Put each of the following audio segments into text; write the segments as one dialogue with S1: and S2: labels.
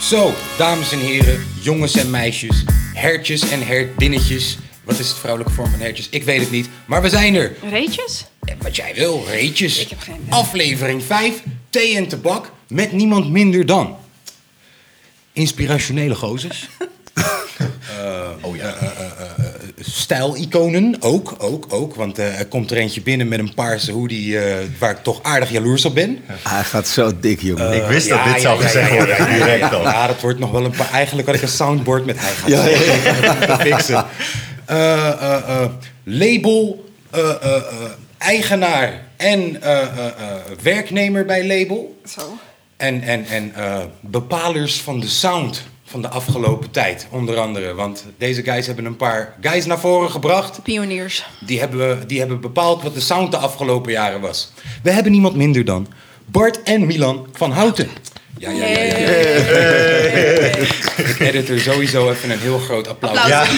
S1: Zo, dames en heren, jongens en meisjes, hertjes en hertinnetjes. Wat is het vrouwelijke vorm van hertjes? Ik weet het niet, maar we zijn er.
S2: Reetjes?
S1: En Wat jij wil, reetjes.
S2: Ik heb geen idee.
S1: Aflevering 5, thee en tabak, met niemand minder dan... Inspirationele gozers. Eh, eh, eh, eh, eh, Stijliconen, ook, ook, ook. Want eh, er komt er eentje binnen met een paarse hoodie eh, waar ik toch aardig jaloers op ben.
S3: Hij gaat zo dik, jongen.
S4: Ik wist dat
S1: Ja,
S4: dit
S1: ja,
S4: zou
S1: ja,
S4: gezegd
S1: ja,
S4: worden,
S1: ja, ja,
S4: direct
S1: ja,
S4: al.
S1: Ja, dat wordt nog wel een paar... Eigenlijk had ik een soundboard met hij gaat
S3: Ja, ja,
S1: te fixen. Eh, eh, eh, label, eh, eh, eh, eigenaar en eh, eh, eh, werknemer bij label.
S2: Zo.
S1: En, en, en eh, bepalers van de sound van de afgelopen tijd, onder andere. Want deze guys hebben een paar guys naar voren gebracht.
S2: Pioniers.
S1: Die hebben, we- die hebben bepaald wat de sound de afgelopen jaren was. We hebben niemand minder dan Bart en Milan van Houten. Ja, ja, ja. ja, ja. Ik edit er sowieso even een heel groot applaus.
S2: Applaus.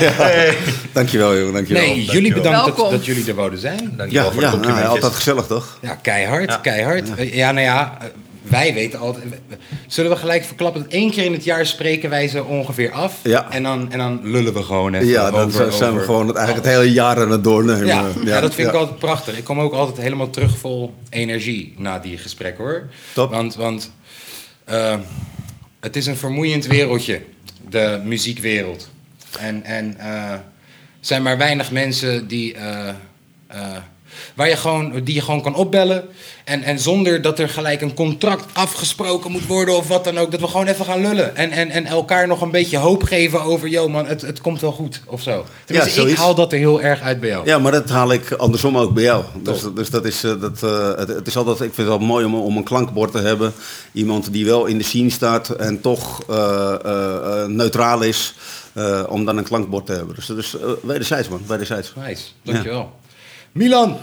S1: Ja.
S3: Dankjewel, jongen. Dankjewel.
S1: Nee, jullie bedankt dat,
S2: Welkom.
S1: dat jullie er wouden zijn.
S3: Ja,
S4: Dankjewel
S3: ja
S4: voor de
S3: nou, ja,
S4: complimentjes.
S3: altijd gezellig, toch?
S1: Ja, keihard, keihard. Eh, Ja, nou ja, eh, wij weten altijd... Zullen we gelijk verklappen dat één keer in het jaar spreken wij ze ongeveer af?
S3: Ja.
S1: En dan, en dan lullen we gewoon even
S3: Ja, dan
S1: over,
S3: zijn- zijn we
S1: over-
S3: gewoon het, eigenlijk het hele jaar aan het doornemen.
S1: Ja, ja, dat vind ik altijd prachtig. Ik kom ook altijd helemaal terug vol energie na die gesprekken hoor.
S3: Top.
S1: Want, want eh, het is een vermoeiend wereldje, de muziekwereld. En, en eh, er zijn maar weinig mensen die, eh, eh, waar je gewoon, die je gewoon kan opbellen. En, en zonder dat er gelijk een contract afgesproken moet worden of wat dan ook. Dat we gewoon even gaan lullen. En, en, en elkaar nog een beetje hoop geven over, yo man, het, het komt wel goed of zo. Tenminste, ik
S3: zoiets.
S1: haal dat er heel erg uit bij jou.
S3: Ja, maar dat haal ik andersom ook bij jou. Dus, dus dat is, eh, dat, eh, het, het is altijd, ik vind het wel mooi om, om een klankbord te hebben. Iemand die wel in de scene staat en toch eh, eh, eh, neutraal is. eh, om dan een klankbord te hebben. Dus dat is eh, wederzijds, man. Wederzijds.
S1: Nice, dankjewel. Milan,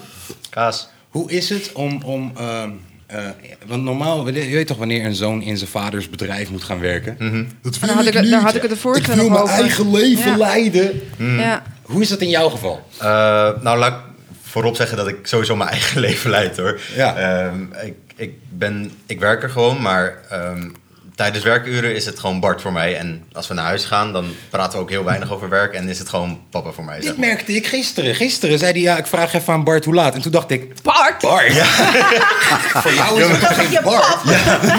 S4: Kaas.
S1: hoe is het om... om ehm, eh, want normaal, je weet toch wanneer een zoon in zijn vaders bedrijf moet gaan werken? Dat
S2: Daar had ik het- daar had ik het de vorige
S1: Ik
S2: keer
S1: wil
S2: nog
S1: mijn
S2: over.
S1: eigen leven
S2: Ja.
S1: leiden.
S2: Ja.
S1: Hoe is dat in jouw geval?
S4: Eh, nou, laat ik voorop zeggen dat ik sowieso mijn eigen leven leid, hoor.
S1: Ja.
S4: Ehm, ik, ik, ben, ik werk er gewoon, maar ehm, tijdens werkuren is het gewoon Bart voor mij. En als we naar huis gaan, dan praten we ook heel weinig over werk. En is het gewoon papa voor mij, zeg
S1: Dit
S4: maar.
S1: merkte ik gisteren. Gisteren zei hij, ja, ik vraag even aan Bart hoe laat. En toen dacht ik,
S2: Bart!
S1: Bart? Voor jou is het toch geen Bart?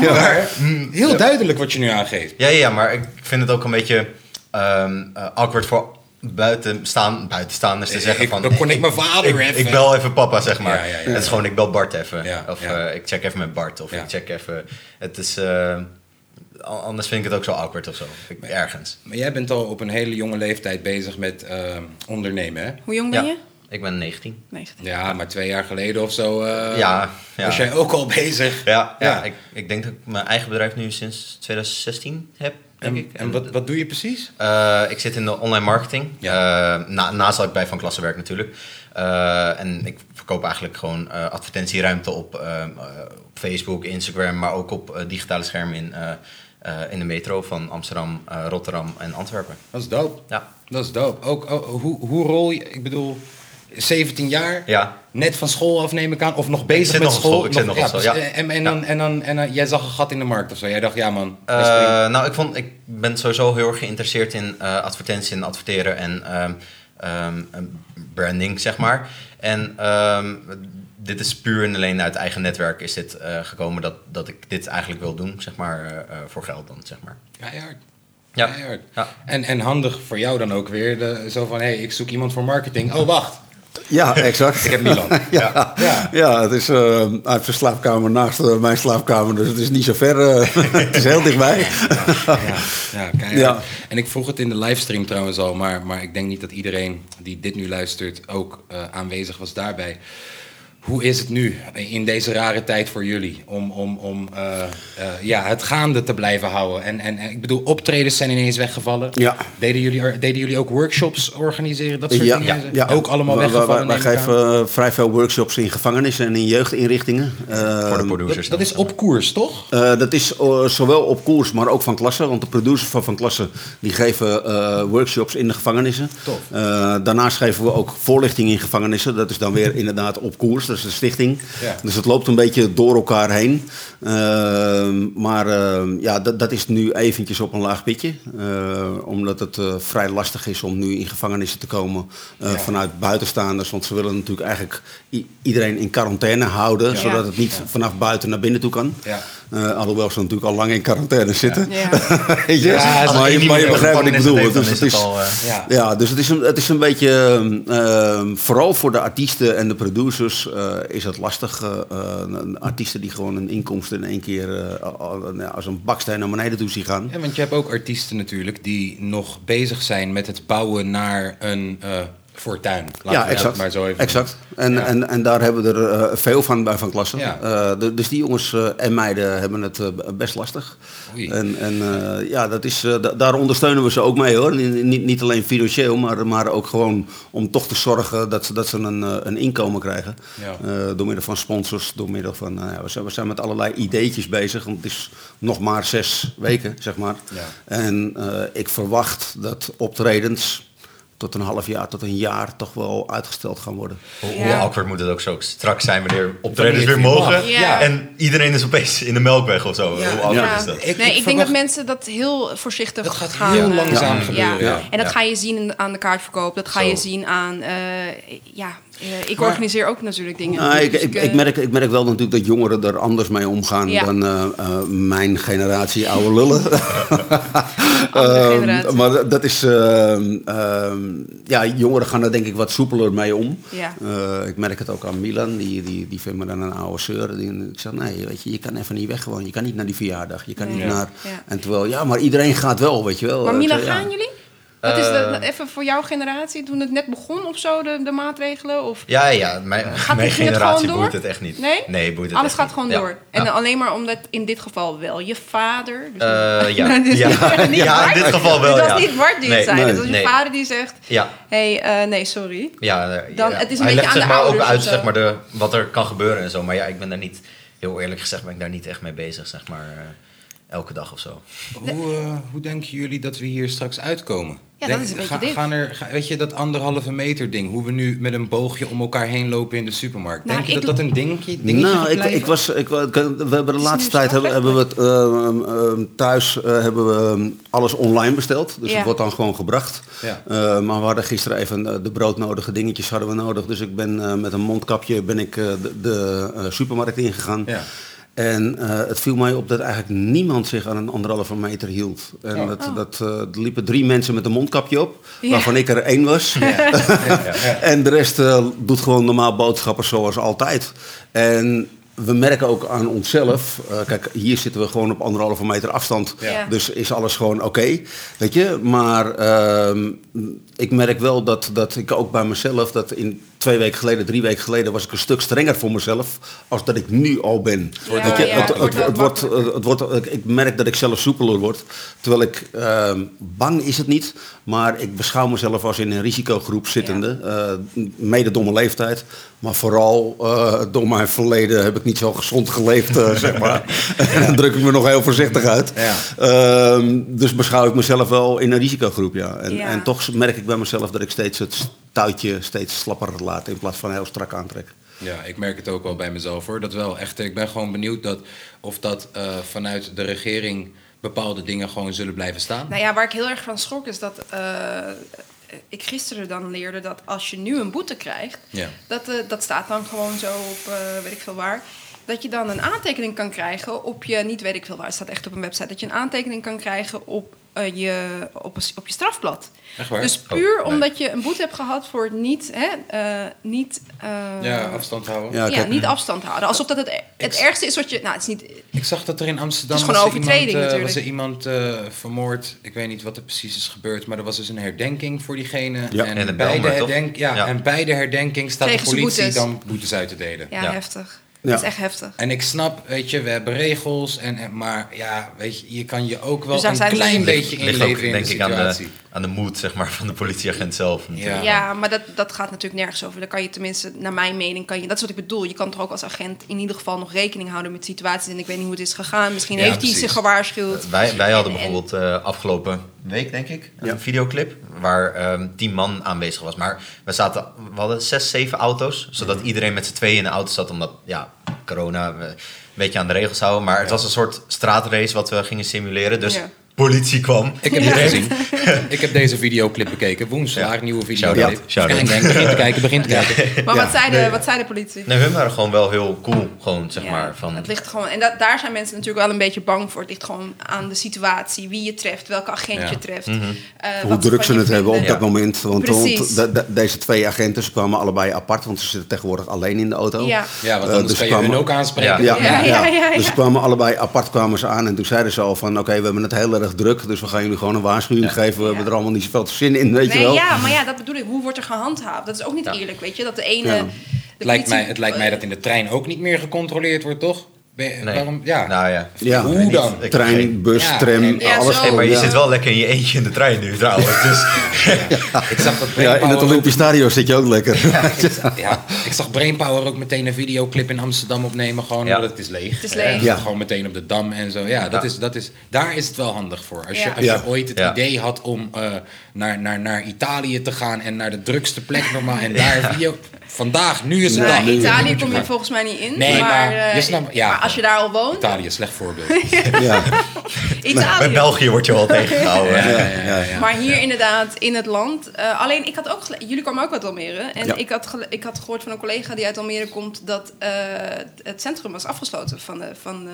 S1: Ja, maar, heel duidelijk wat je nu aangeeft.
S4: Ja, ja, ja, maar ik vind het ook een beetje ehm, eh, awkward voor buitenstaan, buitenstaanders te zeggen
S1: Ik-
S4: van...
S1: dan kon ik mijn vader
S4: ik,
S1: even.
S4: Ik bel even papa, zeg maar.
S1: Ja, ja, ja.
S4: het is gewoon, ik bel Bart even.
S1: Ja,
S4: of
S1: ja.
S4: eh, ik check even met Bart. Of
S1: Ja.
S4: ik check even... Het is... eh, a- anders vind ik het ook zo awkward of zo. Ik- ergens.
S1: Maar jij bent al op een hele jonge leeftijd bezig met ehm, ondernemen, hè?
S2: Hoe jong ben
S4: Ja,
S2: je?
S4: Ik ben 19.
S2: 19.
S1: Ja, maar twee jaar geleden of zo eh,
S4: Ja, ja.
S1: was jij ook al bezig.
S4: Ja, ja.
S1: Ja.
S4: Ik, ik denk dat ik mijn eigen bedrijf nu sinds 2016 heb, denk
S1: En,
S4: ik.
S1: en wat, wat doe je precies?
S4: Eh, ik zit in de online marketing. Eh, na, naast dat ik bij Van Klassen werk natuurlijk. Eh, en ik verkoop eigenlijk gewoon eh, advertentieruimte op, eh, eh, op Facebook, Instagram, maar ook op eh, digitale schermen in, eh, eh, in de metro van Amsterdam, eh, Rotterdam en Antwerpen.
S1: Dat is dope.
S4: Ja.
S1: Dat is dope. Ook, oh, hoe, hoe rol je, ik bedoel, 17 jaar,
S4: Ja.
S1: net van school af neem ik aan, of nog bezig
S4: zit
S1: met
S4: nog op
S1: school.
S4: school, ik zit nog op school, ja.
S1: precies. En, en, dan, en, dan, en dan, jij zag een gat in de markt of zo. Jij dacht, ja man,
S4: Eh,
S1: daar spring ik.
S4: nou, ik, vond, ik ben sowieso heel erg geïnteresseerd in eh, advertentie en adverteren en ehm, ehm, en branding, zeg maar. En ehm, dit is puur en alleen uit eigen netwerk is dit eh, gekomen dat, dat ik dit eigenlijk wil doen, zeg maar, eh, eh, voor geld dan, zeg maar.
S1: keihard.
S4: Ja.
S1: Keihard.
S4: Ja.
S1: En, en handig voor jou dan ook weer, de- zo van, hé, hey, ik zoek iemand voor marketing. Oh, wacht,
S3: Ja, exact.
S1: ik heb Milan.
S3: Ja,
S1: Ja.
S3: ja. het is eh, uit zijn slaapkamer naast eh, mijn slaapkamer, dus het is niet zo ver. eh, het is heel dichtbij.
S1: ja, ja, keihard.
S3: Ja.
S1: En ik vroeg het in de livestream trouwens al, maar, maar ik denk niet dat iedereen die dit nu luistert ook eh, aanwezig was daarbij. Hoe is het nu in deze rare tijd voor jullie om, om, om eh, eh, ja, het gaande te blijven houden? En, en, en ik bedoel, optredens zijn ineens weggevallen.
S3: Ja.
S1: Deden, jullie, er- deden jullie ook workshops organiseren? Dat soort
S3: ja,
S1: dingen? Ook allemaal
S3: Wij- wij-
S1: weggevallen.
S3: Wij,
S1: neem ik aan?
S3: geven eh, vrij veel workshops in gevangenissen en in jeugdinrichtingen. Eh,
S4: voor de
S1: dat,
S4: producers.
S1: Ehm, dat
S4: dan,
S1: is
S4: zeg maar.
S1: op koers, toch?
S3: eh, dat is eh, zowel op koers, maar ook van klasse. Want de producers van Van Klasse die geven eh, workshops in de gevangenissen.
S1: Tof.
S3: Eh, daarnaast geven we ook voorlichting in gevangenissen. Dat is dan weer inderdaad op koers. Dus dus de stichting.
S1: Ja.
S3: Dus het loopt een beetje door elkaar heen. Ehm, maar ehm, ja, dat, dat is nu eventjes op een laag pitje. Eh, omdat het eh, vrij lastig is om nu in gevangenissen te komen eh,
S1: Ja.
S3: vanuit buitenstaanders. Want ze willen natuurlijk eigenlijk i- iedereen in quarantaine houden,
S1: Ja.
S3: zodat het niet vanaf buiten naar binnen toe kan.
S1: Ja.
S3: Eh, alhoewel ze natuurlijk al lang in quarantaine zitten.
S2: Ja.
S3: Weet je?
S1: Ja, als
S3: maar
S4: één
S3: je, maar
S4: iemand
S3: je
S4: een
S3: begrijpt wat ik
S4: gevangenis
S3: bedoel.
S4: heeft, dan
S3: Dus het
S4: is het
S3: is-
S4: al, eh,
S1: Ja.
S3: ja, dus het is een, het is een beetje, ehm, ehm, vooral voor de artiesten en de producers eh, is het lastig. eh, eh, een- artiesten die gewoon een inkomsten in één keer eh, al- al- nou ja, als een baksteen naar beneden toe zien gaan.
S1: Ja, want je hebt ook artiesten natuurlijk die nog bezig zijn met het bouwen naar een eh, fortuin. Laten we
S3: ja,
S1: dat
S3: exact.
S1: Maar zo even
S3: exact. En,
S1: Ja.
S3: en, en daar hebben we er eh, veel van bij Van Klassen.
S1: Ja.
S3: Eh, de- dus die jongens eh, en meiden hebben het eh, best lastig.
S1: Oei.
S3: En, en eh, ja, dat is, eh, da- daar ondersteunen we ze ook mee hoor. Niet, niet- niet alleen financieel, maar, maar ook gewoon om toch te zorgen dat ze, dat ze een, eh, een inkomen krijgen.
S1: Ja.
S3: Eh, door middel van sponsors, door middel van... nou ja, we, zijn, we zijn met allerlei ideetjes bezig, want het is nog maar zes weken, zeg maar.
S1: Ja.
S3: En eh, ik verwacht dat optredens tot een half jaar, tot een jaar toch wel uitgesteld gaan worden.
S4: Hoe,
S2: Ja.
S4: hoe awkward moet het ook zo straks zijn wanneer optredens
S1: Wanneer
S4: weer
S1: het weer
S4: mogen.
S1: mag.
S2: Ja.
S4: En iedereen is opeens in de melkweg of zo.
S1: Ja.
S4: Hoe awkward
S2: Ja.
S4: is dat?
S1: Ik- ik
S2: nee, ik, denk
S1: verwacht-
S2: dat mensen dat heel voorzichtig
S1: Dat gaat
S2: gaan.
S1: heel
S2: eh,
S1: langzaam
S2: ja.
S1: gebeuren, ja.
S2: En dat
S4: Ja.
S2: ga je zien in- aan de kaartverkoop. Dat ga
S4: Zo.
S2: je zien aan... eh, ja, eh, ik
S1: Maar-
S2: organiseer ook natuurlijk dingen.
S3: Nou, ik,
S2: Dus
S3: ik,
S2: eh,
S3: ik, merk, ik merk wel natuurlijk dat jongeren er anders mee omgaan
S2: Ja.
S3: dan eh, eh, mijn generatie oude lullen.
S2: andere
S4: eh,
S3: Ehm,
S2: generatie.
S3: maar dat is, ehm, ehm, ja, jongeren gaan er denk ik wat soepeler mee om.
S2: Ja.
S3: Eh, ik merk het ook aan Milan, die, die, die vindt me dan een oude zeur. Die- Ik zeg, nee, weet je, je kan even niet weg gewoon. Je kan niet naar die verjaardag, je kan
S2: Nee.
S3: niet
S2: Ja.
S3: naar...
S2: Ja.
S3: En terwijl, ja, maar iedereen gaat wel, weet je wel.
S2: Maar
S3: Eh,
S2: Mila,
S3: zo, ja.
S2: gaan jullie? Wat is dat,
S4: Eh.
S2: even voor jouw generatie, toen het net begon of zo, de, de maatregelen? Of...
S4: Ja, ja, mijn, mijn
S2: ging het
S4: generatie
S2: gewoon door?
S4: boeit het echt niet.
S2: Nee?
S4: boeit het
S2: Alles
S4: echt
S2: gaat
S4: niet.
S2: gewoon
S4: Ja.
S2: door. En dan alleen maar omdat in dit geval wel je vader... dus-
S4: Eh, ja.
S2: Nou, dit is
S4: Ja.
S2: niet- niet
S4: Ja, in
S2: Bart.
S4: dit geval wel,
S2: Dit was
S4: ja.
S2: niet Bart die het
S4: Nee,
S2: zei.
S3: nee,
S2: dit was je
S4: nee.
S2: vader die zegt,
S4: Ja.
S2: hé, hey, eh, nee, sorry.
S4: Ja, eh,
S2: Dan-
S4: ja.
S2: het is een beetje
S4: hij legt
S2: aan
S4: zeg
S2: de
S4: maar ook
S2: ouders of
S4: uit
S2: zo.
S4: zeg maar, de, wat er kan gebeuren en zo. Maar ja, ik ben daar niet, heel eerlijk gezegd, ben ik daar niet echt mee bezig, zeg maar. eh, Elke dag of zo.
S1: Hoe, eh, hoe denken jullie dat we hier straks uitkomen?
S2: Ja, dat is een beetje
S1: ga-
S2: dit.
S1: gaan er, ga- Weet je, dat anderhalve meter ding, hoe we nu met een boogje om elkaar heen lopen in de supermarkt.
S2: Nou,
S1: Denk je
S2: ik
S1: dat dat een dingetje, dingetje gaat
S3: Nou, ik,
S1: blijven?
S3: ik was, ik, wa- ik- we hebben de
S2: nu
S3: laatste tijd hebben, hebben we het ehm, ehm, thuis eh, hebben we ehm, alles online besteld, dus
S2: Ja.
S3: het wordt dan gewoon gebracht.
S1: Ja.
S3: Eh, maar we hadden gisteren even eh, de broodnodige dingetjes hadden we nodig, dus ik ben eh, met een mondkapje ben ik eh, de, de eh, supermarkt ingegaan.
S1: Ja.
S3: En eh, het viel mij op dat eigenlijk niemand zich aan een anderhalve meter hield. En
S1: Oh.
S3: dat, dat, eh, er liepen drie mensen met een mondkapje op,
S2: Ja.
S3: waarvan ik er één was. En de rest eh, doet gewoon normaal boodschappen zoals altijd. En we merken ook aan onszelf, eh, kijk, hier zitten we gewoon op anderhalve meter afstand.
S2: Ja.
S3: Dus is alles gewoon oké, weet je. Maar ehm, ik merk wel dat, dat ik ook bij mezelf, dat in twee weken geleden, drie weken geleden, was ik een stuk strenger voor mezelf als dat ik nu al ben.
S2: wordt
S3: Weet je,
S2: wel
S3: het, het,
S2: makkelijker.
S3: het wordt, eh, het wordt, ik, ik merk dat ik zelf soepeler word. Terwijl ik, ehm, bang is het niet, maar ik beschouw mezelf als in een risicogroep zittende. eh, mede door mijn leeftijd, maar vooral eh, door mijn verleden heb ik niet zo gezond geleefd, eh, zeg maar. En dan druk ik me nog heel voorzichtig uit.
S1: Ja.
S3: Ehm, dus beschouw ik mezelf wel in een risicogroep, ja. En,
S2: Ja.
S3: en toch merk ik bij mezelf dat ik steeds het touwtje steeds slapper laat in plaats van heel strak aantrek.
S1: Ja, ik merk het ook wel bij mezelf hoor. Dat wel echt. Ik ben gewoon benieuwd dat, of dat eh, vanuit de regering bepaalde dingen gewoon zullen blijven staan.
S2: Nou ja, waar ik heel erg van schrok is dat eh, ik gisteren dan leerde dat als je nu een boete krijgt,
S1: Ja.
S2: dat, eh, dat staat dan gewoon zo op eh, weet ik veel waar. Dat je dan een aantekening kan krijgen op je, niet weet ik veel waar, het staat echt op een website, dat je een aantekening kan krijgen op, eh, je, op, een s- op je strafblad.
S1: Echt waar?
S2: Dus
S1: Oh,
S2: puur
S1: nee.
S2: omdat je een boete hebt gehad voor het niet, hè, eh, niet, eh,
S1: Ja, afstand houden.
S3: Ja,
S2: ja,
S3: kijk.
S2: niet afstand houden. Alsof dat het, het ergste is wat je, nou het is niet,
S1: Ik zag dat er in Amsterdam
S2: Het is
S1: was
S2: gewoon
S1: er
S2: overtreding
S1: iemand, eh,
S2: natuurlijk.
S1: was er iemand eh, vermoord. Ik weet niet wat er precies is gebeurd, maar er was dus een herdenking voor diegene.
S3: Ja,
S1: en,
S4: en een
S1: bij de
S4: Bijlmer, toch?
S1: herdenk, ja,
S4: Ja.
S1: en bij de herdenking staat
S2: Kregen
S1: de
S2: ze
S1: politie
S2: boetes.
S1: dan boetes uit te delen.
S2: ja,
S4: Ja.
S2: heftig.
S3: Ja.
S2: Dat is echt heftig.
S1: En ik snap, weet je, we hebben regels, en, en- maar ja, weet je, je kan je ook wel
S2: Dus daar
S1: een
S2: zijn ze-
S1: klein
S2: Ligt-
S1: beetje
S4: Ligt ook,
S1: inleven in de
S4: denk ik, aan de,
S1: situatie.
S4: aan de moed zeg maar, van de politieagent zelf. natuurlijk.
S2: Ja, maar dat, dat gaat natuurlijk nergens over. Dan kan je tenminste, naar mijn mening, kan je, dat is wat ik bedoel. Je kan toch ook als agent in ieder geval nog rekening houden met situaties. En ik weet niet hoe het is gegaan. Misschien
S1: Ja,
S2: heeft hij
S1: precies.
S2: zich gewaarschuwd.
S4: Wij, wij hadden
S2: En- en-
S4: bijvoorbeeld eh, afgelopen week, denk ik, een
S3: Ja.
S4: videoclip waar ehm tien man aanwezig was. Maar we, zaten, we hadden zes, zeven auto's, zodat
S2: Mhm.
S4: iedereen met z'n tweeën in de auto zat, omdat ja, corona we een beetje aan de regels houden. Maar het was een soort straatrace wat we gingen simuleren, dus
S2: Ja.
S4: politie kwam.
S1: Ik heb,
S2: Ja.
S1: dit gezien. ik heb deze videoclip bekeken. Woensdag,
S4: Ja.
S1: nieuwe
S4: Shout-out,
S1: videoclip.
S4: shout-out.
S1: Gang, gang, begin te kijken, begin te kijken.
S2: Maar
S3: Ja,
S2: wat, zei de,
S3: nee.
S2: wat zei de politie?
S4: Nee, hun waren gewoon wel heel cool, gewoon zeg
S2: Ja,
S4: maar. Van,
S2: Het ligt gewoon, en dat, daar zijn mensen natuurlijk wel een beetje bang voor. Het ligt gewoon aan de situatie, wie je treft, welke agent
S1: Ja.
S2: je treft. eh, wat
S3: Mhm. Hoe druk
S2: van
S3: ze
S2: je
S3: het hebben op
S2: vinden.
S3: dat moment. Want,
S2: Precies.
S3: want de- de- deze twee agenten ze kwamen allebei apart, want ze zitten tegenwoordig alleen in de auto.
S2: Ja.
S1: Ja, want
S3: Eh,
S1: anders
S3: dus
S1: kan je
S3: kwamen-
S1: hun ook aanspreken.
S3: Ja,
S2: Ja,
S3: ja,
S2: ja, ja, ja.
S3: Dus ze kwamen allebei apart kwamen ze aan en toen zeiden ze al van oké, we hebben het heel erg druk, dus we gaan jullie gewoon een waarschuwing geven. We
S2: Ja.
S3: hebben er allemaal niet zoveel zin in, weet je
S2: Nee,
S3: wel.
S2: ja, maar ja, dat bedoel ik. Hoe wordt er gehandhaafd? Dat is ook niet
S4: Ja.
S2: eerlijk, weet je? Dat de ene... de
S3: Ja.
S1: Het lijkt,
S2: politie-
S1: mij, het lijkt mij dat in de trein ook niet meer gecontroleerd wordt, toch? Ben je-
S4: nee.
S1: Waarom? Ja.
S4: Nou ja.
S3: Ja.
S1: Hoe
S4: Ik weet niet.
S1: dan?
S4: Ik-
S3: Trein, bus,
S1: Ja,
S3: tram,
S1: en-
S2: Ja,
S3: alles.
S2: zo.
S4: Hey, maar je
S2: Ja.
S4: zit wel lekker in je eentje in de trein nu trouwens. Dus
S1: Ik zag dat
S3: Ja, in het
S1: Brainpower-
S3: Olympisch Stadion zit je ook lekker.
S1: Ja, ik zag Brainpower ook meteen een videoclip in Amsterdam opnemen. Gewoon
S4: Ja.
S1: omdat het is leeg. Eh,
S2: Het is leeg.
S3: Ja.
S1: Gewoon meteen op de Dam en zo. Ja, dat
S4: Ja.
S1: Is, dat is, daar is het wel handig voor. Als je,
S2: Ja.
S1: als je
S3: Ja.
S1: ooit het
S4: Ja.
S1: idee had om eh, naar, naar, naar Italië te gaan... en naar de drukste plek normaal en daar video... Vandaag, nu is het
S2: Nou,
S1: wel.
S3: Ja, nu-
S2: Italië
S1: moet
S2: kom je
S1: maar-
S2: volgens mij niet in.
S1: Nee,
S2: maar,
S1: maar je
S2: eh,
S1: snapt- ja.
S2: maar als je daar al woont...
S1: Italië, is een slecht voorbeeld.
S3: ja.
S4: bij
S2: Italië.
S4: België word je wel tegengehouden.
S1: Ja, ja,
S3: ja, ja.
S2: Maar hier inderdaad, in het land. eh, alleen, ik had ook gele- jullie kwamen ook uit Almere. En
S3: Ja.
S2: ik, had gele- ik had gehoord van een collega die uit Almere komt... dat eh, het centrum was afgesloten van, de, van, de,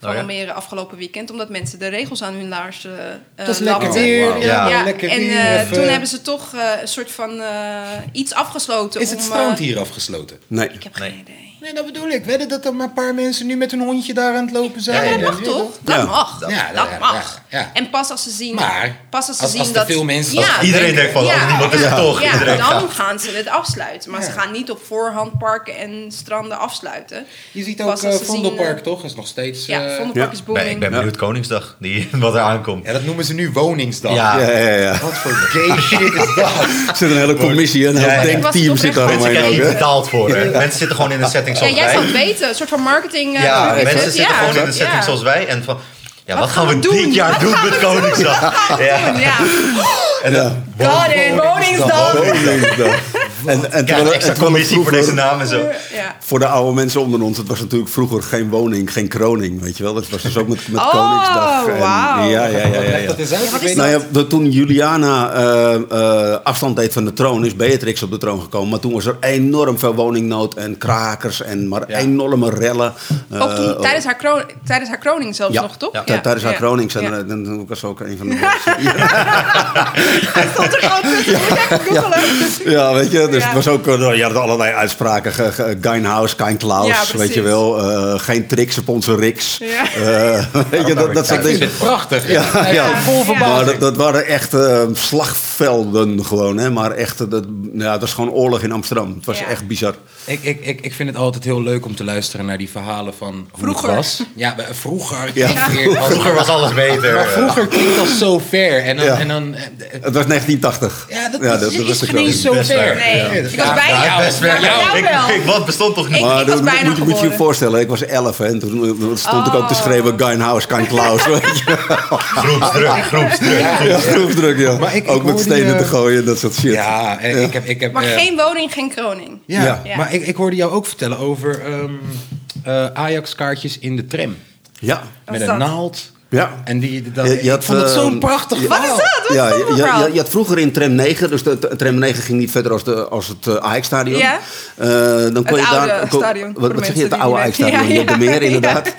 S2: van
S4: Oh ja.
S2: Almere afgelopen weekend... omdat mensen de regels aan hun laars eh
S1: Het was
S2: eh,
S1: lekker
S2: lapten.
S1: weer.
S4: Ja.
S2: Ja,
S1: lekker
S2: en
S1: weer.
S2: eh,
S1: Even-
S2: toen hebben ze toch eh, een soort van eh, iets afgesloten.
S1: Is het
S2: om,
S1: strand
S2: eh,
S1: hier afgesloten?
S3: Nee.
S2: ik heb
S4: Nee.
S2: geen idee.
S1: Nee, dat bedoel ik. Wedden dat er maar een paar mensen nu met hun hondje daar aan het lopen
S2: Ja,
S1: zijn.
S2: maar
S1: En-
S2: dat mag toch? Dat
S3: Ja.
S2: mag. Dat,
S1: Ja, ja, ja,
S2: mag.
S1: ja, ja.
S2: En pas als ze zien,
S1: Maar,
S2: pas als ze
S1: als-
S2: zien
S1: als er
S2: dat
S1: veel mensen-
S2: Ja,
S4: Iedereen denkt van,
S2: ja,
S4: oh, niemand is
S2: ja,
S4: het toch.
S2: ja,
S4: Iedereen
S2: dan
S4: gaat.
S2: gaan ze het afsluiten. Maar ze
S1: Ja.
S2: gaan niet op voorhand parken en stranden afsluiten.
S1: Je ziet
S2: Pas
S1: ook eh
S2: als ze zien,
S1: Vondelpark,
S2: eh,
S1: toch? Is nog steeds...
S2: Ja,
S1: eh,
S2: Vondelpark
S3: Ja.
S2: is
S4: Ik ben, ik
S2: booming.
S4: ben benieuwd Koningsdag, die, wat er aankomt.
S1: ja, dat noemen ze nu woningsdag.
S4: Ja.
S3: Ja, ja, ja.
S1: Wat voor gay shit is dat?
S3: Er zit een hele commissie, een heel
S4: Ja, ja.
S2: Ik
S3: denkteam
S2: was
S3: zit daar
S2: oprecht-
S4: Mensen
S3: omheen
S4: krijgen
S3: ook.
S4: niet
S3: Hè?
S4: betaald voor. hè. Mensen zitten gewoon in een setting
S2: Ja,
S4: zoals
S2: jij zou
S4: wij.
S2: het weten. Een soort van marketing. eh,
S4: Ja,
S2: publicist.
S4: mensen zitten
S2: Ja.
S4: gewoon in een setting
S2: Ja.
S4: zoals wij. En van, ja, wat,
S2: Wat
S4: gaan we
S2: gaan we doen?
S4: dit jaar doen met Koningsdag? Ja.
S2: Ja.
S4: En dan,
S2: Got it. Woningsdag.
S3: En, en
S4: krijg je
S3: terwijl,
S4: extra
S3: en terwijl het
S4: commissie voor deze
S3: vroeger,
S4: naam en zo.
S2: Ja.
S3: voor de oude mensen onder ons, het was natuurlijk vroeger geen woning, geen kroning, weet je wel. Dat was dus ook met, met
S2: Oh,
S3: Koningsdag. En-
S2: wauw.
S3: Ja, ja, ja, ja,
S1: Leg
S3: ja.
S1: dat eens uit. ik
S2: wat is
S1: weet
S3: Nou
S1: niet.
S3: ja, dat toen Juliana eh, eh, afstand deed van de troon, is Beatrix op de troon gekomen. Maar toen was er enorm veel woningnood en krakers en maar
S1: Ja.
S3: enorme rellen.
S2: Ook
S3: Eh,
S2: toen,
S4: oh.
S2: tijdens, haar kro- tijdens haar kroning zelfs
S3: ja.
S2: Oh, nog, toch?
S3: Ja, Tijdens haar
S2: Ja.
S3: kroning zijn
S2: Ja.
S3: er- dan, dan was ook een van de
S2: stond er gewoon tussen. Ik moet even googelen.
S3: Ja, weet je, dus
S2: Ja.
S3: het was ook, eh, je had allerlei uitspraken. Ge, ge- Geinhaus, Kein Klaus,
S2: Ja, precies.
S3: weet je wel. eh, geen tricks op onze riks.
S2: Ja.
S3: Eh, weet je, dat, dat soort
S1: Ik vind
S3: dingen.
S1: het prachtig.
S3: Ja, ja.
S1: Vol
S3: Maar
S1: verbazing.
S3: dat, dat waren echt eh, slagvelden gewoon, hè. Maar echt, eh, dat, ja, het was gewoon oorlog in Amsterdam. Het was
S2: Ja.
S3: echt bizar.
S1: Ik, ik, ik, ik vind het altijd heel leuk om te luisteren naar die verhalen van hoe
S2: Vroeger.
S1: het was. Ja, maar vroeger.
S3: Ja.
S1: klinkt weer als-
S4: Vroeger was alles beter.
S1: Maar vroeger klinkt dat zo ver. En dan...
S3: Ja.
S1: En dan eh, eh,
S3: Het was 1980.
S1: ja, dat,
S3: Ja,
S1: dat is,
S3: was
S1: is
S3: de
S1: niet
S3: kroning.
S1: zo
S4: Best
S1: ver.
S4: ver.
S2: Nee, ik was bij
S4: Ja,
S2: jou.
S4: best wel.
S2: Ja, bij
S4: Ik-
S2: jou
S4: ik-
S2: wel.
S4: Wat bestond toch niet?
S2: Ik-
S3: Maar
S2: was
S3: dat-
S2: bijna
S3: moet, je, moet je je
S2: geboren.
S3: voorstellen, ik was 11 hè, en toen eh, stond ik ook te
S2: Oh.
S3: schreeuwen Geinhaus, Kein Klaus. Weet je.
S4: Groepsdruk, groepsdruk.
S3: Ja, groepsdruk, ja.
S1: Maar ik- ik
S3: ook met
S1: hoorde
S3: stenen
S1: je-
S3: te gooien, dat soort shit.
S1: Ja, en ik heb... Ik heb
S2: Maar
S1: eh,
S2: geen woning, geen kroning.
S1: Ja,
S3: Ja.
S2: Ja.
S1: maar ik, ik hoorde jou ook vertellen over ehm, eh, Ajax-kaartjes in de tram.
S3: Ja.
S1: Met
S2: is
S1: een
S2: dat?
S1: naald.
S3: ja.
S1: En die, dat,
S3: Je- je had,
S1: ik vond het zo'n
S3: ehm,
S1: prachtig
S3: je-
S1: verhaal.
S2: Wat is dat? Wat
S3: Ja,
S2: is dat
S3: je,
S2: voor
S3: je,
S2: verhaal?
S3: je, je had vroeger in tram 9, dus de, de tram 9 ging niet verder als, de, als het eh, Ajax-stadion.
S2: Ja.
S3: Eh, dan kon
S2: Het
S3: je
S2: oude
S3: daar, kon-
S2: stadion, voor
S3: Wat,
S2: de
S3: wat zeg je,
S2: mensen
S3: het
S2: die
S3: oude
S2: niet weten.
S3: Ajax-stadion,
S2: Ja,
S3: op de meer
S2: ja.
S3: inderdaad.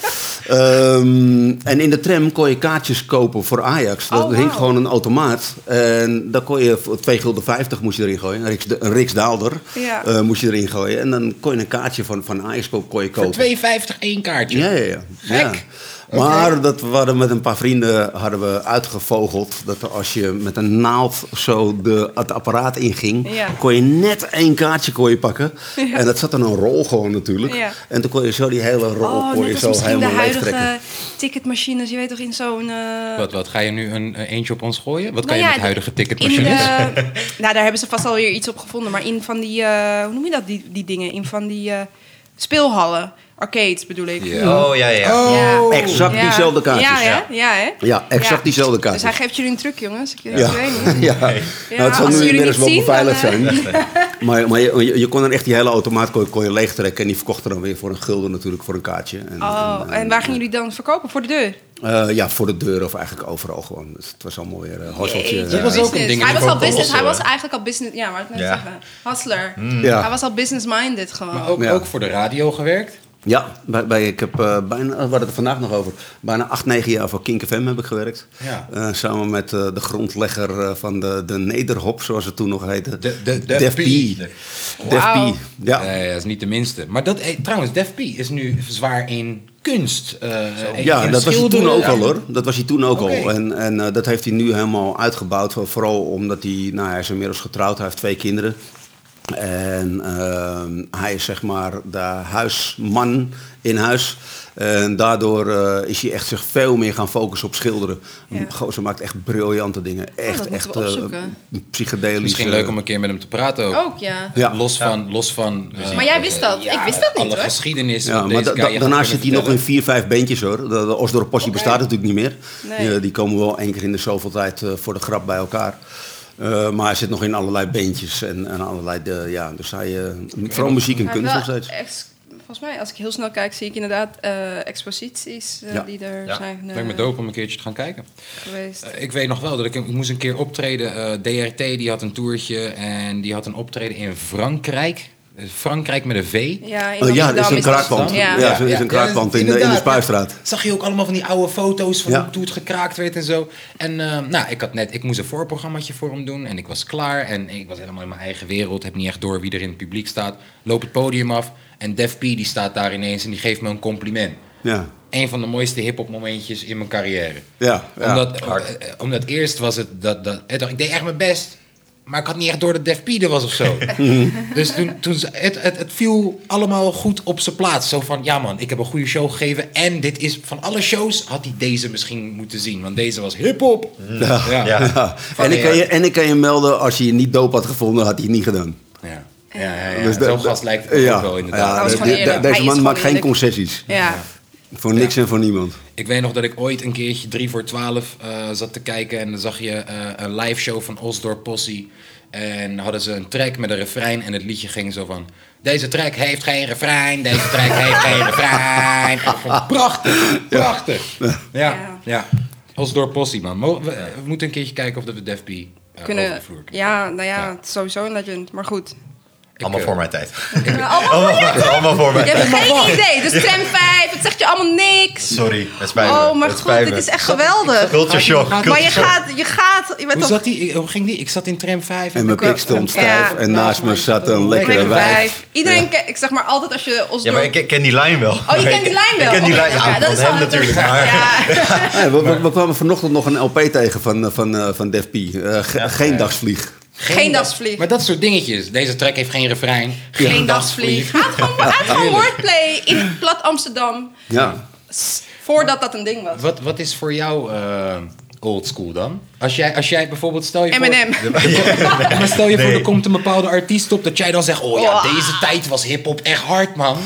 S3: Ehm, en in de tram kon je kaartjes kopen voor Ajax. Dat
S2: Oh,
S3: hing
S2: wauw.
S3: gewoon een automaat. En daar kon je voor 2,50 gulden moest je erin gooien. Een, riks, een riksdaalder
S2: Ja.
S3: eh, moest je erin gooien. En dan kon je een kaartje van, van Ajax ko- kon je kopen.
S1: Voor 2,50 één kaartje.
S3: Ja, ja, ja.
S1: Gek.
S3: Ja. Maar dat we hadden met een paar vrienden hadden we uitgevogeld dat als je met een naald zo de, het apparaat inging,
S2: Ja.
S3: kon je net één kaartje kon je pakken.
S2: Ja.
S3: En dat zat in een rol gewoon natuurlijk.
S2: Ja.
S3: En toen kon je zo die hele rol
S2: Oh,
S3: kon
S2: net
S3: je
S2: als
S3: zo
S2: misschien de
S3: helemaal leegtrekken.
S2: huidige ticketmachines. Je weet toch, in zo'n... eh,
S1: Wat, wat, ga je nu een, eh, eentje op ons gooien? Wat kan
S2: Nou
S1: je
S2: ja,
S1: met huidige
S2: in de-
S1: ticketmachines?
S2: nou, daar hebben ze vast alweer iets op gevonden. Maar in van die, eh, hoe noem je dat, die, die dingen? In van die eh, speelhallen. Arcades bedoel ik.
S4: Oh ja, ja. ja.
S2: Ja.
S3: Exact diezelfde kaartjes.
S2: Ja, hè? Ja, hè?
S3: Ja, exact diezelfde
S2: Dus hij
S3: kaartjes.
S2: geeft jullie een truc, jongens. Ik, ik
S3: Ja.
S2: weet niet.
S3: Ja. nou, het zal
S2: als
S3: nu
S2: jullie
S3: inmiddels
S2: niet
S3: wel
S2: zien,
S3: beveiligd
S2: dan,
S3: zijn. Maar, maar je, je, je kon dan echt die hele automaat kon, je- kon je leegtrekken. En die verkocht er dan weer voor een gulden natuurlijk, voor een kaartje. En,
S2: Oh, en waar gingen jullie dan verkopen? Voor de deur?
S3: eh, ja, voor de deur of eigenlijk overal gewoon. Dus het was wel mooi weer. eh, hasseltje.
S2: Jeetje,
S1: Dat was ook een
S2: business.
S1: ding in
S2: Hij
S1: de
S2: was al
S1: Coca-Cola,
S2: business. Hij
S4: hoor.
S2: was eigenlijk al business. Ja, maar ik net
S4: Ja.
S2: zeggen. Hustler.
S3: Ja.
S2: Hij was al business minded gewoon.
S1: Hmm. Maar ook,
S3: Ja.
S1: ook voor de radio gewerkt?
S3: Ja, bij, bij- ik heb eh, bijna, we hadden het er vandaag nog over, bijna acht, negen jaar voor Kink FM heb ik gewerkt.
S1: Ja.
S3: Eh, samen met eh, de grondlegger eh, van de, de Nederhop, zoals het toen nog heette.
S1: De- de- de
S3: Def
S1: P.
S3: P. Def
S2: Wauw.
S3: P, ja.
S1: Nee, Eh, dat is niet de minste. Maar dat, eh, trouwens, Def P is nu zwaar in kunst. eh, en
S3: Ja,
S1: in
S3: dat was hij toen
S1: schilderen.
S3: ook al hoor. Dat was hij toen ook al.
S1: Oké.
S3: En, en eh, dat heeft hij nu helemaal uitgebouwd. Voor- Vooral omdat hij, nou hij is inmiddels getrouwd, hij heeft twee kinderen. En ehm, hij is zeg maar de huisman in huis. En daardoor eh, is hij echt zich veel meer gaan focussen op schilderen.
S2: Ja.
S3: Goh, ze maakt echt briljante dingen. Echt,
S2: dat moeten
S3: echt
S2: we
S3: eh,
S2: opzoeken.
S3: psychedelische...
S1: Misschien leuk om een keer met hem te praten ook.
S2: Ook, ja.
S3: Ja.
S1: Los van... Los van eh,
S2: Maar jij wist dat?
S1: ja,
S2: Ik wist dat niet,
S1: Alle
S2: hoor.
S1: geschiedenis.
S3: Ja,
S1: van
S3: maar
S1: deze
S3: da-
S1: guy,
S3: da-
S1: je gaat
S3: daarna
S1: kunnen
S3: zit hij nog in
S1: vertellen.
S3: vier, vijf bandjes hoor. De, de Osdorp Passie bestaat natuurlijk niet meer. Eh,
S2: Nee.
S3: Die, die komen wel één keer in de zoveel tijd eh, voor de grap bij elkaar. Eh, maar hij zit nog in allerlei bandjes en, en allerlei, eh, ja, dus hij, eh, vooral muziek en
S2: Maar
S3: kunst nog
S2: wel Eh.
S3: steeds.
S2: ex- volgens mij, als ik heel snel kijk, zie ik inderdaad eh, exposities eh,
S3: Ja.
S2: die er
S4: Ja.
S2: zijn eh,
S1: Lijkt me dope om een keertje te gaan kijken.
S2: geweest.
S1: Eh, Ik weet nog wel dat ik, ik moest een keer optreden. eh, DRT die had een toertje en die had een optreden in Frankrijk. Eh, Frankrijk met een V.
S2: Ja, in
S3: Oh, ja, er is
S2: Amsterdam
S3: een
S2: dat-
S3: kraakpand.
S2: Ja.
S3: Ja, er is een kraakpand in, de- in de
S1: inderdaad.
S3: Spuistraat.
S1: Zag je ook allemaal van die oude foto's van
S3: Ja.
S1: hoe het gekraakt werd en zo. En eh, nou, ik had net, ik moest een voorprogrammaatje voor hem doen en ik was klaar. En ik was helemaal in mijn eigen wereld, heb niet echt door wie er in het publiek staat. Loop het podium af en Def P die staat daar ineens en die geeft me een compliment.
S3: Ja,
S1: Een van de mooiste hip-hop momentjes in mijn carrière.
S3: ja, ja.
S1: Omdat,
S4: Hard.
S1: eh, eh, omdat eerst was het dat, dat het- ik deed echt mijn best, maar ik had niet echt door dat Def P er was of zo. dus toen, toen ze- het, het, het viel allemaal goed op zijn plaats. Zo van, ja man, ik heb een goede show gegeven en dit is van alle shows had hij deze misschien moeten zien, want deze was hip-hop. Ja. Ja.
S4: Ja.
S1: Ja.
S2: eh,
S3: Ja. En, ik kan je, en ik kan je melden, als je je niet doop had gevonden, had hij het niet gedaan.
S1: Ja. Ja, ja.
S3: Dus de-
S1: Zo'n
S3: de-
S1: gast lijkt het
S3: ja,
S1: ook wel inderdaad.
S3: ja,
S2: Hij was
S3: de-
S2: gewoon
S3: de-
S2: eerlijk. Hij
S3: deze
S2: is
S3: man
S2: gewoon
S3: maakt geen
S2: eerlijk.
S3: concessies.
S2: Ja.
S3: Voor niks en voor niemand.
S1: Ik weet nog dat ik ooit een keertje 3 voor 12 eh, zat te kijken en dan zag je eh, een live show van Osdorp Posse. En hadden ze een track met een refrein en het liedje ging zo van... Deze track heeft geen refrein, deze track heeft geen refrein. Ik vond het Prachtig, prachtig. Ja, ja.
S2: Ja.
S1: Osdorp Posse, man. Mo- we, eh, we moeten een keertje kijken of dat we Def P eh, over
S2: Kunnen,
S1: de vloer kunnen.
S2: ja, nou ja,
S1: Ja.
S2: het is sowieso een legend, maar goed.
S4: Allemaal
S1: eh,
S4: voor mijn tijd.
S2: Allemaal
S1: Oh,
S2: voor
S4: Allemaal, allemaal voor
S2: Je
S4: mijn tijd.
S2: hebt geen idee. Dus tram 5, het zegt je allemaal niks.
S4: Sorry, het spijt me.
S2: Oh mijn god,
S4: Het spijt
S2: dit
S4: me.
S2: is echt geweldig.
S4: Culture shock.
S1: Maar je
S2: Maar je
S4: culture shock.
S2: gaat, je gaat, je bent
S1: Hoe,
S2: toch...
S1: zat die, hoe ging die? Ik zat in tram 5.
S3: En mijn
S1: ik, eh,
S3: pik stond stijf
S2: Ja.
S3: en naast me zat een lekkere
S2: Tram
S3: wijf.
S2: vijf. Iedereen, ke- ik zeg maar altijd als je ons
S4: Ja, maar ik ken- ken die lijn wel.
S2: Oh, je kent die lijn wel?
S4: Ik ken die
S2: Oké,
S4: lijn, ja, dat is hem
S2: wel
S4: natuurlijk. maar-
S2: Ja.
S3: Hey, Ah, we, we- we kwamen vanochtend nog een LP tegen van, eh, van, eh, van Def P. Eh, ge- geen dagsvlieg.
S2: Geen dagsvlieg.
S1: Maar dat soort dingetjes. Deze track heeft geen refrein.
S2: Geen dagsvlieg. Hij had gewoon, hij had gewoon wordplay in plat Amsterdam.
S3: Ja.
S2: s- Voordat dat een ding was.
S1: Wat, wat is voor jou eh old school dan? Als jij, als jij bijvoorbeeld, stel je
S2: M&M.
S1: voor... Ja, maar stel je voor,
S4: Nee.
S1: er komt een bepaalde artiest op dat jij dan zegt... Oh ja,
S2: Oh.
S1: deze tijd was hiphop echt hard, man.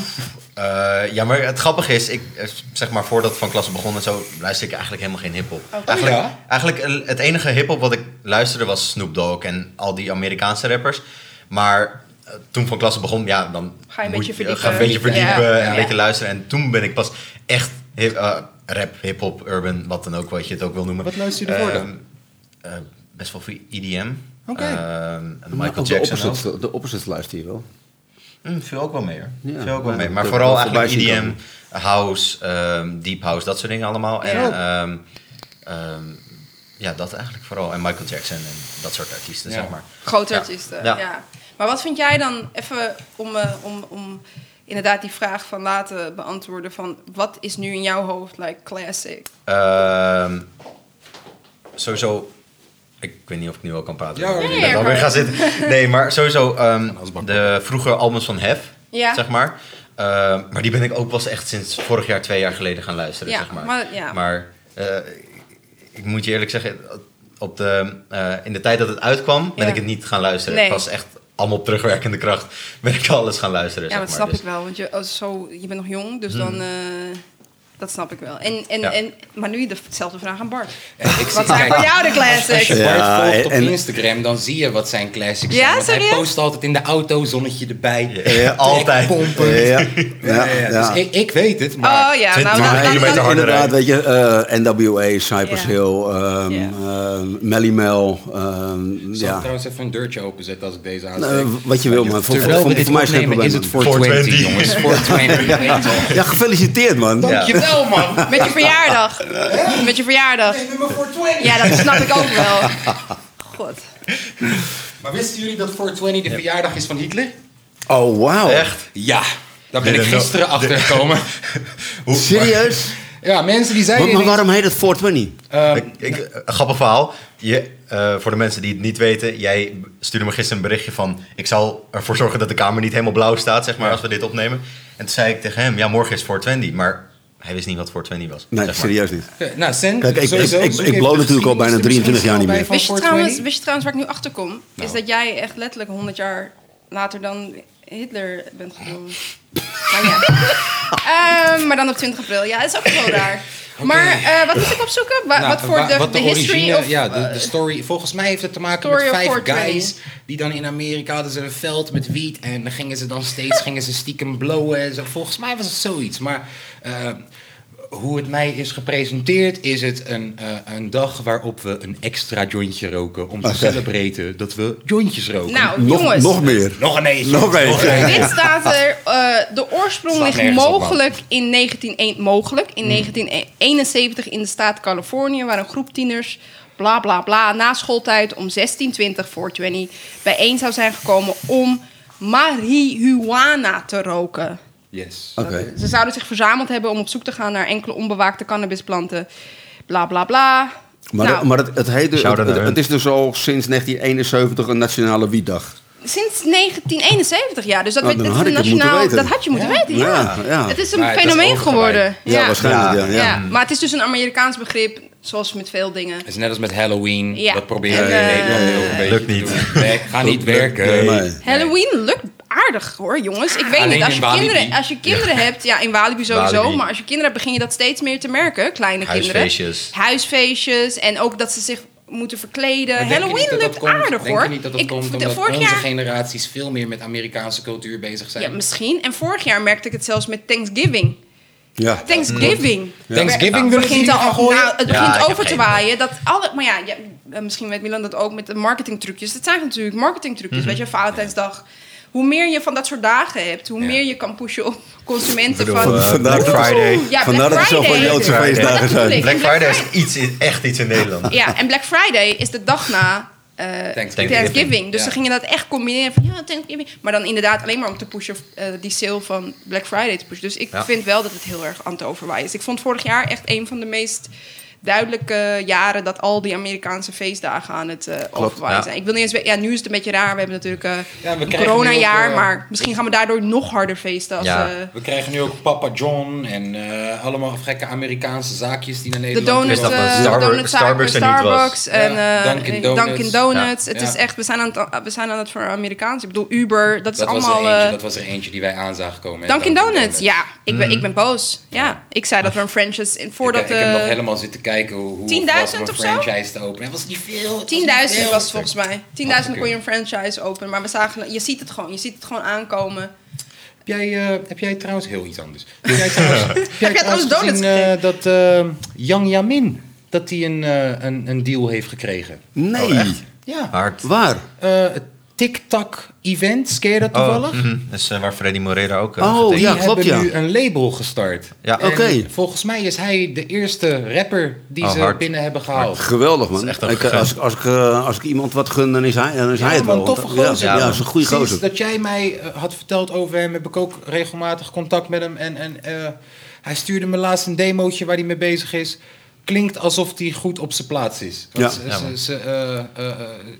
S4: Eh, ja, maar het grappige is, ik, eh, zeg maar voordat van klasse begon en zo, luisterde ik eigenlijk helemaal geen hip-hop.
S2: Oh,
S4: Eigenlijk,
S1: Ja?
S4: eigenlijk eh, het enige hip-hop wat ik luisterde was Snoop Dogg en al die Amerikaanse rappers. Maar eh, toen van klasse begon, ja, dan
S2: Ga je een
S4: moet
S2: beetje
S4: Ga een beetje
S2: verdiepen.
S4: verdiepen
S2: Ja.
S4: en een
S2: Ja.
S4: beetje luisteren. En toen ben ik pas echt hip, eh, rap, hip-hop, urban, wat dan ook, wat je het ook wil noemen.
S1: Wat luister je ervoor dan?
S4: Ehm, eh, best wel veel EDM.
S1: Oké.
S4: Ehm, en
S3: Maar
S2: Nou,
S4: Michael
S3: ook de
S4: Jackson ook.
S3: opposites, de opposites luister je wel.
S4: Mm, viel ook wel mee hoor.
S3: Ja,
S4: Viel ook wel
S3: ja,
S4: mee.
S3: dat
S4: Maar
S3: heb
S4: vooral
S3: ik wel
S4: eigenlijk
S3: voorbij zien
S4: EDM, house, ehm, deep house, dat soort dingen allemaal. En ehm, ehm, ja, dat eigenlijk vooral. En Michael Jackson en dat soort artiesten,
S1: Ja.
S4: zeg maar.
S2: Grote
S4: Ja.
S2: artiesten,
S4: Ja.
S2: ja. Maar wat vind jij dan, even om, eh, om, om inderdaad die vraag van laten beantwoorden van wat is nu in jouw hoofd like classic?
S4: Ehm, sowieso. Ik weet niet of ik nu al kan praten.
S1: Ja, hoor.
S4: Ik
S1: Nee,
S4: ben
S2: ja,
S4: alweer
S2: kan.
S4: gaan zitten. Nee, maar sowieso ehm,
S1: als bak-
S4: de vroege albums van Hef,
S2: Ja.
S4: zeg maar. Ehm, maar die ben ik ook pas echt sinds vorig jaar, twee jaar geleden gaan luisteren,
S2: Ja,
S4: zeg maar.
S2: maar- ja.
S4: Maar, eh, ik moet je eerlijk zeggen, op de, eh, in de tijd dat het uitkwam, ben
S2: Ja.
S4: ik het niet gaan luisteren.
S2: Nee.
S4: Het was echt allemaal op terugwerkende kracht ben ik alles gaan luisteren,
S2: Ja,
S4: zeg
S2: maar dat
S4: maar.
S2: snap
S4: Dus- Hmm.
S2: ik wel, want je, als zo, je bent nog jong, dus dan... eh, dat snap ik wel. En, en,
S4: Ja.
S2: en, maar nu dezelfde vraag aan Bart.
S1: Ik zie-
S2: Wat zijn
S1: kijk,
S2: voor jou de
S1: Als
S2: classics?
S1: je
S3: Ja,
S1: Bart volgt op
S3: en-
S1: Instagram, dan zie je wat zijn classics
S2: Ja,
S1: zijn. Want hij
S2: serieus?
S1: post altijd in de auto, zonnetje erbij.
S4: Ja, altijd.
S1: Pompen.
S3: Ja, ja,
S1: Ja,
S3: ja, ja.
S1: Dus ik, ik weet het, maar...
S2: Oh ja, nou
S4: 20
S2: dan, dan,
S4: kilometer
S2: dan-
S4: harder
S3: inderdaad, weet je, eh, NWA, Cypress
S2: Ja.
S3: Hill, ehm
S2: Ja.
S3: ehm, Melly Mel, ehm,
S1: Ik zal
S3: ja.
S1: trouwens even een deurtje openzetten als ik deze aansteek.
S3: Nou, wat je wil, maar voor,
S1: Terwijl
S3: voor,
S1: we
S3: voor,
S1: dit
S3: mij is geen
S1: opnemen
S3: probleem.
S1: is het 420,
S4: 420.
S1: jongens. 420. weet je wel.
S3: Ja, gefeliciteerd man.
S1: Dankjewel, man.
S2: Met je verjaardag. Met je verjaardag.
S1: Nummer 420.
S2: Ja, dat snap ik ook wel. God.
S1: Maar wisten jullie dat 420 de verjaardag is van Hitler?
S3: Oh, wauw.
S4: Echt?
S1: Ja. Daar ben
S4: Nee,
S1: ik
S4: dat-
S1: gisteren
S4: dat-
S1: achter gekomen.
S4: Hoe-
S3: Serieus?
S1: Ja, mensen die
S3: Maar,
S1: zeiden...
S3: maar waarom heet het 420?
S1: Eh,
S4: Ik, ik, een grappig verhaal. Je, eh, voor de mensen die het niet weten, jij stuurde me gisteren een berichtje van... ik zal ervoor zorgen dat de kamer niet helemaal blauw staat, zeg maar, als we dit opnemen. En toen zei ik tegen hem, ja, morgen is 420. Maar hij wist niet wat 420 was.
S3: Nee,
S4: zeg maar.
S3: serieus niet.
S1: Eh, Nou, Sen,
S3: Kijk, ik-
S1: sowieso,
S3: ik- ik-
S1: zoek
S3: ik
S1: even
S3: blow
S1: de
S3: natuurlijk al bijna
S1: geschiedenis
S3: 23 jaar niet
S1: bij
S3: meer.
S1: van
S2: Wist je, trouwens,
S1: 420.
S2: wist je trouwens waar ik nu achter kom?
S1: Nou.
S2: Is dat jij echt letterlijk 100 jaar later dan Hitler bent geboren. Maar ja. Ehm, maar dan op 20 april. Ja, dat is ook wel raar. Maar eh, wat moest ik opzoeken? Wa-
S1: Nou,
S2: wat voor
S1: wa-
S2: de,
S1: wat
S2: de history
S1: origine-
S2: of... eh,
S1: ja, de, de story. Volgens mij heeft het te maken met
S2: Story of
S1: vijf
S2: 420.
S1: guys die dan in Amerika hadden ze een veld met wiet en dan gingen ze dan steeds gingen ze stiekem blowen en zo. Volgens mij was het zoiets, maar eh, hoe het mij is gepresenteerd is het een, eh, een dag waarop we een extra jointje roken om te
S3: Oké.
S1: celebreren dat we jointjes roken.
S2: Nou,
S3: Nog,
S2: jongens.
S3: nog meer.
S1: nog een eentje.
S3: Nog een eentje.
S2: Dit staat er. eh, de oorsprong
S1: Slaat
S2: ligt
S1: nergens op, man. Hmm.
S2: mogelijk in, 1901 mogelijk in 1971 in de staat Californië, waar een groep tieners bla bla bla na schooltijd om 1620 420 bijeen zou zijn gekomen om marihuana te roken.
S1: Yes.
S3: Oké.
S2: Dat- Ze zouden zich verzameld hebben om op zoek te gaan naar enkele onbewaakte cannabisplanten. Bla bla bla.
S3: Maar,
S2: Nou,
S3: dat- maar het, het, heet, dus-
S4: Shout-out
S3: het,
S4: naar hun.
S3: het is dus al sinds 1971 een nationale wietdag.
S2: Sinds 1971, ja. Dus dat,
S3: Oh,
S2: werd-
S3: dan
S2: het
S3: had
S2: is een
S3: ik het moeten
S2: nationaal.
S3: weten.
S2: Dat had je moeten
S1: Ja?
S2: weten, ja.
S3: Ja, ja.
S2: Het is een
S1: Maar het is
S2: fenomeen
S1: overgewaaid.
S2: geworden.
S3: Ja, waarschijnlijk. Ja, ja.
S2: Ja, maar het is dus een Amerikaans begrip, zoals met veel dingen.
S1: Het is net als met Halloween.
S2: Ja.
S1: Dat proberen we
S2: En,
S1: in
S2: eh,
S1: Nederland ook een beetje
S4: Lukt
S1: te
S4: niet.
S1: doen. Nee, ga niet
S3: Nee.
S1: werken.
S3: Nee.
S2: Halloween lukt aardig hoor, jongens. Ik weet
S1: Alleen
S2: niet, als
S1: in
S2: je,
S1: Walibi.
S2: kinderen, als je kinderen hebt, ja, in Walibi sowieso,
S4: Walibi.
S2: maar als je kinderen hebt, begin je dat steeds meer te merken. Kleine
S4: Huisfeestjes.
S2: kinderen. Huisfeestjes. En ook dat ze zich moeten verkleden.
S1: Maar denk je
S2: Eh, Halloween
S1: niet dat dat
S2: lukt
S1: komt-
S2: aardig
S1: Denk
S2: hoor.
S1: je niet dat dat
S2: Ik-
S1: komt
S2: de-
S1: omdat
S2: vorig
S1: onze
S2: jaar-
S1: generaties veel meer met Amerikaanse cultuur bezig zijn?
S2: Ja, misschien. En vorig jaar merkte ik het zelfs met Thanksgiving. Oh,
S3: Ja.
S2: Thanksgiving.
S1: Thanksgiving
S2: Het
S1: wil ik
S2: begint
S1: hier gaan
S2: al,
S1: gooien.
S2: nou, het
S4: Ja,
S2: begint
S4: ik heb
S2: over te
S4: geen
S2: waaien. Dat alle, maar ja, ja, eh, misschien weet Milan dat ook met de marketingtrucjes. Dat zijn natuurlijk marketingtrucjes.
S4: Mhm.
S2: Weet je, Valentijnsdag. Hoe meer je van dat soort dagen hebt, hoe
S1: Ja.
S2: meer je kan pushen op consumenten
S4: bedoel,
S2: van.
S4: eh,
S2: oeh,
S3: Vandaar
S4: Black
S3: dat-
S4: Friday.
S2: ja,
S3: Vandaar dat
S2: Black
S3: er zoveel
S2: Friday.
S3: Joodse
S4: Black Friday.
S3: feestdagen
S2: Black
S3: zijn.
S4: Black Friday is
S2: Friday.
S4: iets, in- echt iets in Nederland.
S2: Ja, en Black Friday is de dag na eh,
S1: Thanksgiving.
S2: Thanksgiving. Dus
S1: Ja.
S2: ze gingen dat echt combineren van ja, Thanksgiving. Maar dan inderdaad alleen maar om te pushen, eh, die sale van Black Friday te pushen. Dus ik
S4: Ja.
S2: vind wel dat het heel erg aan het overwaaien is. Ik vond vorig jaar echt een van de meest duidelijke jaren dat al die Amerikaanse feestdagen aan het eh, overwaaien
S4: ja.
S2: zijn. Ik wil niet eens weten, ja, nu is het een beetje raar. We hebben natuurlijk eh
S1: Ja, we
S2: een
S1: krijgen nu
S2: corona-jaar,
S1: ook, eh,
S2: maar misschien gaan we daardoor nog harder feesten. Als,
S4: Ja.
S2: eh,
S1: We krijgen nu ook Papa John en eh, allemaal gekke Amerikaanse zaakjes die naar
S2: de
S1: Nederland
S2: donuts,
S4: wist dat
S1: komen.
S4: van
S2: eh, de
S4: Starbu-
S2: donutzaak,
S4: Starbucks er niet was.
S2: Starbucks en
S1: Ja,
S2: eh,
S1: Dunkin'
S2: eh,
S1: Donuts.
S2: Dunkin' Donuts.
S1: Ja,
S2: Het
S1: ja.
S2: is echt, we zijn aan het, we zijn aan het voor Amerikaans. Ik bedoel, Uber, dat is
S1: dat, was
S2: allemaal.
S1: er eentje,
S2: eh,
S1: dat was er eentje die wij aan zagen komen. hè,
S2: Dunkin' Donuts, ja, ik ben, ik ben boos. Ja, ik zei dat we een franchise in voordat
S1: Mm. ik, heb- ik heb nog
S2: eh
S1: helemaal zitten kijken hoe, hoe
S2: 10.000
S1: of
S2: of zo?
S1: een franchise te openen. Het was niet veel. het was niet
S2: 10.000
S1: veel.
S2: was het volgens mij. 10.000 kon je
S1: kunnen.
S2: een franchise openen, maar we zagen, je ziet het gewoon, je ziet het gewoon aankomen.
S1: Heb jij, eh, heb jij trouwens heel iets anders? Heb jij trouwens, heb
S2: jij trouwens donuts
S1: gezien, eh, dat eh, Yang Yamin dat die een, eh, een, een deal heeft gekregen?
S3: Nee.
S4: Oh, echt?
S1: Ja.
S4: Hard.
S3: Waar?
S1: Eh, TikTok-event. Ken je dat
S4: Oh,
S1: toevallig?
S4: mhm. Dat is eh, waar Freddy Morera ook eh,
S3: Oh,
S4: getekend
S1: Die
S3: ja.
S4: is.
S3: klopt,
S1: hebben nu een label gestart.
S4: Ja.
S1: En
S3: Oké.
S1: Volgens mij is hij de eerste rapper die
S4: Oh,
S1: ze
S4: hard.
S1: binnen hebben gehaald.
S3: Geweldig, man.
S4: Dat is echt een
S3: ik,
S4: gegund.
S3: als, ik- als, ik, eh, als ik iemand wat gun, dan is hij, dan is
S1: Ja,
S3: hij het
S1: maar
S3: wel.
S1: een toffe
S3: Want, eh, ja,
S1: gozer,
S3: Ja,
S4: man.
S3: dat is een goede
S1: Sinds
S3: gozer.
S1: dat jij mij eh, had verteld over hem, heb ik ook regelmatig contact met hem. En, en eh, hij stuurde me laatst een demootje waar hij mee bezig is. Klinkt alsof hij goed op zijn plaats is. Want
S3: Ja.
S1: ze-
S4: Ja,
S1: ze,
S4: man.
S1: ze, eh, eh, eh,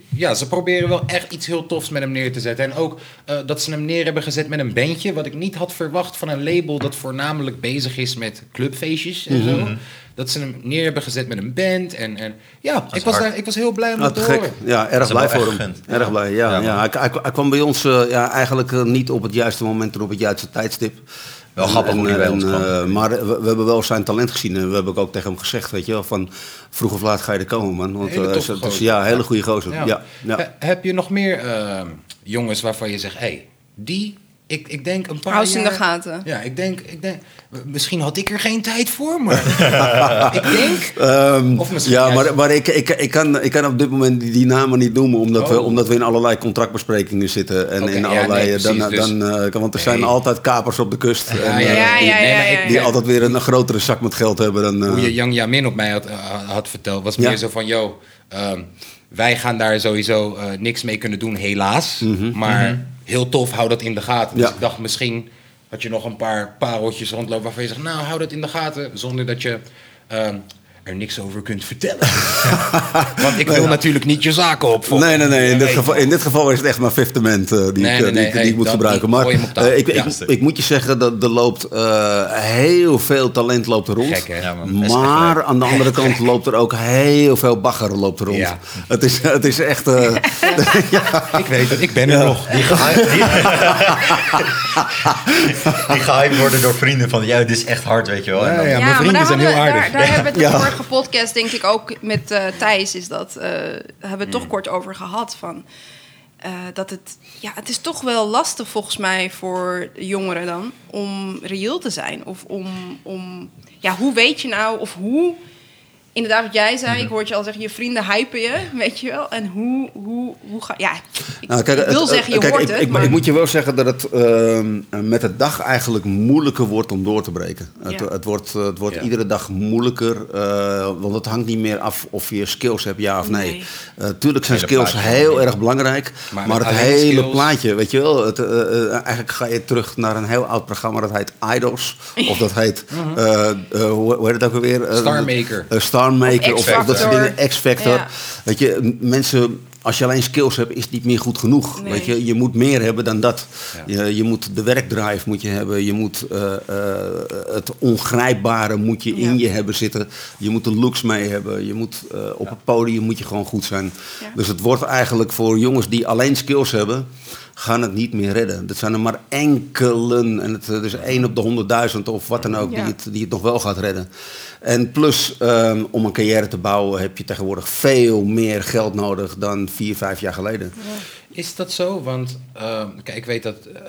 S1: ja, ze proberen wel echt iets heel tofs met hem neer te zetten. En ook eh, dat ze hem neer hebben gezet met een bandje. Wat ik niet had verwacht van een label dat voornamelijk bezig is met clubfeestjes en
S3: Mhm.
S1: zo. Dat ze hem neer hebben gezet met een band. En, en ja, ik
S4: is
S1: was,
S4: hard.
S1: daar, ik was heel blij om
S3: Ja,
S1: dat
S3: Ah, te
S1: te
S3: gek.
S1: horen.
S3: Ja, erg
S4: is wel
S3: blij voor
S4: echt
S3: hem.
S4: gegund.
S3: Erg blij, ja.
S4: Ja,
S3: ja,
S4: man.
S3: hij, hij, hij kwam bij ons eh, ja, eigenlijk eh, niet op het juiste moment en op het juiste tijdstip.
S4: Wel grappig hoe die bij ons
S3: eh,
S4: kwam.
S3: Maar we, we hebben wel zijn talent gezien en we hebben ook tegen hem gezegd, weet je wel, van vroeg of laat ga je er komen, man. Want
S1: Hele
S3: eh,
S1: toffe
S3: het is-
S1: gozer. Eh,
S3: ja, een hele goede gozer. Ja. Ja,
S1: He- heb je nog meer ehm, jongens waarvan je zegt, hé, hey, die, ik, ik denk een paar
S2: Hou ze in de
S1: jaar-
S2: gaten.
S1: Ja, ik denk, ik denk, misschien had ik er geen tijd voor, maar ik denk...
S3: Ehm,
S1: Of misschien
S3: ja,
S1: juist-
S3: maar, maar ik, ik, ik, kan, ik kan op dit moment die, die namen niet noemen, omdat, we,
S1: Oh.
S3: omdat we in allerlei contractbesprekingen zitten. En
S1: Oké,
S3: in
S1: ja,
S3: allerlei,
S1: nee,
S3: dan,
S1: precies, dus-
S3: dan, eh, kan- want er zijn
S1: Nee.
S3: altijd kapers op de kust. en, eh,
S2: ja, ja,
S1: Nee, maar
S2: ja,
S1: ik-
S3: Die
S1: ja.
S3: altijd weer een grotere zak met geld hebben dan... eh,
S1: Hoe je Yang Yamin op mij had, eh, had verteld, was
S3: Ja.
S1: meer zo van, yo, ehm, wij gaan daar sowieso eh, niks mee kunnen doen, helaas. Maar heel tof, hou dat in de gaten. Dus
S3: Mhm. Ja.
S1: ik dacht, misschien had je nog een paar pareltjes rondlopen waarvan je zegt, nou, hou dat in de gaten, zonder dat je... ehm, er niks over kunt vertellen. Want ik wil natuurlijk niet je zaken opvolgen.
S3: Nee, nee, nee. In dit,
S1: Weet
S3: geval, in dit geval is het echt maar Fiftement eh die,
S1: Nee,
S3: ik,
S1: nee,
S3: eh, die,
S1: nee,
S3: ik- die
S1: hey,
S3: ik moet
S1: dat-
S3: gebruiken.
S1: die
S3: Maar
S1: gooi je hem op tafel.
S3: eh, ik,
S1: Ja.
S3: ik, ik moet je zeggen dat er loopt eh, heel veel talent loopt er rond.
S1: Gek, hè?
S4: Ja, man. Best echt
S3: maar
S4: leuk.
S3: aan de andere kant loopt er ook heel veel bagger loopt er rond.
S1: Ja.
S3: Het, is, het is echt... eh,
S1: Ik weet het, ik ben er nog.
S4: Die gehyped, die, die gehyped worden door vrienden van, ja, dit is echt hard, weet je wel. En dan-
S1: Ja, ja, mijn vrienden
S2: daar
S1: zijn heel
S2: hadden-
S1: aardig.
S2: Daar, daar hebben we het
S3: Ja.
S2: de vorige podcast, denk ik, ook met eh, Thijs, is dat, eh, hebben we het
S1: Hmm.
S2: toch kort over gehad. Van, eh, dat het, ja, het is toch wel lastig volgens mij voor jongeren dan om reëel te zijn. Of om, om ja, hoe weet je nou, of hoe, inderdaad wat jij
S1: Hmm.
S2: zei, ik hoorde je al zeggen, je vrienden hypen je, weet je wel. En hoe, hoe, hoe ga, ja, ik,
S3: Nou,
S2: ik wil
S3: het-
S2: zeggen, je
S3: kijk,
S2: hoort
S3: ik,
S2: het,
S3: ik,
S2: maar
S3: ik moet je wel zeggen dat het ehm, met de dag eigenlijk moeilijker wordt om door te breken. Het,
S2: Ja.
S3: het wordt, het wordt
S1: Ja.
S3: iedere dag moeilijker, eh, want het hangt niet meer af of je skills hebt, ja of nee.
S2: Nee.
S3: Eh, tuurlijk zijn
S4: Hele
S3: skills
S4: plaatje.
S3: heel erg belangrijk,
S1: Maar
S3: maar,
S1: met
S3: het
S1: alleen
S3: hele
S1: skills-
S3: plaatje, weet je wel. Het, eh, eh, eigenlijk ga je terug naar een heel oud programma, dat heet Idols. Of dat heet,
S2: Mhm.
S3: eh, eh, hoe, hoe heet het ook alweer? Eh,
S1: Star Maker.
S3: eh, Star Maker,
S2: Of
S3: of, of dat soort
S2: X-Factor.
S3: dingen. X-Factor.
S2: Ja.
S3: Weet je, m- mensen, als je alleen skills hebt, is het niet meer goed genoeg.
S2: Nee.
S3: Weet je, je moet meer hebben dan dat.
S1: Ja.
S3: Je, je moet de werkdrive moet je hebben. Je moet eh, eh, het ongrijpbare moet je
S2: Ja.
S3: in je hebben zitten. Je moet de looks mee hebben. Je moet eh, op het podium moet je gewoon goed zijn.
S2: Ja.
S3: Dus het wordt eigenlijk voor jongens die alleen skills hebben, gaan het niet meer redden. Dat zijn er maar enkelen. En het eh, is één op de honderdduizend of wat dan ook
S2: Ja.
S3: die, het, die het nog wel gaat redden. En plus, ehm, om een carrière te bouwen heb je tegenwoordig veel meer geld nodig dan vier, vijf jaar geleden.
S1: Is dat zo? Want ehm, kijk, ik weet dat eh,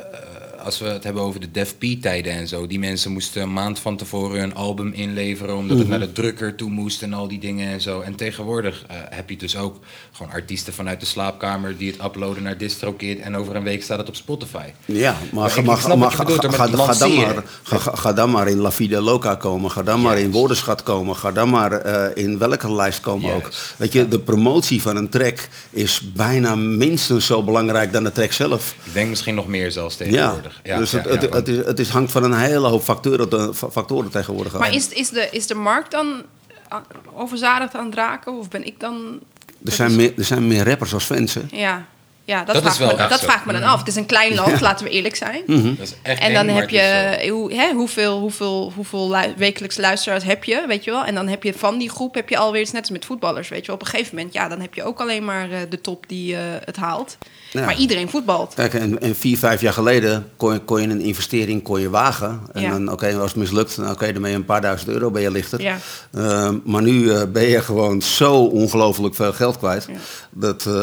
S1: als we het hebben over de Def P-tijden en zo, die mensen moesten een maand van tevoren hun album inleveren omdat
S3: Mhm.
S1: het naar de drukker toe moest en al die dingen en zo. En tegenwoordig eh, heb je dus ook gewoon artiesten vanuit de slaapkamer die het uploaden naar DistroKid en over een week staat het op Spotify.
S3: Ja, maar,
S1: Maar ik
S3: maar-
S1: snap wat
S3: maar
S1: je
S3: ga,
S1: bedoelt,
S3: ga-
S1: maar
S3: ga-
S1: het
S3: ga dan
S1: lanceren.
S3: maar, ga, ga- ga dan maar in La Vida Loca komen. Ga dan maar in
S1: Juist.
S3: Woordenschat komen. Ga dan maar eh, in welke lijst komen ook.
S1: Juist.
S3: Weet je, de promotie van een track is bijna minstens zo belangrijk dan de track zelf.
S1: Ik denk misschien nog meer zelfs
S3: Ja,
S1: tegenwoordig. Ja,
S3: dus
S1: ja,
S3: het,
S1: ja,
S3: het, het, is, het is hangt van een hele hoop factoren, te- fa- factoren tegenwoordig
S2: Maar
S3: af.
S2: is, is, de, is de markt dan eh, overzadigd aan het raken? Of ben ik dan...
S3: er, zijn meer, er zijn meer rappers als fans, hè?
S2: Ja, ja dat,
S1: Dat is
S2: vraag,
S1: wel
S2: me,
S1: echt
S2: dat
S1: zo. Mm-hmm.
S2: vraag me dan af. Het is een klein land, laten we eerlijk zijn.
S1: dat is echt
S2: En
S1: eng,
S2: dan
S1: maar
S2: heb
S1: het
S2: je,
S1: is zo.
S2: eh, hoe, hè, hoeveel, hoeveel, hoeveel lu- wekelijks luisteraars heb je, weet je wel? En dan heb je van die groep, heb je alweer, het is net als met voetballers, weet je wel. Op een gegeven moment, ja, dan heb je ook alleen maar eh, de top die eh, het haalt.
S3: Ja.
S2: Maar iedereen voetbalt.
S3: Kijk, en, en vier, vijf jaar geleden kon je, kon je een investering kon je wagen. En
S2: Ja.
S3: dan, oké, als het mislukt, nou, oké, dan ben je een paar duizend euro ben je lichter.
S2: Ja.
S3: Eh, maar nu eh, ben je gewoon zo ongelooflijk veel geld kwijt.
S2: Ja.
S3: Dat eh,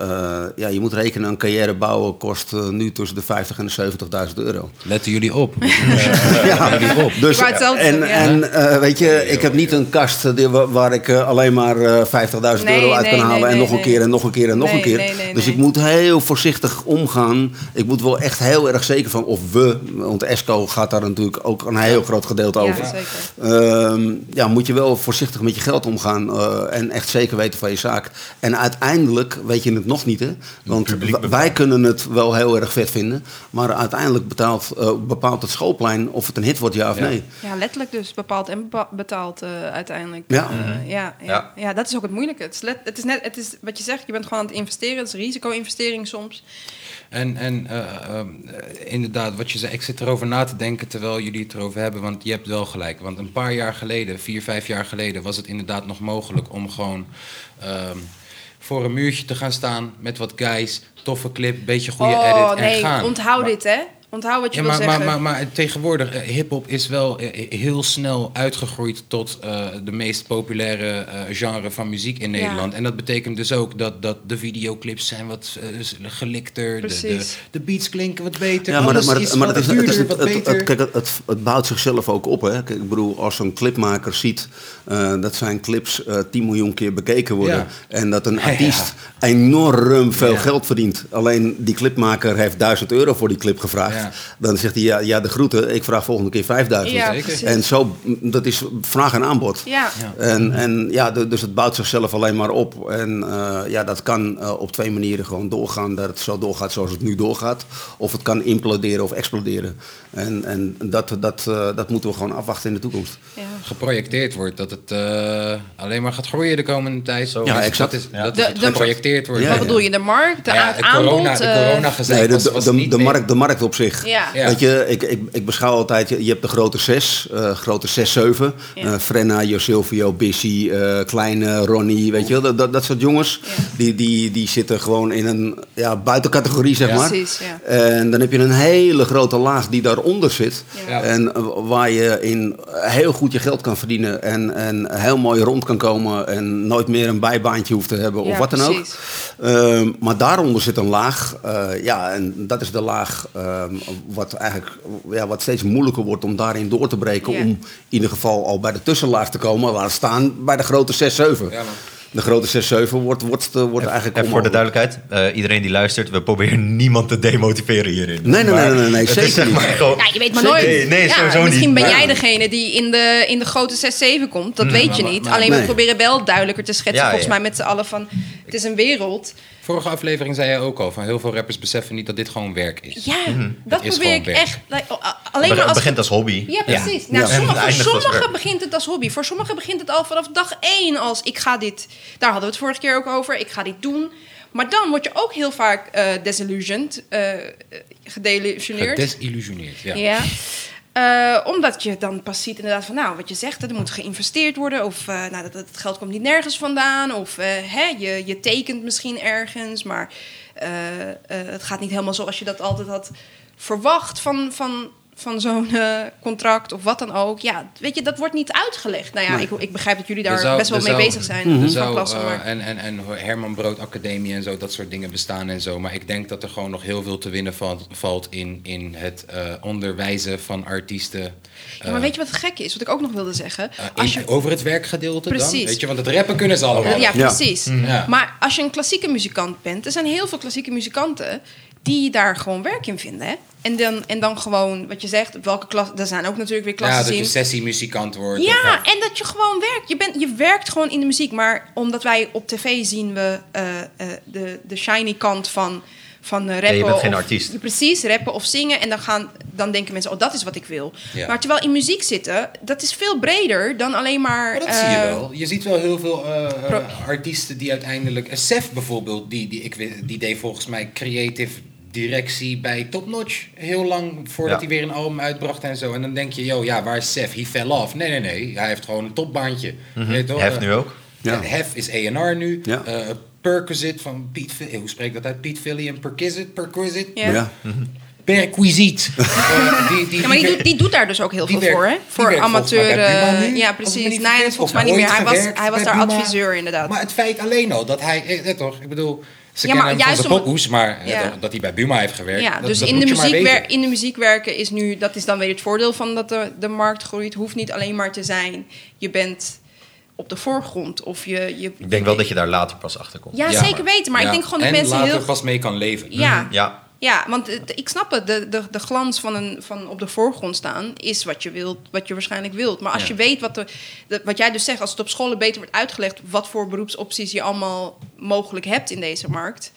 S3: eh, ja, je moet rekenen, een carrière bouwen kost eh, nu tussen de 50 en de 70.000 euro.
S1: Letten jullie op. Eh,
S3: Ja,
S1: jullie op.
S3: dus,
S2: Ik wou hetzelfde
S3: en
S2: zeggen, ja.
S3: en eh, weet je, ik heb niet een kast eh, die- wa- waar ik eh, alleen maar eh, 50.000
S2: Nee,
S3: euro uit
S2: nee,
S3: kan
S2: nee,
S3: halen. en
S2: nee,
S3: nog een
S2: nee.
S3: keer en nog een keer en nog
S2: Nee,
S3: een keer.
S2: nee, nee,
S3: dus
S2: nee.
S3: ik moet heel voorzichtig omgaan. Ik moet wel echt heel erg zeker van of we, want Esco gaat daar natuurlijk ook een heel groot gedeelte over.
S2: Ja, zeker.
S3: Ehm, ja, moet je wel voorzichtig met je geld omgaan eh, en echt zeker weten van je zaak. En uiteindelijk weet je het nog niet, hè? Want
S4: publiek
S3: w- wij kunnen het wel heel erg vet vinden, maar uiteindelijk betaalt, eh, bepaalt het schoolplein of het een hit wordt, ja of
S1: Ja.
S3: nee.
S2: Ja, letterlijk dus bepaald en bepa- betaald eh, uiteindelijk.
S3: Ja.
S2: Eh, ja, ja.
S4: Ja.
S2: Ja. dat is ook het moeilijke. Het is, let- het is net het is wat je zegt, je bent gewoon aan het investeren. Het is risico-investering soms.
S1: En, en eh, ehm, eh, inderdaad, wat je zei, ik zit erover na te denken terwijl jullie het erover hebben, want je hebt wel gelijk. Want een paar jaar geleden, vier, vijf jaar geleden, was het inderdaad nog mogelijk om gewoon ehm, voor een muurtje te gaan staan met wat guys, toffe clip, beetje goede edit en
S2: Oh, nee,
S1: gaan.
S2: onthoud
S1: Maar-
S2: dit, hè? Onthoud wat je
S1: ja,
S2: wil
S1: maar, maar,
S2: zeggen.
S1: maar, maar tegenwoordig, eh, hip-hop is wel eh, heel snel uitgegroeid tot eh, de meest populaire eh, genre van muziek in
S2: Ja.
S1: Nederland. En dat betekent dus ook dat, dat de videoclips zijn wat eh, gelikter, de, de,
S2: Precies.
S1: de beats klinken wat beter.
S3: Ja, maar, dat-
S1: alles
S3: maar,
S1: is
S3: dat- maar dat
S1: wat
S3: is, het, is
S1: duurder,
S3: het,
S1: wat
S3: het- het-
S1: beter.
S3: kijk, het, het, het bouwt zichzelf ook op. Hè? Kijk, ik bedoel, als een clipmaker ziet eh, dat zijn clips eh 10 miljoen keer bekeken worden.
S1: Ja.
S3: En dat een artiest enorm veel
S1: Ja.
S3: geld verdient. Alleen die clipmaker heeft 1000 euro voor die clip gevraagd.
S1: Ja.
S3: Dan zegt hij, ja, ja de groeten, ik vraag volgende keer 5000.
S2: ja,
S1: zeker.
S2: precies.
S3: En zo, dat is vraag en aanbod.
S2: ja.
S1: Ja.
S3: En, en ja, du- dus het bouwt zichzelf alleen maar op. En eh, ja, dat kan eh, op twee manieren gewoon doorgaan. Dat het zo doorgaat zoals het nu doorgaat. Of het kan imploderen of exploderen. En, en dat, dat, eh, dat moeten we gewoon afwachten in de toekomst.
S2: Ja.
S1: Geprojecteerd wordt dat het eh, alleen maar gaat groeien de komende tijd. Zo,
S3: Ja,
S1: is-
S3: exact.
S1: Dat is,
S4: Ja.
S1: dat
S2: De-
S1: is het
S2: de-
S1: geprojecteerd wordt.
S3: Ja,
S2: Wat
S3: ja.
S2: bedoel je? De markt, de
S1: Ja,
S2: a-
S1: de
S2: aanbod?
S1: corona, de
S2: eh,
S1: corona gezeik
S3: Nee,
S1: was,
S3: de,
S1: was
S3: de,
S1: niet
S3: de,
S1: meer-
S3: markt, de markt op zich.
S2: Ja.
S1: Ja.
S3: Weet je, ik, ik, ik beschouw altijd, je je hebt de grote zes, eh, grote zes, zeven.
S2: Ja.
S3: Eh, Frenna, Jo Silvio, Bissy, eh, Kleine, Ronnie, weet je wel, dat, dat, dat soort jongens.
S2: Ja.
S3: Die, die, die zitten gewoon in een ja, buitencategorie, zeg
S1: Ja.
S3: maar.
S2: Precies, ja.
S3: En dan heb je een hele grote laag die daaronder zit.
S1: Ja.
S3: En eh, waar je in heel goed je geld kan verdienen. En, en heel mooi rond kan komen. En nooit meer een bijbaantje hoeft te hebben. of
S2: Ja,
S3: wat dan ook.
S2: precies.
S3: Ehm, maar daaronder zit een laag. eh, ja, en dat is de laag ehm, wat eigenlijk ja, wat steeds moeilijker wordt om daarin door te breken.
S2: Ja.
S3: Om in ieder geval al bij de tussenlaag te komen. Laat staan bij de grote 6-7.
S1: Ja, man.
S3: de grote 6-7 wordt, wordt, eh, wordt eigenlijk
S4: En voor de
S3: onmogelijk.
S4: duidelijkheid, eh, iedereen die luistert, we proberen niemand te demotiveren hierin.
S3: Nee, nee, nee,
S4: Maar
S3: nee, nee, nee,
S4: het is
S3: zeker
S4: zeg
S3: niet.
S4: maar gewoon-
S2: Nou, je weet maar
S4: Zeker.
S2: nooit.
S4: Nee, nee,
S2: Ja,
S4: sowieso niet.
S2: misschien ben
S4: Maar-
S2: jij degene die in de, in de grote 6-7 komt. Dat weet je
S1: maar-
S2: niet.
S1: maar-
S2: Alleen we
S3: Nee.
S2: proberen wel duidelijker te schetsen,
S4: Ja,
S2: volgens
S4: ja.
S2: mij met z'n allen, van het is een wereld.
S1: Vorige aflevering zei jij ook al van heel veel rappers beseffen niet dat dit gewoon werk is.
S2: Ja, dat
S1: is
S2: probeer ik
S1: gewoon werk.
S2: echt. like, a- alleen
S4: Het
S2: maar als
S4: begint als hobby.
S2: Ja, precies. Nou,
S3: Ja.
S4: En het
S2: sommigen,
S4: eindigt als
S2: sommigen
S4: werk.
S2: begint het als hobby. Voor sommigen begint het al vanaf dag één als ik ga dit... Daar hadden we het vorige keer ook over. Ik ga dit doen. Maar dan word je ook heel vaak eh disillusioned. eh gedelusioneerd.
S1: Gedesillusioneerd. Ja.
S2: Ja. Eh, omdat je dan pas ziet inderdaad van, nou, wat je zegt, er moet geïnvesteerd worden. Of eh, nou, dat, dat geld komt niet nergens vandaan. Of eh, hè, je, je tekent misschien ergens, maar eh, eh, het gaat niet helemaal zoals je dat altijd had verwacht van, van, van zo'n eh, contract of wat dan ook. Ja, weet je, dat wordt niet uitgelegd. Nou ja, ik, ik begrijp dat jullie daar
S1: Er zou-
S2: best wel
S1: er
S2: mee
S1: zou-
S2: bezig zijn.
S1: er
S2: Mhm. van
S1: zou,
S2: klassen,
S1: eh,
S2: maar-
S1: en, en, en Herman Brood Academie en zo, dat soort dingen bestaan en zo. Maar ik denk dat er gewoon nog heel veel te winnen valt, valt in, in het eh, onderwijzen van artiesten.
S2: Ja, maar weet je wat het gekke is? Wat ik ook nog wilde zeggen.
S1: eh, in-
S2: als je,
S1: Over het werkgedeelte dan,
S2: Precies.
S1: weet je? Want het rappen kunnen ze
S4: Oh,
S1: allemaal.
S2: Ja,
S3: Ja.
S2: precies.
S1: Mhm. Ja.
S2: Maar als je een klassieke muzikant bent, er zijn heel veel klassieke muzikanten die daar gewoon werk in vinden. Hè? En, dan, en dan gewoon, wat je zegt, op welke klas. Er zijn ook natuurlijk weer
S1: Ja,
S2: klassen
S1: dat je
S2: in.
S1: sessiemuzikant wordt. of-
S2: Ja, en dat je gewoon werkt. Je, bent, je werkt gewoon in de muziek. Maar omdat wij op tv zien we eh, eh, de, de shiny kant van, van eh, rappen.
S4: je bent
S2: of-
S4: geen artiest.
S2: Precies, rappen of zingen. En dan, gaan, dan denken mensen, oh, dat is wat ik wil.
S1: Ja.
S2: Maar terwijl in muziek zitten, dat is veel breder dan alleen maar...
S1: Maar dat zie je
S2: eh,
S1: wel. Je ziet wel heel veel eh, eh, artiesten die uiteindelijk... eh, Sef bijvoorbeeld, die, die, ik, weet- die deed volgens mij creative directie bij Top Notch. Heel lang voordat
S4: Ja.
S1: hij weer een album uitbracht en zo. En dan denk je, yo, ja, waar is Sef? He fell off. Nee, nee, nee. Hij heeft gewoon een topbaantje. Weet je toch?
S4: Mhm. Hef
S1: Eh,
S4: nu ook.
S3: Ja.
S1: en Hef is A&R nu.
S3: Ja.
S1: Eh, Perquisite van Piet... Vi- eh, Hoe spreek ik dat uit? Piet Philly en Perquisite? Perquisite?
S2: Ja.
S3: Ja.
S1: Perquisite. Eh, die, die,
S2: Ja, maar die
S1: die-
S2: doet, die doet daar dus ook heel
S1: Die werkt-
S2: veel voor, hè?
S1: die
S2: Voor
S1: werkt volgens mij
S2: amateur.
S1: bij Buma
S2: eh,
S1: nu, als
S2: ja,
S1: ik me
S2: precies.
S1: niet
S2: Nee, dat
S1: vergis.
S2: is volgens
S1: Of
S2: mij niet meer.
S1: ooit
S2: Hij was,
S1: gewerkt
S2: hij was
S1: bij
S2: daar
S1: Buma.
S2: adviseur, inderdaad.
S1: Maar het feit alleen al dat hij, eh, eh, toch, ik bedoel, Ze
S2: Ja, maar
S1: kennen hem van
S2: juist
S1: zijn
S2: om-
S1: pokoes, maar eh,
S2: Ja.
S1: dat, dat hij bij Buma heeft gewerkt.
S2: Ja,
S1: dat-
S2: dus
S1: dat
S2: in,
S1: moet
S2: de
S1: je maar
S2: muziek
S1: weten.
S2: in de muziek werken is nu, dat is dan weer het voordeel van dat de, de markt groeit. Het hoeft niet alleen maar te zijn, je bent op de voorgrond of je. je
S4: Ik denk wel dat je daar later pas achter komt.
S2: Ja,
S1: Ja,
S2: zeker weten, maar
S1: ja.
S2: ik denk gewoon dat
S1: en
S2: mensen
S1: later
S2: heel.
S1: pas mee kan leven.
S2: Ja,
S3: Mhm.
S4: Ja.
S2: Ja, want het- ik snap het. De, de, de glans van, een, van op de voorgrond staan is wat je, wilt, wat je waarschijnlijk wilt. Maar als
S1: Ja.
S2: je weet wat, de, de- wat jij dus zegt, als het op scholen beter wordt uitgelegd... wat voor beroepsopties je allemaal mogelijk hebt in deze markt...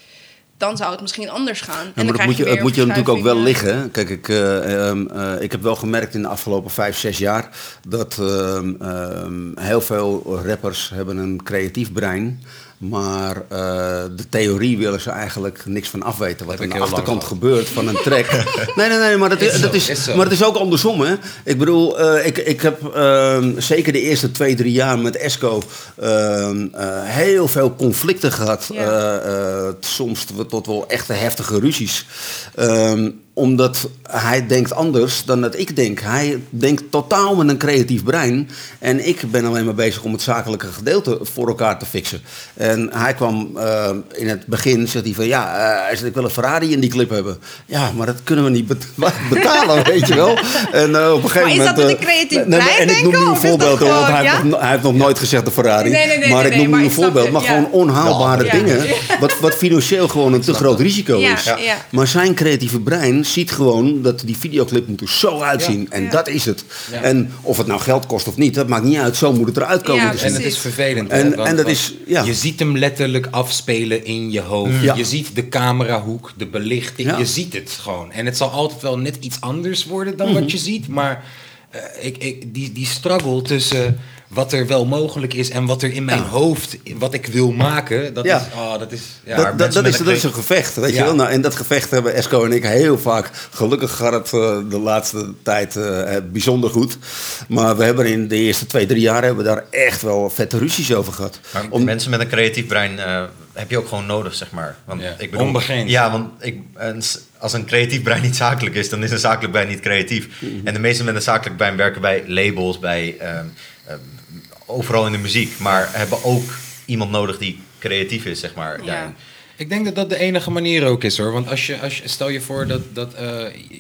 S2: dan zou het misschien anders gaan.
S3: Ja, maar
S2: dan
S3: dat moet je, het
S2: weer
S3: moet je natuurlijk ook wel
S2: verschuivingen.
S3: liggen. hè. Kijk, ik, eh, ehm, eh, ik heb wel gemerkt in de afgelopen vijf, zes jaar dat ehm, ehm, heel veel rappers hebben een creatief brein. Maar eh, de theorie willen ze eigenlijk niks van afweten. Wat
S1: Heb
S3: aan
S1: ik
S3: de
S1: heel lang
S3: achterkant gebeurt van een track. nee, nee, nee, maar dat is,
S1: Is zo,
S3: dat is,
S1: is zo.
S3: maar het is ook andersom, hè? Ik bedoel, eh, ik, ik heb ehm, zeker de eerste twee, drie jaar met Esco ehm, eh, heel veel conflicten gehad.
S2: Ja.
S3: Eh, eh, t- soms tot- tot wel echte heftige ruzies. Ehm, omdat hij denkt anders dan dat ik denk. Hij denkt totaal met een creatief brein. En ik ben alleen maar bezig om het zakelijke gedeelte voor elkaar te fixen. En hij kwam eh, in het begin, zegt hij van ja, eh, hij zegt, ik wil een Ferrari in die clip hebben. Ja, maar dat kunnen we niet bet- betalen, weet je wel. En eh, op een gegeven
S2: Maar is dat
S3: moment...
S2: met
S3: eh,
S2: een creatief
S3: nee, nee,
S2: brein
S3: En ik noem
S2: denken,
S3: nu een
S2: of is dat
S3: voorbeeld, hoor, want
S2: gewoon,
S3: hij, heeft
S2: ja?
S3: nog- hij heeft nog nooit gezegd de Ferrari.
S2: Nee, nee, nee,
S3: maar
S2: nee,
S3: ik noem
S2: nee, maar
S3: nu een
S2: ik snap
S3: voorbeeld.
S2: het,
S3: Maar
S2: ja.
S3: gewoon onhaalbare
S2: Ja.
S3: dingen.
S2: Ja.
S3: Wat, wat financieel gewoon een te groot risico
S2: Ja,
S3: is.
S2: ja. Ja.
S3: Maar zijn creatieve brein ziet gewoon dat die videoclip moet er zo uitzien. En
S2: Ja.
S3: dat is het.
S1: Ja.
S3: En of het nou geld kost of niet, dat maakt niet uit. Zo moet het eruit komen Dus
S2: Ja,
S3: te zien.
S1: En het
S2: Precies.
S1: is vervelend.
S3: En-
S1: hè, want-
S3: en dat
S1: want
S3: is- ja.
S1: Je ziet hem letterlijk afspelen in je hoofd.
S3: Ja.
S1: Je ziet de camerahoek, de belichting.
S3: Ja.
S1: Je ziet het gewoon. En het zal altijd wel net iets anders worden
S3: Mhm.
S1: dan wat je ziet. Maar eh, ik, ik, die, die struggle tussen wat er wel mogelijk is en wat er in mijn
S3: Ja.
S1: hoofd, wat ik wil maken. Dat
S3: Ja.
S1: is... Oh, dat is ja,
S3: dat,
S4: maar
S3: dat,
S4: mensen
S3: dat,
S4: met
S3: is,
S4: een
S3: dat is
S4: cre-
S3: een gevecht, weet
S1: Ja.
S3: je wel. Nou, en dat gevecht hebben Esco en ik heel vaak. Gelukkig gaat het eh, de laatste tijd eh, bijzonder goed. Maar we hebben in de eerste twee, drie jaar hebben we daar echt wel vette ruzies over gehad.
S4: Maar
S3: Om-
S4: mensen met een creatief brein eh, heb je ook gewoon nodig, zeg maar. Want
S1: Ja,
S4: ik bedoel,
S1: onbegrensd.
S4: Ja, want ik, een s- als een creatief brein niet zakelijk is, dan is een zakelijk brein niet creatief. En de meesten met een zakelijk brein werken bij labels, bij ehm, ehm, overal in de muziek. Maar hebben ook iemand nodig die creatief is, zeg maar.
S2: Ja.
S4: daarin.
S1: Ik denk dat dat de enige manier ook is hoor. Want als je, als je, stel je voor dat, dat eh,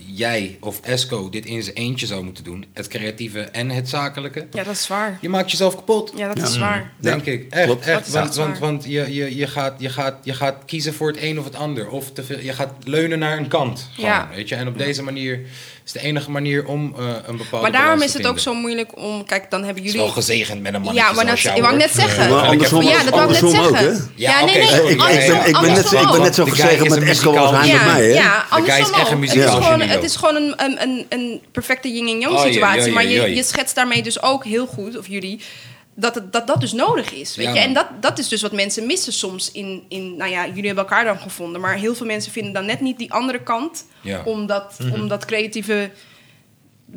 S1: jij of Esco dit in zijn eentje zou moeten doen. Het creatieve en het zakelijke.
S2: Ja, dat is waar.
S1: Je maakt jezelf kapot.
S2: Ja, dat is waar.
S1: Denk
S3: Ja,
S1: ik. Echt,
S3: klopt.
S2: Dat
S1: echt.
S2: is
S1: Want,
S2: echt
S1: want,
S2: waar.
S1: want je, je, je, gaat, je, gaat, je gaat kiezen voor het een of het ander. Of te veel, je gaat leunen naar een kant. Gewoon,
S2: Ja.
S1: weet je? En op deze manier is de enige manier om eh, een bepaalde
S2: Maar daarom
S1: balans
S2: is
S1: te
S2: het ook
S1: vinden.
S2: zo moeilijk om... Kijk, dan hebben
S1: Het
S2: jullie...
S1: is wel gezegend met een mannetje
S2: Ja, maar dat
S1: zoals jou,
S2: ik wou ik net
S1: hoor.
S2: zeggen.
S3: Maar
S1: Ja,
S3: andersom
S1: ik heb-
S2: ja, dat wou ik net
S3: andersom ook,
S2: zeggen.
S3: hè?
S1: Ja,
S2: ja, nee,
S1: oké,
S2: nee.
S1: sorry.
S3: Ik- ik ben-
S2: andersom-
S3: ik ben net zo- ik ben net zo
S2: andersom
S1: Want de
S3: gezegend
S1: guy is
S3: met
S1: een
S3: Esco als hij
S1: muzikaal
S3: met
S1: genie.
S3: mij, hè?
S2: Ja,
S1: De guy is
S2: andersom
S1: echt een
S2: ook. Het is
S1: muzikaal
S2: gewoon,
S1: genie
S2: het is
S1: ook.
S2: gewoon een, een, een, een perfecte yin-yang
S1: Oh, jee,
S2: situatie.
S1: jee,
S2: maar je,
S1: jee.
S2: je schetst daarmee dus ook heel goed, of jullie, dat het, dat, dat dus nodig is. Weet
S1: Ja,
S2: je? En
S1: man.
S2: dat, dat is dus wat mensen missen soms in, in... Nou ja, jullie hebben elkaar dan gevonden. Maar heel veel mensen vinden dan net niet die andere kant...
S1: Ja. Mhm.
S2: Om, dat, om dat creatieve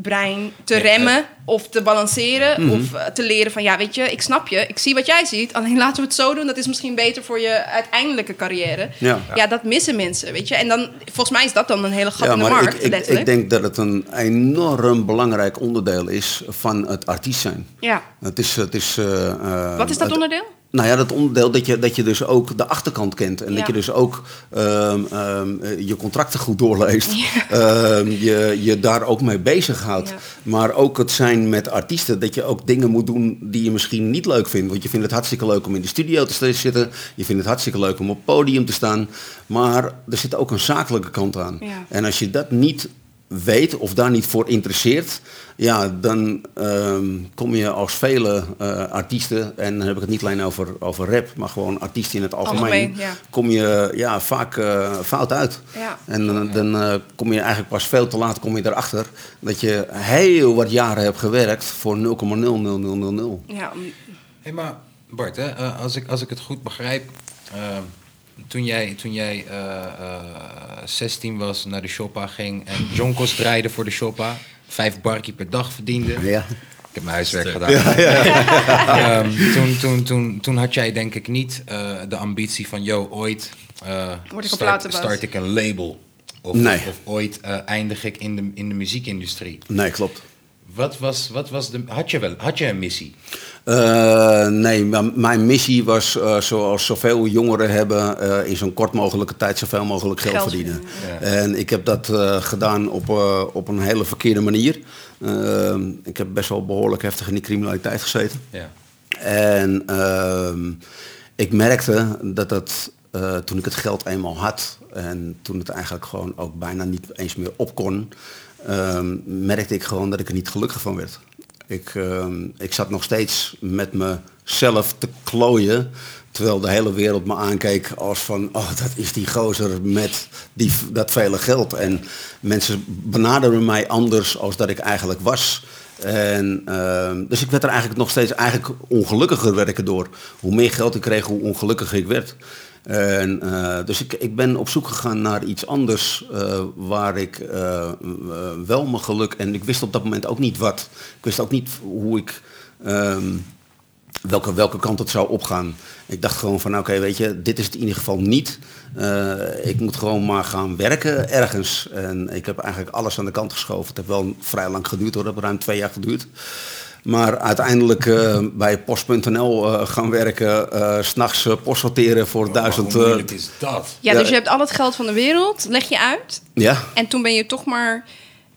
S2: brein te
S1: Ja,
S2: remmen of te balanceren
S3: Mhm.
S2: of eh, te leren van ja weet je ik snap je ik zie wat jij ziet alleen laten we het zo doen dat is misschien beter voor je uiteindelijke carrière
S3: Ja.
S2: ja dat missen mensen weet je en dan volgens mij is dat dan een hele gat
S3: Ja,
S2: in de
S3: maar
S2: markt
S3: ik, ik,
S2: letterlijk
S3: ik denk dat het een enorm belangrijk onderdeel is van het artiest zijn.
S2: ja
S3: Het is, het is, eh, eh,
S2: wat is dat
S3: het-
S2: onderdeel
S3: Nou ja, dat onderdeel dat je, dat je dus ook de achterkant kent. En
S2: Ja.
S3: dat je dus ook ehm, ehm, eh, je contracten goed doorleest. Ehm, je, je daar ook mee bezighoudt.
S2: Ja.
S3: Maar ook het zijn met artiesten. Dat je ook dingen moet doen die je misschien niet leuk vindt. Want je vindt het hartstikke leuk om in de studio te zitten. Je vindt het hartstikke leuk om op het podium te staan. Maar er zit ook een zakelijke kant aan.
S2: Ja.
S3: En als je dat niet weet of daar niet voor interesseert, ja, dan ehm, kom je als vele eh, artiesten, en dan heb ik het niet alleen over, over rap, maar gewoon artiesten in het algemeen,
S2: Algemeen, ja.
S3: kom je ja, vaak eh, fout uit.
S2: Ja.
S3: En dan- dan eh, kom je eigenlijk pas veel te laat kom je erachter dat je heel wat jaren hebt gewerkt voor 0,00000.
S2: ja om-
S1: Hé, maar Bart, hè, eh, als, ik, als ik het goed begrijp. eh, toen jij, toen jij eh, eh, 16 was, naar de Shoppa ging en Jonkos draaide voor de Shoppa. Vijf barkie per dag verdiende.
S3: Ja.
S1: Ik heb mijn huiswerk gedaan. Ehm, toen, toen, toen, toen had jij denk ik niet eh, de ambitie van... yo, ooit eh,
S2: Word ik een
S1: start,
S2: platenbaas.
S1: start ik een label. Of,
S3: Nee.
S1: of, ooit eh, eindig ik in de, in de muziekindustrie.
S3: Nee, klopt.
S1: Wa- wat was, wat was de, had, je wel, had je een missie?
S3: Eh, nee, m- mijn missie was eh, zoals zoveel jongeren hebben, eh, in zo'n kort mogelijke tijd zoveel mogelijk geld,
S2: Geld
S3: verdienen.
S1: verdienen,
S3: En ik heb dat eh, gedaan op, eh, op een hele verkeerde manier. Eh, ik heb best wel behoorlijk heftig in die criminaliteit gezeten.
S1: Ja.
S3: En ehm, ik merkte dat het, eh, toen ik het geld eenmaal had en toen het eigenlijk gewoon ook bijna niet eens meer op kon, ehm, merkte ik gewoon dat ik er niet gelukkig van werd. Ik, ehm, ik zat nog steeds met mezelf te klooien, terwijl de hele wereld me aankeek als van, oh dat is die gozer met die, dat vele geld. En mensen benaderden mij anders als dat ik eigenlijk was. En, ehm, dus ik werd er eigenlijk nog steeds eigenlijk ongelukkiger werd ik erdoor. Hoe meer geld ik kreeg, hoe ongelukkiger ik werd. En, eh, dus ik, ik ben op zoek gegaan naar iets anders eh, waar ik eh, eh, wel mijn geluk... En ik wist op dat moment ook niet wat. Ik wist ook niet hoe ik... ehm, welke, welke kant het zou opgaan. Ik dacht gewoon van, oké, weet je, dit is het in ieder geval niet. Eh, ik moet gewoon maar gaan werken ergens. En ik heb eigenlijk alles aan de kant geschoven. Het heeft wel vrij lang geduurd hoor, het heeft ruim twee jaar geduurd. Maar uiteindelijk eh, bij post.nl eh, gaan werken, eh, s s'nachts eh, post sorteren voor duizend...
S1: Hoe
S3: eh,
S1: moeilijk is dat?
S2: Ja,
S3: Ja. eh,
S2: dus je hebt al het geld van de wereld, leg je uit.
S3: ja,
S2: En toen ben je toch maar...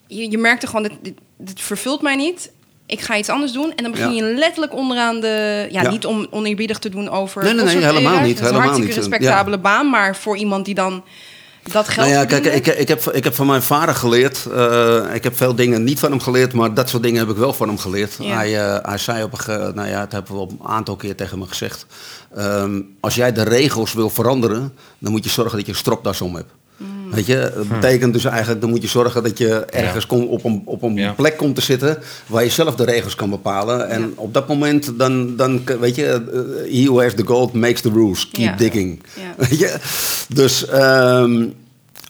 S2: Je, je merkte gewoon, dit, dit, dit vervult mij niet. Ik ga iets anders doen. En dan begin
S3: Ja.
S2: je letterlijk onderaan de... Ja,
S3: Ja.
S2: niet om oneerbiedig te doen over...
S3: Nee, nee, nee,
S2: concerteren.
S3: helemaal niet,
S2: Dat is een
S3: helemaal
S2: hartstikke
S3: niet.
S2: respectabele baan. Maar voor iemand die dan dat geld
S3: Nou ja, kijk,
S2: verdiende-
S3: ik, ik, heb, ik heb van mijn vader geleerd. eh, ik heb veel dingen niet van hem geleerd, maar dat soort dingen heb ik wel van hem geleerd.
S2: Ja.
S3: Hij, eh, hij zei op een ge- nou ja, dat hebben we op een aantal keer tegen me gezegd. ehm, als jij de regels wil veranderen, dan moet je zorgen dat je een stropdas om hebt.
S2: Mm.
S3: Weet je, dat betekent dus eigenlijk, dan moet je zorgen dat je ergens kom, op een, op een
S1: Ja.
S3: plek komt te zitten waar je zelf de regels kan bepalen. En
S2: Ja.
S3: op dat moment, dan, dan weet je, eh, he who has the gold makes the rules. Keep
S2: Ja.
S3: digging.
S2: Ja.
S3: Weet je? Dus, ehm,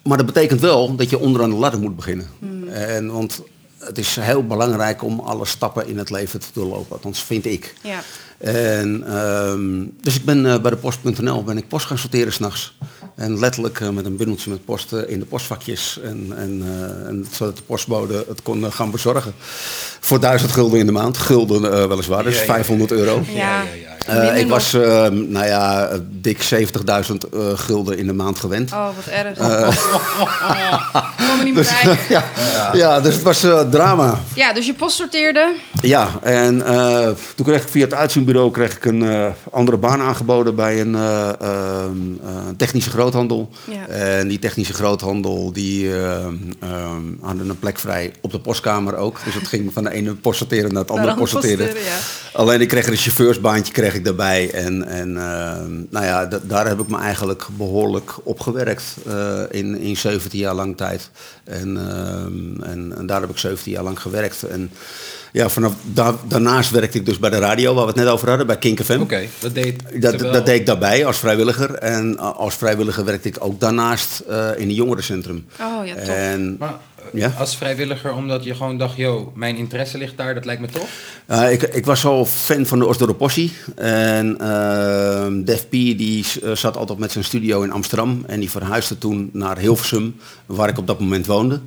S3: maar dat betekent wel dat je onderaan de ladder moet beginnen. En, want het is heel belangrijk om alle stappen in het leven te doorlopen, althans vind ik.
S2: Ja.
S3: En, ehm, dus ik ben eh, bij de post.nl ben ik post gaan sorteren s'nachts. En letterlijk eh, met een bundeltje met post eh, in de postvakjes. En, en, eh, en zodat de postbode het kon eh, gaan bezorgen. Voor 1000 gulden in de maand. Gulden eh, weliswaar, dus
S1: Ja, ja, ja.
S3: 500 euro.
S2: Ja.
S1: Ja, ja, ja,
S3: Eh,
S2: Minder
S3: ik
S2: nog.
S3: was, eh, nou ja, eh, dik 70.000 eh, gulden in de maand gewend.
S2: Oh, wat erg. Ik kon er niet meer
S3: Dus,
S2: bij.
S3: ja, ja, dus het was eh, drama.
S2: Ja, dus je post sorteerde.
S3: Ja, en eh, toen kreeg ik via het uitzendbureau kreeg ik een eh, andere baan aangeboden bij een eh, ehm, eh, technische groothandel.
S2: Ja.
S3: En die technische groothandel die ehm, ehm, hadden een plek vrij op de postkamer ook. Dus het ging van de ene postsorteren naar het andere
S2: Naar de andere
S3: postsorteren.
S2: postsorteren,
S3: Alleen ik kreeg er een chauffeursbaantje kreeg ik daarbij. En, en ehm, nou ja, da- daar heb ik me eigenlijk behoorlijk opgewerkt eh in, in 17 jaar lang tijd. En, ehm, en, en daar heb ik 17 jaar lang gewerkt. En ja, vanaf daar, daarnaast werkte ik dus bij de radio, waar we het net over hadden, bij Kink FM.
S1: Oké, dat deed
S3: Dat,
S1: terwijl-
S3: dat deed ik daarbij als vrijwilliger. En a- als vrijwilliger werkte ik ook daarnaast eh, in een jongerencentrum.
S2: Oh, ja, tof.
S3: En,
S1: Maar eh,
S3: Ja?
S1: als vrijwilliger, omdat je gewoon dacht, yo, mijn interesse ligt daar, dat lijkt me tof.
S3: Eh, ik, ik was al fan van de Osdorpossi. En ehm Def P die eh, zat altijd met zijn studio in Amsterdam. En die verhuisde toen naar Hilversum, waar ik op dat moment woonde.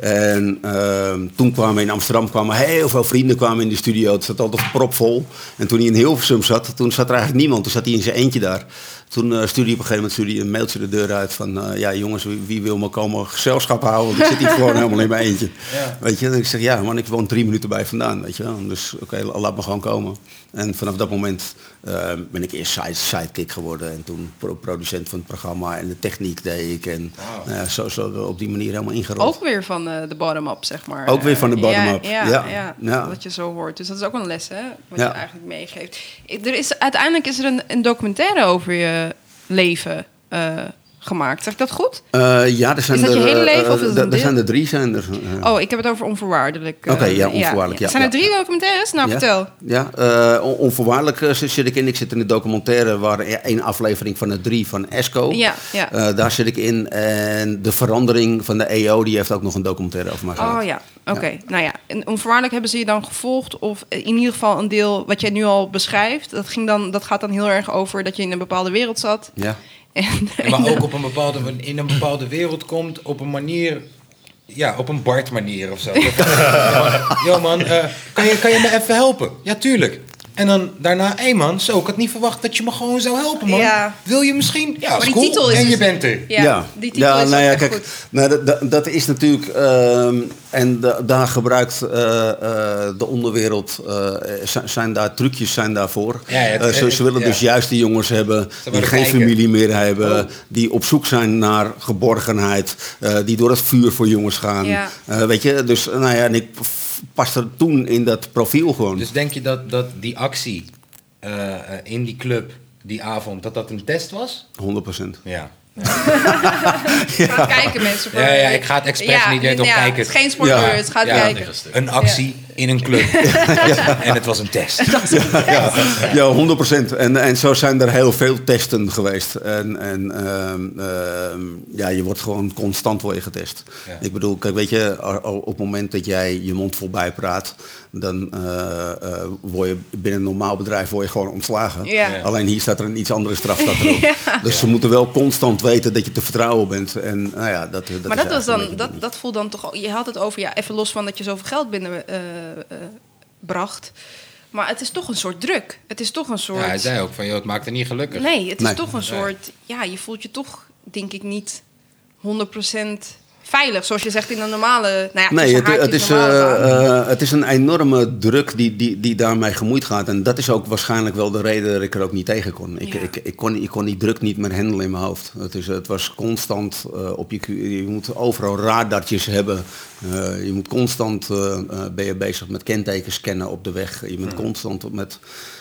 S3: En ehm, toen kwamen we in Amsterdam kwamen heel veel vrienden kwamen in de studio. Het zat altijd propvol. En toen hij in Hilversum zat, toen zat er eigenlijk niemand. Toen zat hij in zijn eentje daar. Toen eh stuurde hij op een gegeven moment stuurde hij een mailtje de deur uit van... eh, ja jongens, wie, wie wil me komen gezelschap houden? Want ik zit hier gewoon helemaal in mijn eentje.
S1: Ja.
S3: Weet je, en ik zeg ja, man, ik woon drie minuten bij vandaan, weet je wel. Dus oké, la- laat me gewoon komen. En vanaf dat moment eh, ben ik eerst side, sidekick geworden en toen pro- producent van het programma en de techniek deed ik. En
S1: Wauw.
S3: nou ja, zo, zo op die manier helemaal ingerold.
S2: Ook weer van eh, de bottom-up, zeg maar.
S3: Ook weer van de
S2: Eh,
S3: bottom-up,
S2: Ja, ja,
S3: ja,
S2: ja,
S3: ja.
S2: wat je zo hoort. Dus dat is ook een les, hè? Wat
S3: Ja.
S2: je eigenlijk meegeeft. Ik- Er is, uiteindelijk is er een, een documentaire over je leven eh, gemaakt. Zeg ik dat goed?
S3: Eh, ja, er zijn
S2: Is dat
S3: er,
S2: je hele
S3: eh,
S2: leven of is
S3: eh,
S2: het
S3: er-
S2: een
S3: er
S2: deel?
S3: zijn er drie. Zijn er, eh.
S2: Oh, ik heb het over onvoorwaardelijk. eh,
S3: Oké, ja, onvoorwaardelijk, ja,
S2: Zijn er
S3: ja.
S2: drie documentaires? Nou,
S3: ja?
S2: vertel.
S3: Ja, eh, on- onvoorwaardelijk eh, zit zit ik in. Ik zit in de documentaire waar e- één aflevering van de drie van Esco.
S2: Ja, ja.
S3: Eh, daar zit ik in. En de verandering van de EO, die heeft ook nog een documentaire over mij gemaakt.
S2: Oh ja, oké. Nou ja, en onvoorwaardelijk hebben ze je dan gevolgd. Of in ieder geval een deel wat jij nu al beschrijft. Dat, ging dan, dat gaat dan heel erg over dat je in een bepaalde wereld zat.
S3: Ja.
S2: En,
S1: Maar ook op een bepaalde, in een bepaalde wereld komt, op een manier Ja, op een Bart manier of zo. Yo man, eh, kan, je, kan je me even helpen? Ja, tuurlijk. En dan daarna, hé man, zo, ik had niet verwacht dat je me gewoon zou helpen man.
S2: Ja.
S1: Wil je misschien? Ja, is
S2: die
S1: cool.
S2: titel is
S1: En je
S2: dus-
S1: bent er.
S2: Ja, die titel is ook echt goed.
S3: nou, dat- dat- dat is natuurlijk... ehm, en da- daar gebruikt eh, eh, de onderwereld... eh, zijn- zijn daar trucjes zijn daarvoor.
S1: Ja, ja, het-
S3: Eh, ze,
S1: het-
S3: ze willen
S1: ja.
S3: dus juist die jongens hebben... die
S1: maar
S3: geen
S1: kijken.
S3: familie meer hebben.
S1: Oh.
S3: Die op zoek zijn naar geborgenheid. eh, die door het vuur voor jongens gaan.
S2: Ja.
S3: Eh, weet je, dus nou ja, en ik f- paste er toen in dat profiel gewoon.
S1: Dus denk je dat, dat die actie eh, eh, in die club die avond, dat dat een test was?
S3: 100%.
S1: Ja.
S2: Gaat kijken mensen. Voor
S1: Ja, ja, ik ga het expres niet
S2: ja,
S1: net op kijken.
S2: Het is geen spoiler,
S3: Ja.
S2: het gaat
S1: Ja.
S2: kijken.
S4: Een stuk.
S1: Een actie in een club. En het was een test.
S3: Ja, ja 100%. En, en zo zijn er heel veel testen geweest. En, en ehm, ehm, ja, je wordt gewoon constant voor je getest.
S1: Ja.
S3: Ik bedoel, kijk, weet je, al- al op het moment dat jij je mond voorbij praat, dan eh, eh, word je binnen een normaal bedrijf word je gewoon ontslagen.
S2: Ja. Ja.
S3: Alleen hier staat er een iets andere straf. staat erop. Dus ze moeten wel constant weten dat je te vertrouwen bent. En nou ja, dat, dat
S2: maar
S3: is
S2: dat, was
S3: eigenlijk
S2: dan, dat, dat voelt dan toch... al- Je had het over, ja, even los van dat je zoveel geld binnen eh, eh, bracht. Maar het is toch een soort druk. Het is toch een soort...
S1: Ja, hij zei ook van, joh, het maakt er niet gelukkig.
S2: nee, het is
S3: Nee.
S2: toch een soort... Ja, je voelt je toch, denk ik, niet 100% veilig. Zoals je zegt in een normale... Nou ja,
S3: Nee,
S2: tussen
S3: het, het,
S2: haakjes
S3: is,
S2: normale baan.
S3: eh, eh, het is een enorme druk die, die, die daarmee gemoeid gaat. En dat is ook waarschijnlijk wel de reden dat ik er ook niet tegen kon. Ik,
S2: Ja.
S3: ik, ik, kon, ik kon die druk niet meer handelen in mijn hoofd. Het, is, het was constant eh, op je... Q- Je moet overal radartjes hebben. Eh, je moet constant eh, eh, ben je bezig met kentekens scannen op de weg. Je bent constant met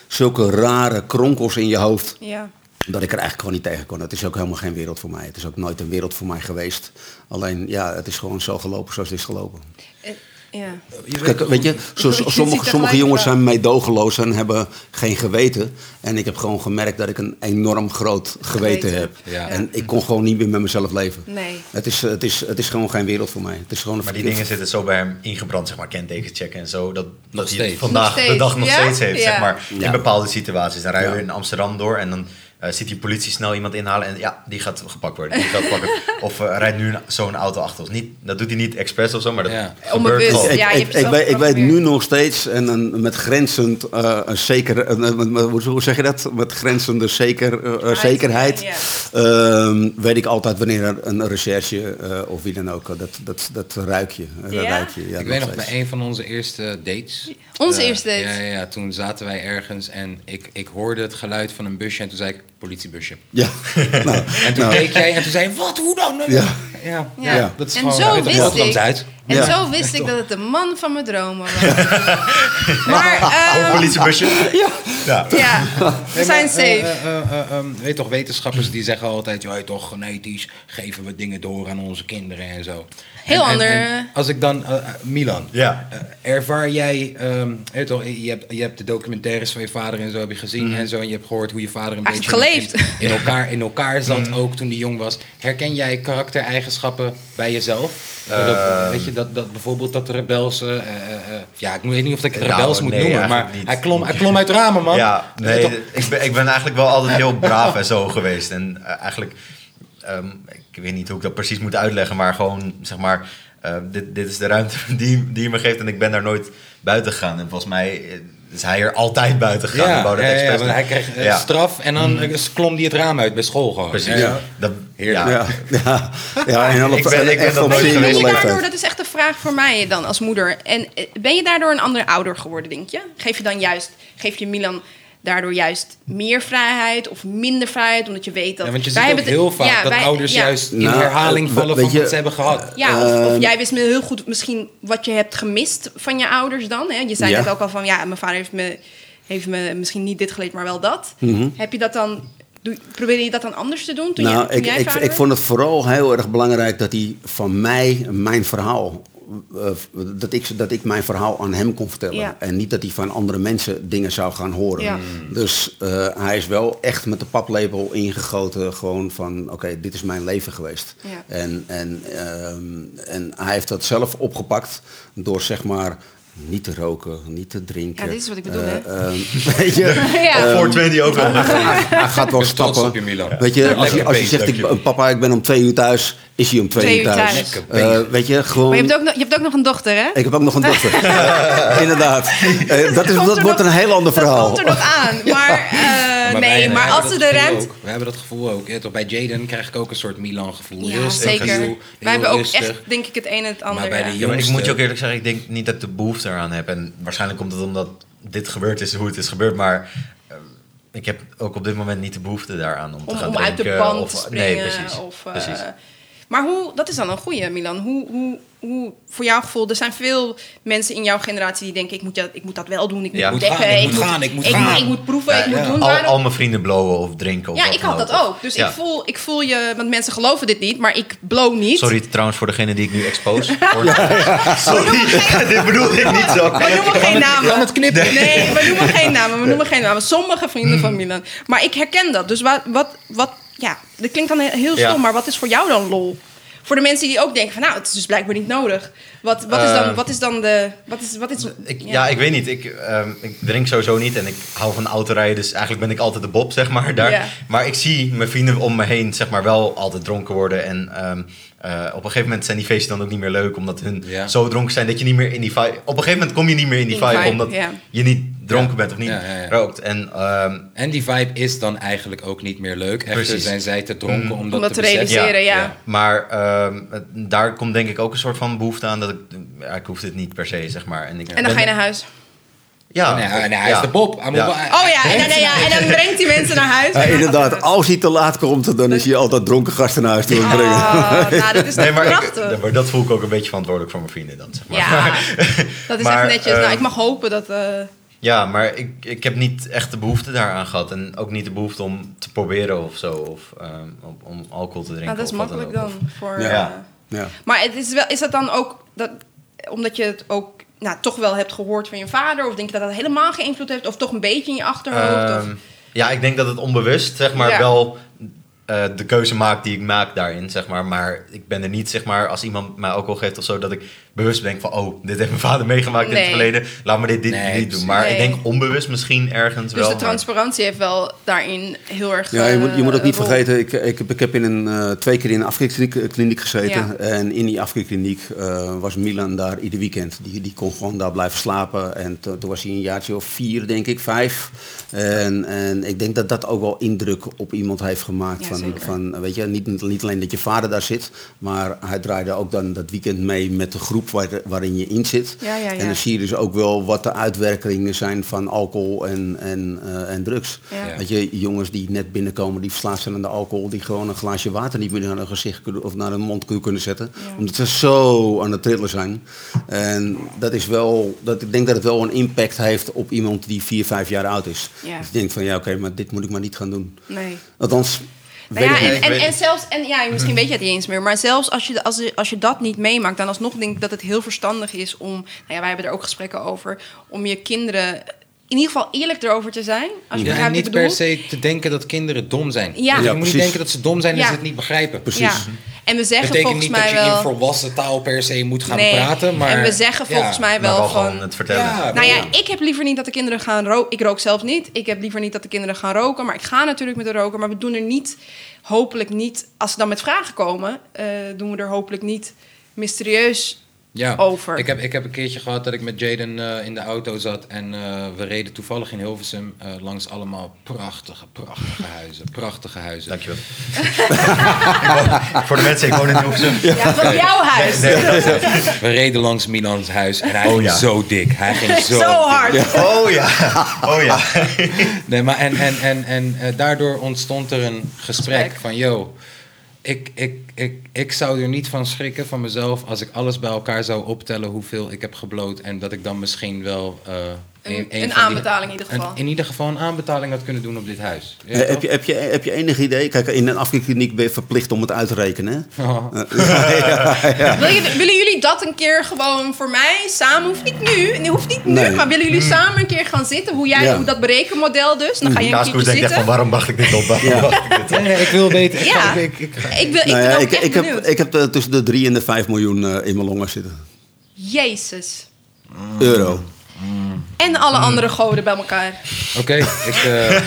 S3: zulke rare kronkels in je hoofd.
S2: ja.
S3: Dat ik er eigenlijk gewoon niet tegen kon. Het is ook helemaal geen wereld voor mij. Het is ook nooit een wereld voor mij geweest. Alleen ja, het is gewoon zo gelopen zoals het is gelopen.
S2: Eh, ja.
S1: Je weet-
S3: Kijk, weet je, zo-
S2: Je ziet
S3: sommige,
S2: tegelijk eh?
S3: sommige jongens
S2: wel.
S3: zijn meedogenloos en hebben geen geweten. En ik heb gewoon gemerkt dat ik een enorm groot geweten,
S2: Geweten.
S3: heb.
S1: Ja.
S3: En ik kon gewoon niet meer met mezelf leven.
S2: Nee.
S3: Het, is, eh, het, is, het is gewoon geen wereld voor mij. Het is gewoon een
S4: Maar die
S3: verkeerde-
S4: dingen zitten zo bij hem ingebrand, zeg maar, kentekens checken en zo. Dat, dat hij het
S1: steeds.
S4: vandaag
S2: Nog steeds,
S4: de dag nog
S2: ja?
S4: steeds heeft,
S2: Ja.
S4: zeg maar.
S3: Ja.
S4: In bepaalde situaties. Dan rijden we
S3: Ja.
S4: in Amsterdam door en dan eh, ziet die politie snel iemand inhalen. En ja, die gaat gepakt worden. Die gaat pakken. Of eh, rijdt nu een- zo'n auto achter ons. Niet, dat doet hij niet expres of zo, maar dat
S1: Ja.
S4: gebeurt
S2: Onbewust,
S4: gewoon.
S3: Ik,
S2: Ja, je hebt
S3: ik, ik,
S2: het zelf
S3: weet, ik weet nu
S2: geprobeerd.
S3: nog steeds, en een, met grenzend eh, een zeker, een- een- een- hoe- hoe zeg je dat? Met grenzende zeker, eh, eh, zekerheid,
S2: ja.
S3: ehm, weet ik altijd wanneer er een recherche eh, of wie dan ook, eh, dat, dat, dat ruik je. eh, dat
S2: Ja?
S3: ruik je, ja,
S1: ik weet nog,
S3: steeds.
S1: bij een van onze eerste dates.
S2: Onze
S1: eh,
S2: eerste date?
S1: Ja, ja, ja, toen zaten wij ergens en ik, ik hoorde het geluid van een busje en toen zei ik, politiebusje.
S3: Ja, nou,
S1: En toen keek jij en toen zei je, wat, hoe dan?
S3: Ja.
S1: ja,
S2: Ja.
S1: ja, dat is
S2: en
S1: gewoon
S2: zo
S1: uit de
S2: wist ik,
S1: Rotterdams uit.
S2: En
S3: Ja.
S2: zo wist ik dat het de man van mijn dromen was. maar eh,
S4: Politiebusje. Ja.
S2: ja, we zijn
S1: Eh,
S2: safe.
S1: eh, eh, eh, ehm, weet toch, wetenschappers die zeggen altijd, joh, toch genetisch geven we dingen door aan onze kinderen en zo.
S2: Heel
S1: En- en-
S2: ander-
S1: en als ik dan, eh, eh, Milan,
S4: Ja.
S1: eh, ervaar jij, ehm, weet toch, je, hebt, je hebt de documentaires van je vader en zo heb je gezien
S4: Mhm.
S1: en zo en je hebt gehoord hoe je vader een
S2: Hij heeft
S1: beetje in-
S2: geleefd.
S1: In, in elkaar, in elkaar zat
S4: Mhm.
S1: ook toen hij jong was. Herken jij karaktereigenschappen bij jezelf?
S4: Ehm.
S1: Eh, dat, weet je, dat, dat bijvoorbeeld dat de rebels, eh, ja, ik weet niet of ik het
S4: Nou,
S1: rebels moet
S4: nee,
S1: noemen, maar
S4: eigenlijk niet.
S1: hij klom, hij klom uit ramen, man.
S4: Ja,
S1: Weet
S4: nee,
S1: Eh, toch?
S4: ik ben, ik ben eigenlijk wel altijd heel braaf en zo geweest. En eh, eigenlijk, ehm, ik weet niet hoe ik dat precies moet uitleggen, maar gewoon zeg maar, eh, dit, dit is de ruimte die, die je me geeft en ik ben daar nooit buiten gegaan. En volgens mij eh, is hij er altijd buiten gegaan. en wou dat
S1: ja, ja,
S4: expres
S1: want
S4: doen.
S1: hij kreeg eh,
S4: Ja, Mhm.
S1: straf en dan eh, klom hij het raam uit bij school gewoon.
S4: Precies.
S1: Ja.
S4: Dat,
S1: Heerlijk.
S4: ja.
S3: ja, ja, ja, en dan op,
S4: Ik ben- ik ben
S3: echt
S4: dat
S3: op
S4: nooit
S2: Ben
S3: zeer
S4: geweest.
S3: jonge
S2: je
S3: leeftijd.
S2: daardoor, dat is echt een vraag voor mij dan als moeder. En eh, ben je daardoor een andere ouder geworden, denk je? Geef je dan juist, geef je Milan daardoor juist meer vrijheid of minder vrijheid, omdat je weet dat.
S1: Ja, want je
S2: wij
S1: ziet ook
S2: hebben het-
S1: heel vaak
S2: ja,
S1: dat
S2: wij-
S1: ouders
S2: ja.
S1: juist in
S3: Nou,
S1: herhaling
S3: eh,
S1: vallen
S3: weet
S1: van
S3: je-
S1: wat ze hebben gehad.
S2: Ja, of,
S3: Ehm,
S2: of jij wist me heel goed misschien wat je hebt gemist van je ouders dan. Hè? Je zei
S3: Ja.
S2: net ook al van, ja, mijn vader heeft me, heeft me misschien niet dit geleerd, maar wel dat. Heb je dat dan, doe, probeerde je dat dan anders te doen toen, je,
S3: Mhm. nou,
S2: toen
S3: ik,
S2: jij
S3: ik,
S2: vader
S3: ik vond het vooral heel erg belangrijk dat hij van mij mijn verhaal. eh, dat, ik, dat ik mijn verhaal aan hem kon vertellen.
S2: Ja.
S3: En niet dat hij van andere mensen dingen zou gaan horen.
S2: Ja.
S3: Dus eh, hij is wel echt met de paplepel ingegoten. Gewoon van, oké, dit is mijn leven geweest.
S2: Ja.
S3: En, en, ehm, en hij heeft dat zelf opgepakt door zeg maar Niet te roken, niet te drinken.
S2: Ja, dit is wat ik bedoel, hè?
S3: Eh, ehm, weet je,
S2: Ja.
S4: Voor 20 ook wel.
S3: hij, hij gaat wel
S1: ben trots
S3: stappen.
S1: op je, Milan.
S3: Weet je, als, je,
S4: Lekker
S3: als je
S4: beest,
S3: zegt,
S4: dank je.
S3: ik, papa, ik ben om twee uur thuis, is hij om twee, uur thuis.
S2: Lekker
S3: Eh, weet je, gewoon...
S2: Maar je hebt, ook nog, je hebt ook nog een dochter, hè?
S3: Ik heb ook nog een dochter. Eh, Inderdaad. Eh, dat is,
S2: komt
S3: dat
S2: er
S3: wordt
S2: nog-
S3: een heel ander verhaal.
S2: Dat komt er nog aan. Maar, eh, nee,
S1: wij-
S2: maar
S1: wij
S2: als
S1: hebben dat
S2: ze de
S1: gevoel
S2: ruimte...
S1: ook. We hebben dat gevoel ook. Ja, toch, bij Jaden krijg ik ook een soort Milan-gevoel.
S2: Ja,
S1: heel stil,
S2: zeker.
S1: heel- heel
S2: Wij hebben ook
S1: rustig.
S2: echt, denk ik, het een en het ander.
S1: Maar bij
S2: ja.
S1: de
S4: Ja, maar ik
S1: jongste-
S4: moet je ook eerlijk zeggen, ik denk niet dat ik de behoefte eraan heb. En waarschijnlijk komt het omdat dit gebeurd is, hoe het is gebeurd. Maar eh, ik heb ook op dit moment niet de behoefte daaraan om, te
S2: om,
S4: gaan
S2: om
S4: drinken.
S2: uit de band
S4: of-
S2: te springen.
S4: Nee, precies.
S2: Of, eh,
S4: precies.
S2: Maar hoe, dat is dan een goeie, Milan. Hoe, hoe, hoe, voor jouw gevoel, er zijn veel mensen in jouw generatie die denken... ik moet, dat, ik moet dat wel doen, ik moet
S4: Ja. Ik
S1: moet
S2: ontdekken,
S1: gaan, ik moet gaan, ik moet gaan.
S2: ik moet proeven, ik moet
S4: Ja,
S2: doen.
S4: al,
S2: Waarom-
S4: Nou, al mijn vrienden blowen of drinken. Of
S2: ja,
S4: wat
S2: ik
S4: dan
S2: had dat
S4: Of-
S2: ook. Dus
S4: Ja.
S2: ik, voel, ik voel je, want mensen geloven dit niet, maar ik blow niet.
S4: Sorry trouwens voor degene die ik nu expose. Sorry, dit bedoel ik niet zo.
S2: We noemen geen namen.
S1: kan het knippen.
S2: Nee, we noemen geen namen. We noemen geen namen. Sommige vrienden van Milan. Maar ik herken dat. Dus wat, wat, wat ja, dat klinkt dan heel stom,
S4: Ja.
S2: maar wat is voor jou dan lol? Voor de mensen die ook denken van, nou, het is dus blijkbaar niet nodig. Wat, wat is dan,
S4: Eh.
S2: wat is dan de, wat is, wat is,
S4: Ik, ja. ik weet niet. Ik, ehm, ik drink sowieso niet en ik hou van autorijden. Dus eigenlijk ben ik altijd de bob, zeg maar, daar.
S2: Ja.
S4: Maar ik zie mijn vrienden om me heen, zeg maar, wel altijd dronken worden. En ehm, eh, op een gegeven moment zijn die feesten dan ook niet meer leuk. Omdat hun
S1: Ja.
S4: zo dronken zijn dat je niet meer in die vibe... Op een gegeven moment kom je niet meer in die
S2: In die
S4: vibe,
S2: vibe,
S4: omdat
S2: ja.
S4: je niet dronken bent of niet
S1: Ja, ja, ja.
S4: rookt. En ehm,
S1: En die vibe is dan eigenlijk ook niet meer leuk. Echter
S4: Precies. Mm.
S1: zijn zij te dronken om dat
S2: om dat te realiseren, ja.
S1: beseffen.
S4: Maar ehm, het- daar komt denk ik ook een soort van behoefte aan dat ik... Ja, ik hoef dit niet per se, zeg maar. En, ik
S2: En dan
S4: ben-
S2: ga je naar huis.
S4: Ja.
S1: Oh, Nee, hij- nee, hij
S4: Ja.
S1: is de Bob. Hij moet
S4: Ja.
S1: wel- hij-
S2: Oh ja, en dan, ja, en dan brengt die mensen naar huis.
S3: Ja, Eh, inderdaad, als hij te laat komt, dan is hij altijd dronken gasten naar huis te brengen.
S2: Oh, nou, dat is
S4: Nee, maar, ik-
S2: prachtig.
S4: maar dat voel ik ook een beetje verantwoordelijk voor mijn vrienden dan, zeg maar.
S2: ja, dat is
S4: Maar,
S2: echt netjes. nou,
S4: eh,
S2: ik mag hopen dat... eh,
S4: Ja, maar ik, ik heb niet echt de behoefte daaraan gehad. En ook niet de behoefte om te proberen of zo. Of ehm, om, om alcohol te drinken.
S2: nou, dat is
S4: of wat
S2: makkelijk
S4: ook.
S2: dan.
S4: Of-
S2: Voor,
S3: Ja.
S2: eh,
S3: Ja.
S2: Maar het is, wel, is dat dan ook dat, omdat je het ook nou, toch wel hebt gehoord van je vader? Of denk je dat dat helemaal geen invloed heeft? Of toch een beetje in je achterhoofd? of- dus
S4: Ehm, ja, ik denk dat het onbewust, zeg maar,
S2: Ja.
S4: wel eh, de keuze maakt die ik maak daarin, zeg maar. Maar ik ben er niet, zeg maar, als iemand mij alcohol geeft of zo, dat ik bewust denk van, oh, dit heeft mijn vader meegemaakt in
S2: Nee.
S4: het verleden. Laat me dit, dit
S1: Nee,
S4: niet doen. Maar
S2: Nee.
S4: ik denk onbewust misschien ergens
S2: dus
S4: wel.
S2: de
S4: maar-
S2: transparantie heeft wel daarin heel erg. eh,
S3: Ja, je moet, je moet ook
S2: het
S3: niet vergeten, ik, ik, heb, ik heb in een, eh, twee keer in een afkikkliniek kliniek gezeten.
S2: Ja.
S3: En in die afkikkliniek eh, was Milan daar ieder weekend. Die, die kon gewoon daar blijven slapen. En to- toen was hij een jaartje of vier, denk ik, vijf. En, en ik denk dat dat ook wel indruk op iemand heeft gemaakt.
S2: Ja,
S3: van,
S2: zeker.
S3: van, weet je, niet, niet alleen dat je vader daar zit, maar hij draaide ook dan dat weekend mee met de groep waar, waarin je in zit.
S2: Ja, ja, ja.
S3: En dan zie je dus ook wel wat de uitwerkingen zijn van alcohol en, en, eh, en drugs.
S2: Ja.
S1: Ja.
S3: Weet je, jongens die net binnenkomen, die verslaafd zijn aan de alcohol, die gewoon een glaasje water niet meer naar hun gezicht kunnen- of naar hun mond kunnen- kunnen zetten.
S2: Ja.
S3: Omdat ze zo aan het trillen zijn. En dat is wel, dat, ik denk dat het wel een impact heeft op iemand die 4, 5 jaar oud is.
S2: Ja.
S3: Dus ik denk van ja, oké, maar dit moet ik maar niet gaan doen.
S2: Nee.
S3: Althans,
S2: Nou ja,
S3: weet ik niet.
S2: en,
S4: niet.
S2: en,
S4: Weet ik
S2: en zelfs, en ja, misschien weet je het niet eens meer, maar zelfs als je, als, je- als je dat niet meemaakt, dan alsnog denk ik dat het heel verstandig is om, nou ja, wij hebben er ook gesprekken over, om je kinderen in ieder geval eerlijk erover te zijn. Als je
S1: Ja, en
S2: begrijpt wat
S1: niet
S2: ik bedoel.
S1: per se te denken dat kinderen dom zijn.
S2: Ja.
S1: Dus
S2: Ja,
S1: je moet
S3: precies.
S1: niet denken dat ze dom zijn en
S2: Ja.
S1: ze het niet begrijpen.
S3: Precies.
S2: Ja. En we
S1: Dat
S2: zeggen
S1: betekent
S2: volgens
S1: niet dat
S2: mij
S1: je
S2: wel.
S1: in volwassen taal per se moet gaan
S2: Nee.
S1: praten. Maar,
S2: en we zeggen volgens
S1: ja.
S2: mij
S4: maar
S2: wel,
S4: gewoon
S2: van...
S4: het vertellen.
S1: Ja.
S2: Nou ja, ik heb liever niet dat de kinderen gaan roken. Ik rook zelf niet. Ik heb liever niet dat de kinderen gaan roken. Maar ik ga natuurlijk met de roken. Maar we doen er niet, hopelijk niet... Als ze dan met vragen komen, eh, doen we er hopelijk niet mysterieus
S1: Ja.
S2: over.
S1: Ik heb, ik heb een keertje gehad dat ik met Jaden eh, in de auto zat. En eh, we reden toevallig in Hilversum eh, langs allemaal prachtige, prachtige huizen. Prachtige huizen.
S4: Dankjewel. Ik woon- voor de mensen, ik woon in Hilversum.
S2: Ja, van jouw huis.
S4: Nee, nee.
S1: We reden langs Milans huis en hij
S4: Oh,
S1: ging
S4: ja.
S1: zo dik. Hij ging zo,
S2: Zo
S1: dik.
S2: hard.
S4: Oh ja, oh ja.
S1: Nee, maar en, en, en, en eh, daardoor ontstond er een gesprek,
S2: Gesprek.
S1: van... yo, ik, ik, ik, ik zou er niet van schrikken van mezelf... als ik alles bij elkaar zou optellen hoeveel ik heb gebloot... en dat ik dan misschien wel... eh,
S2: Een-
S1: een,
S2: een
S1: van die-
S2: aanbetaling in ieder
S1: een-
S2: geval.
S1: in ieder geval een aanbetaling had kunnen doen op dit huis. Ja,
S3: Eh,
S1: toch?
S3: heb, je, heb, je, heb je enig idee? Kijk, in een afkikkliniek ben je verplicht om het uit te rekenen. hè?
S1: Oh.
S2: Wil je- willen jullie dat een keer gewoon voor mij samen? Hoeft niet nu, nee, hoeft niet nu,
S3: Nee.
S2: maar willen jullie samen een keer gaan zitten? Hoe jij,
S3: Ja.
S2: hoe dat berekenmodel dus? Dan ga
S1: Mm.
S2: je een keer
S4: Kaaskoes denkt echt van,
S2: zitten.
S4: waarom mag ik dit op? Waarom wacht ik dit op?
S1: Nee, nee, ik wil weten. ik-
S2: Ja.
S1: ik- ik- ik-
S2: Ik, wil, ik
S3: Nou
S2: ben
S3: ja,
S2: ook
S3: ik,
S2: echt
S3: ik,
S2: benieuwd.
S3: heb, ik heb eh, tussen de 3 en de 5 miljoen eh, in mijn longen zitten.
S2: Jezus.
S3: euro.
S2: En alle
S3: Hmm.
S2: andere goden bij elkaar.
S1: Oké, ik, eh,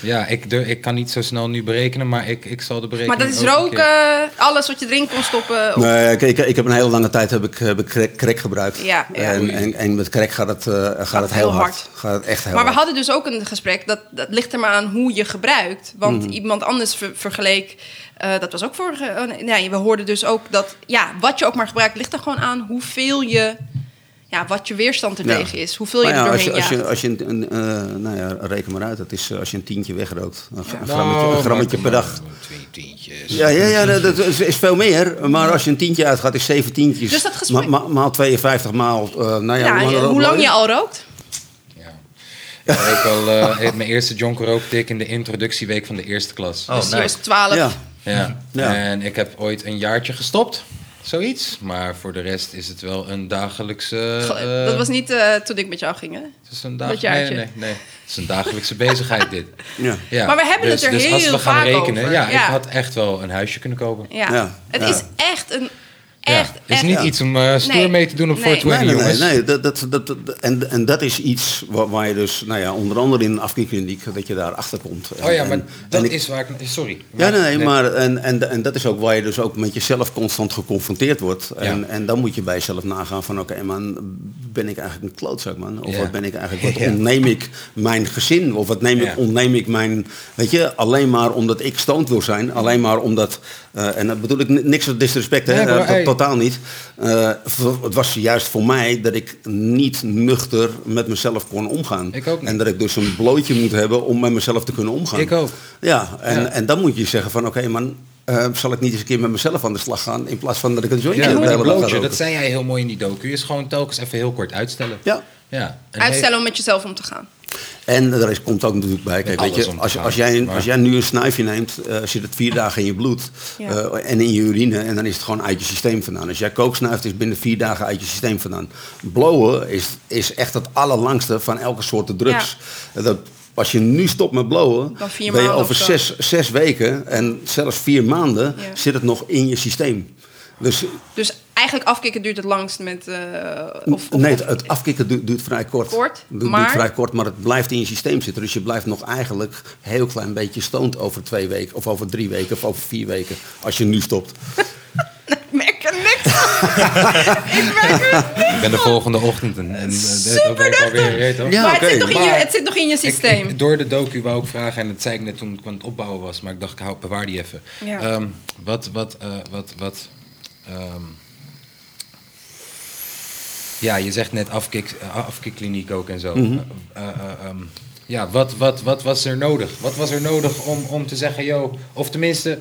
S1: ja, ik, durf- ik kan niet zo snel nu berekenen, maar ik, ik zal de
S2: Maar
S1: berekening.
S2: dat is
S1: ook een keer-
S2: roken, alles wat je erin kon stoppen. op-
S3: Nee, ik, ik, ik heb een hele lange tijd heb ik, heb ik crack, crack gebruikt.
S2: Ja, ja.
S3: En, en, en met crack gaat het, eh, gaat het heel
S2: heel hard.
S3: hard. Gaat het echt heel
S2: Maar we
S3: hard.
S2: hadden dus ook een gesprek, dat, dat ligt er maar aan hoe je gebruikt. Want
S3: Hmm.
S2: iemand anders ver- vergeleek, eh, dat was ook vorige... oh nee, nee, we hoorden dus ook dat, ja, wat je ook maar gebruikt... ligt er gewoon aan hoeveel je, ja, wat je weerstand er
S3: Ja.
S2: tegen is. Hoeveel je
S3: Maar
S2: er
S3: ja, als
S2: doorheen
S3: je, als
S2: jaagt.
S3: je, als je een, een, eh, nou ja, reken maar uit. Dat is eh, als je een tientje wegrookt. Een, gra- een grammetje, een
S1: Nou,
S3: grammetje
S1: maar
S3: per
S1: kom
S3: dag.
S1: maar, Twee tientjes.
S3: Ja, ja, ja dat, dat is, is veel meer. Maar als je een tientje uitgaat, is zeven tientjes.
S2: Dus dat gesprek-
S3: Ma- ma- maal 52, maal... eh, nou ja,
S2: Ja,
S3: hoe lang,
S2: hoe lang je al rookt.
S1: Ja. Ik rook al eh, ik- mijn eerste jonker rooktik in de introductieweek van de eerste klas.
S4: Oh,
S2: dus je was
S4: nice.
S2: 12.
S3: Ja.
S1: Ja.
S3: Ja.
S1: En ik heb ooit een jaartje gestopt, zoiets. Maar voor de rest is het wel een dagelijkse. eh,
S2: dat was niet eh, toen ik met jou ging, hè?
S1: het is een
S2: dat
S1: dag, nee,
S2: jaartje.
S1: nee, nee. Het is een dagelijkse bezigheid dit.
S3: Ja.
S1: Ja.
S2: Maar we hebben het er
S1: dus als
S2: heel
S1: we gaan
S2: vaak
S1: rekenen,
S2: over.
S1: Ja,
S2: Ja.
S1: ik had echt wel een huisje kunnen kopen.
S2: Ja.
S3: Ja,
S2: Het
S3: ja.
S2: is echt een... Echt,
S1: ja. Is
S2: echt.
S1: niet iets om eh stoer
S2: Nee.
S1: mee te doen op
S2: Nee.
S1: 420,
S3: Nee, nee, nee,
S1: jongens.
S3: nee, Dat, dat, dat, dat- en, en dat is iets wa- waar, je dus, nou ja, onder andere in een afkikkliniek, dat je daar achter komt. En-
S1: Oh ja, maar
S3: en-
S1: dat
S3: en ik-
S1: is waar ik... Sorry.
S3: Ja, nee, nee, maar en, en, en dat is ook waar je dus ook met jezelf constant geconfronteerd wordt. En,
S1: Ja.
S3: en dan moet je bij jezelf nagaan van, oké man, ben ik eigenlijk een klootzak man? Of
S1: Ja.
S3: wat ben ik eigenlijk, wat
S1: Ja.
S3: ontneem ik mijn gezin? Of wat neem ik,
S1: Ja.
S3: ontneem ik mijn, weet je, alleen maar omdat ik stoned wil zijn. Alleen maar omdat, eh, en dat bedoel ik ni- niks met disrespect, hè,
S1: Nee, maar,
S3: eh, to-
S1: hey.
S3: totaal niet. Eh, v- het was juist voor mij dat ik niet nuchter met mezelf kon omgaan.
S1: Ik ook niet.
S3: En dat ik dus een blootje moet hebben om met mezelf te kunnen omgaan.
S1: Ik ook.
S3: Ja, en,
S1: Ja.
S3: en dan moet je zeggen van oké man, eh, zal ik niet eens een keer met mezelf aan de slag gaan in plaats van dat ik een jointje
S1: Ja,
S3: de
S1: maar
S3: hele
S1: dat
S3: dag ga
S1: blootje,
S3: roken.
S1: dat zei jij heel mooi in die docu, is gewoon telkens even heel kort uitstellen.
S3: Ja.
S1: ja. En
S2: Uitstellen om met jezelf om te gaan.
S3: En daar is, komt ook natuurlijk bij, kijk, weet
S1: alles
S3: je,
S1: om te
S3: als,
S1: gaan,
S3: als, jij,
S1: maar-
S3: als jij nu een snuifje neemt, eh, zit het vier dagen in je bloed
S2: Ja.
S3: eh, en in je urine en dan is het gewoon uit je systeem vandaan. Als jij kook snuift, is het binnen vier dagen uit je systeem vandaan. Blowen is, is echt het allerlangste van elke soort drugs. Eh, Dat, als je nu stopt met blowen,
S2: Dan vier
S3: ben je
S2: maanden
S3: over
S2: of zo.
S3: zes, zes weken en zelfs vier maanden
S2: Ja.
S3: zit het nog in je systeem. Dus
S2: Dus eigenlijk afkicken duurt het langst met... eh, of, of-
S3: nee, het,
S2: of-
S3: het afkicken du- duurt vrij kort.
S2: Kort,
S3: Du- duurt
S2: maar-
S3: vrij kort, maar het blijft in je systeem zitten. Dus je blijft nog eigenlijk een heel klein beetje stoned over twee weken, of over drie weken, of over vier weken, als je nu stopt.
S2: Ik merk er niks aan.
S1: Ik ben de volgende ochtend en, en
S2: Super nuchter.
S1: reet, hoor.
S3: Ja,
S2: maar
S3: oké,
S2: het, zit nog in je,
S1: maar-
S2: het zit nog in je
S1: Ik-
S2: systeem.
S1: ik- door de docu wou ik vragen, en dat zei ik net toen ik aan het opbouwen was, maar ik dacht, ik hou, bewaar die even.
S2: Ja.
S1: Ehm, wat, wat, eh, wat, wat... ehm, ja, je zegt net afkik, eh, afkikkliniek ook en zo. Eh, eh, eh, ehm, ja, wat, wat, wat was er nodig? Wat was er nodig om, om te zeggen, yo, of tenminste...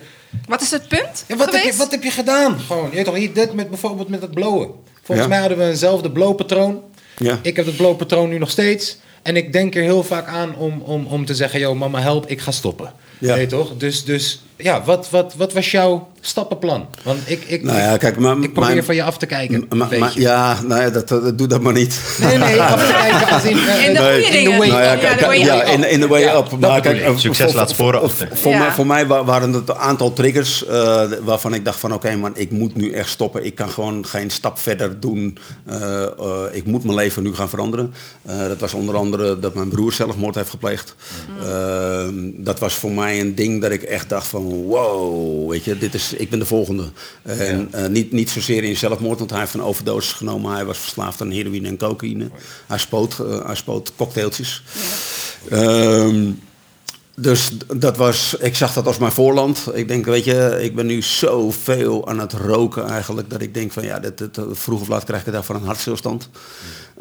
S2: Wat is het punt
S1: Ja, wat, heb je,
S2: geweest?
S1: wat heb je gedaan? Gewoon, je weet toch, hier dit met bijvoorbeeld met dat blowen. Volgens
S3: Ja.
S1: mij hadden we eenzelfde blowpatroon.
S3: Ja.
S1: Ik heb dat blowpatroon nu nog steeds. En ik denk er heel vaak aan om, om, om te zeggen, yo mama help, ik ga stoppen.
S3: Ja.
S1: Weet je toch? Dus, dus ja, wat, wat, wat was jouw stappenplan? Want ik, ik,
S3: Nou ja, kijk, maar-
S1: ik probeer
S3: mijn-
S1: van je af te kijken.
S3: M- maar-
S1: een
S3: maar-
S1: beetje.
S3: ja, nou ja, dat, eh, doe dat maar niet.
S1: Nee, nee, af te kijken als in... eh,
S2: In de
S1: eh,
S2: goede
S3: in
S1: the
S2: dingen.
S1: way
S3: Nou ja,
S1: up.
S2: Ja,
S3: kijk,
S2: de way
S3: kijk, ja,
S2: up.
S3: in, in de way
S1: Ja,
S3: up.
S1: dat
S3: Maar
S1: bedoel
S3: kijk,
S1: ik.
S3: eh,
S4: Succes
S3: voor-
S4: laat sporen
S3: voor-
S4: achter.
S3: Voor,
S2: Ja.
S3: mij, voor mij wa- waren het een aantal triggers eh, waarvan ik dacht van oké man, ik moet nu echt stoppen. Ik kan gewoon geen stap verder doen. Eh, eh, ik moet mijn leven nu gaan veranderen. Eh, dat was onder andere dat mijn broer zelfmoord heeft gepleegd. Eh, dat was voor mij een ding dat ik echt dacht van wow, weet je, dit is, ik ben de volgende. En eh, niet, niet zozeer in zelfmoord, want hij heeft een overdosis genomen. Hij was verslaafd aan heroïne en cocaïne. Hij spoot, eh, hij spoot cocktailtjes. Ehm, dus d- dat was, ik zag dat als mijn voorland. Ik denk, weet je, ik ben nu zoveel aan het roken eigenlijk, dat ik denk van ja, dit, dit, vroeg of laat krijg ik daarvan een hartstilstand.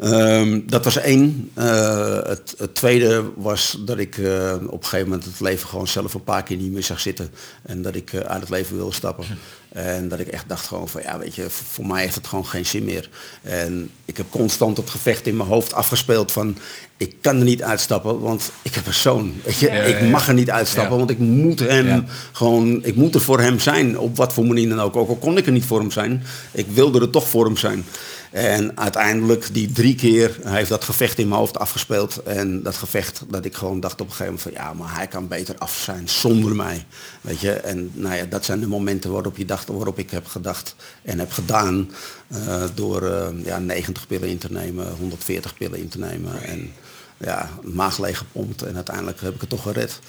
S3: Ehm, dat was één. Eh, het, het tweede was dat ik eh, op een gegeven moment het leven gewoon zelf een paar keer niet meer zag zitten. En dat ik eh, uit het leven wilde stappen. En dat ik echt dacht gewoon van ja, weet je, v- voor mij heeft het gewoon geen zin meer. En ik heb constant het gevecht in mijn hoofd afgespeeld van ik kan er niet uitstappen, want ik heb een zoon. Weet je,
S1: Ja,
S3: ik
S1: ja, ja.
S3: mag er niet uitstappen,
S1: Ja.
S3: want ik moet hem
S1: Ja.
S3: gewoon, ik moet er voor hem zijn, op wat voor manier dan ook. Ook al kon ik er niet voor hem zijn, ik wilde er toch voor hem zijn. En uiteindelijk die drie keer heeft dat gevecht in mijn hoofd afgespeeld. En dat gevecht dat ik gewoon dacht op een gegeven moment van ja, maar hij kan beter af zijn zonder mij. Weet je, en nou ja, dat zijn de momenten waarop, je dacht, waarop ik heb gedacht en heb gedaan. eh, door eh, ja, 90 pillen in te nemen, 140 pillen in te nemen. En, ja, maag leeggepompt en uiteindelijk heb ik het toch gered.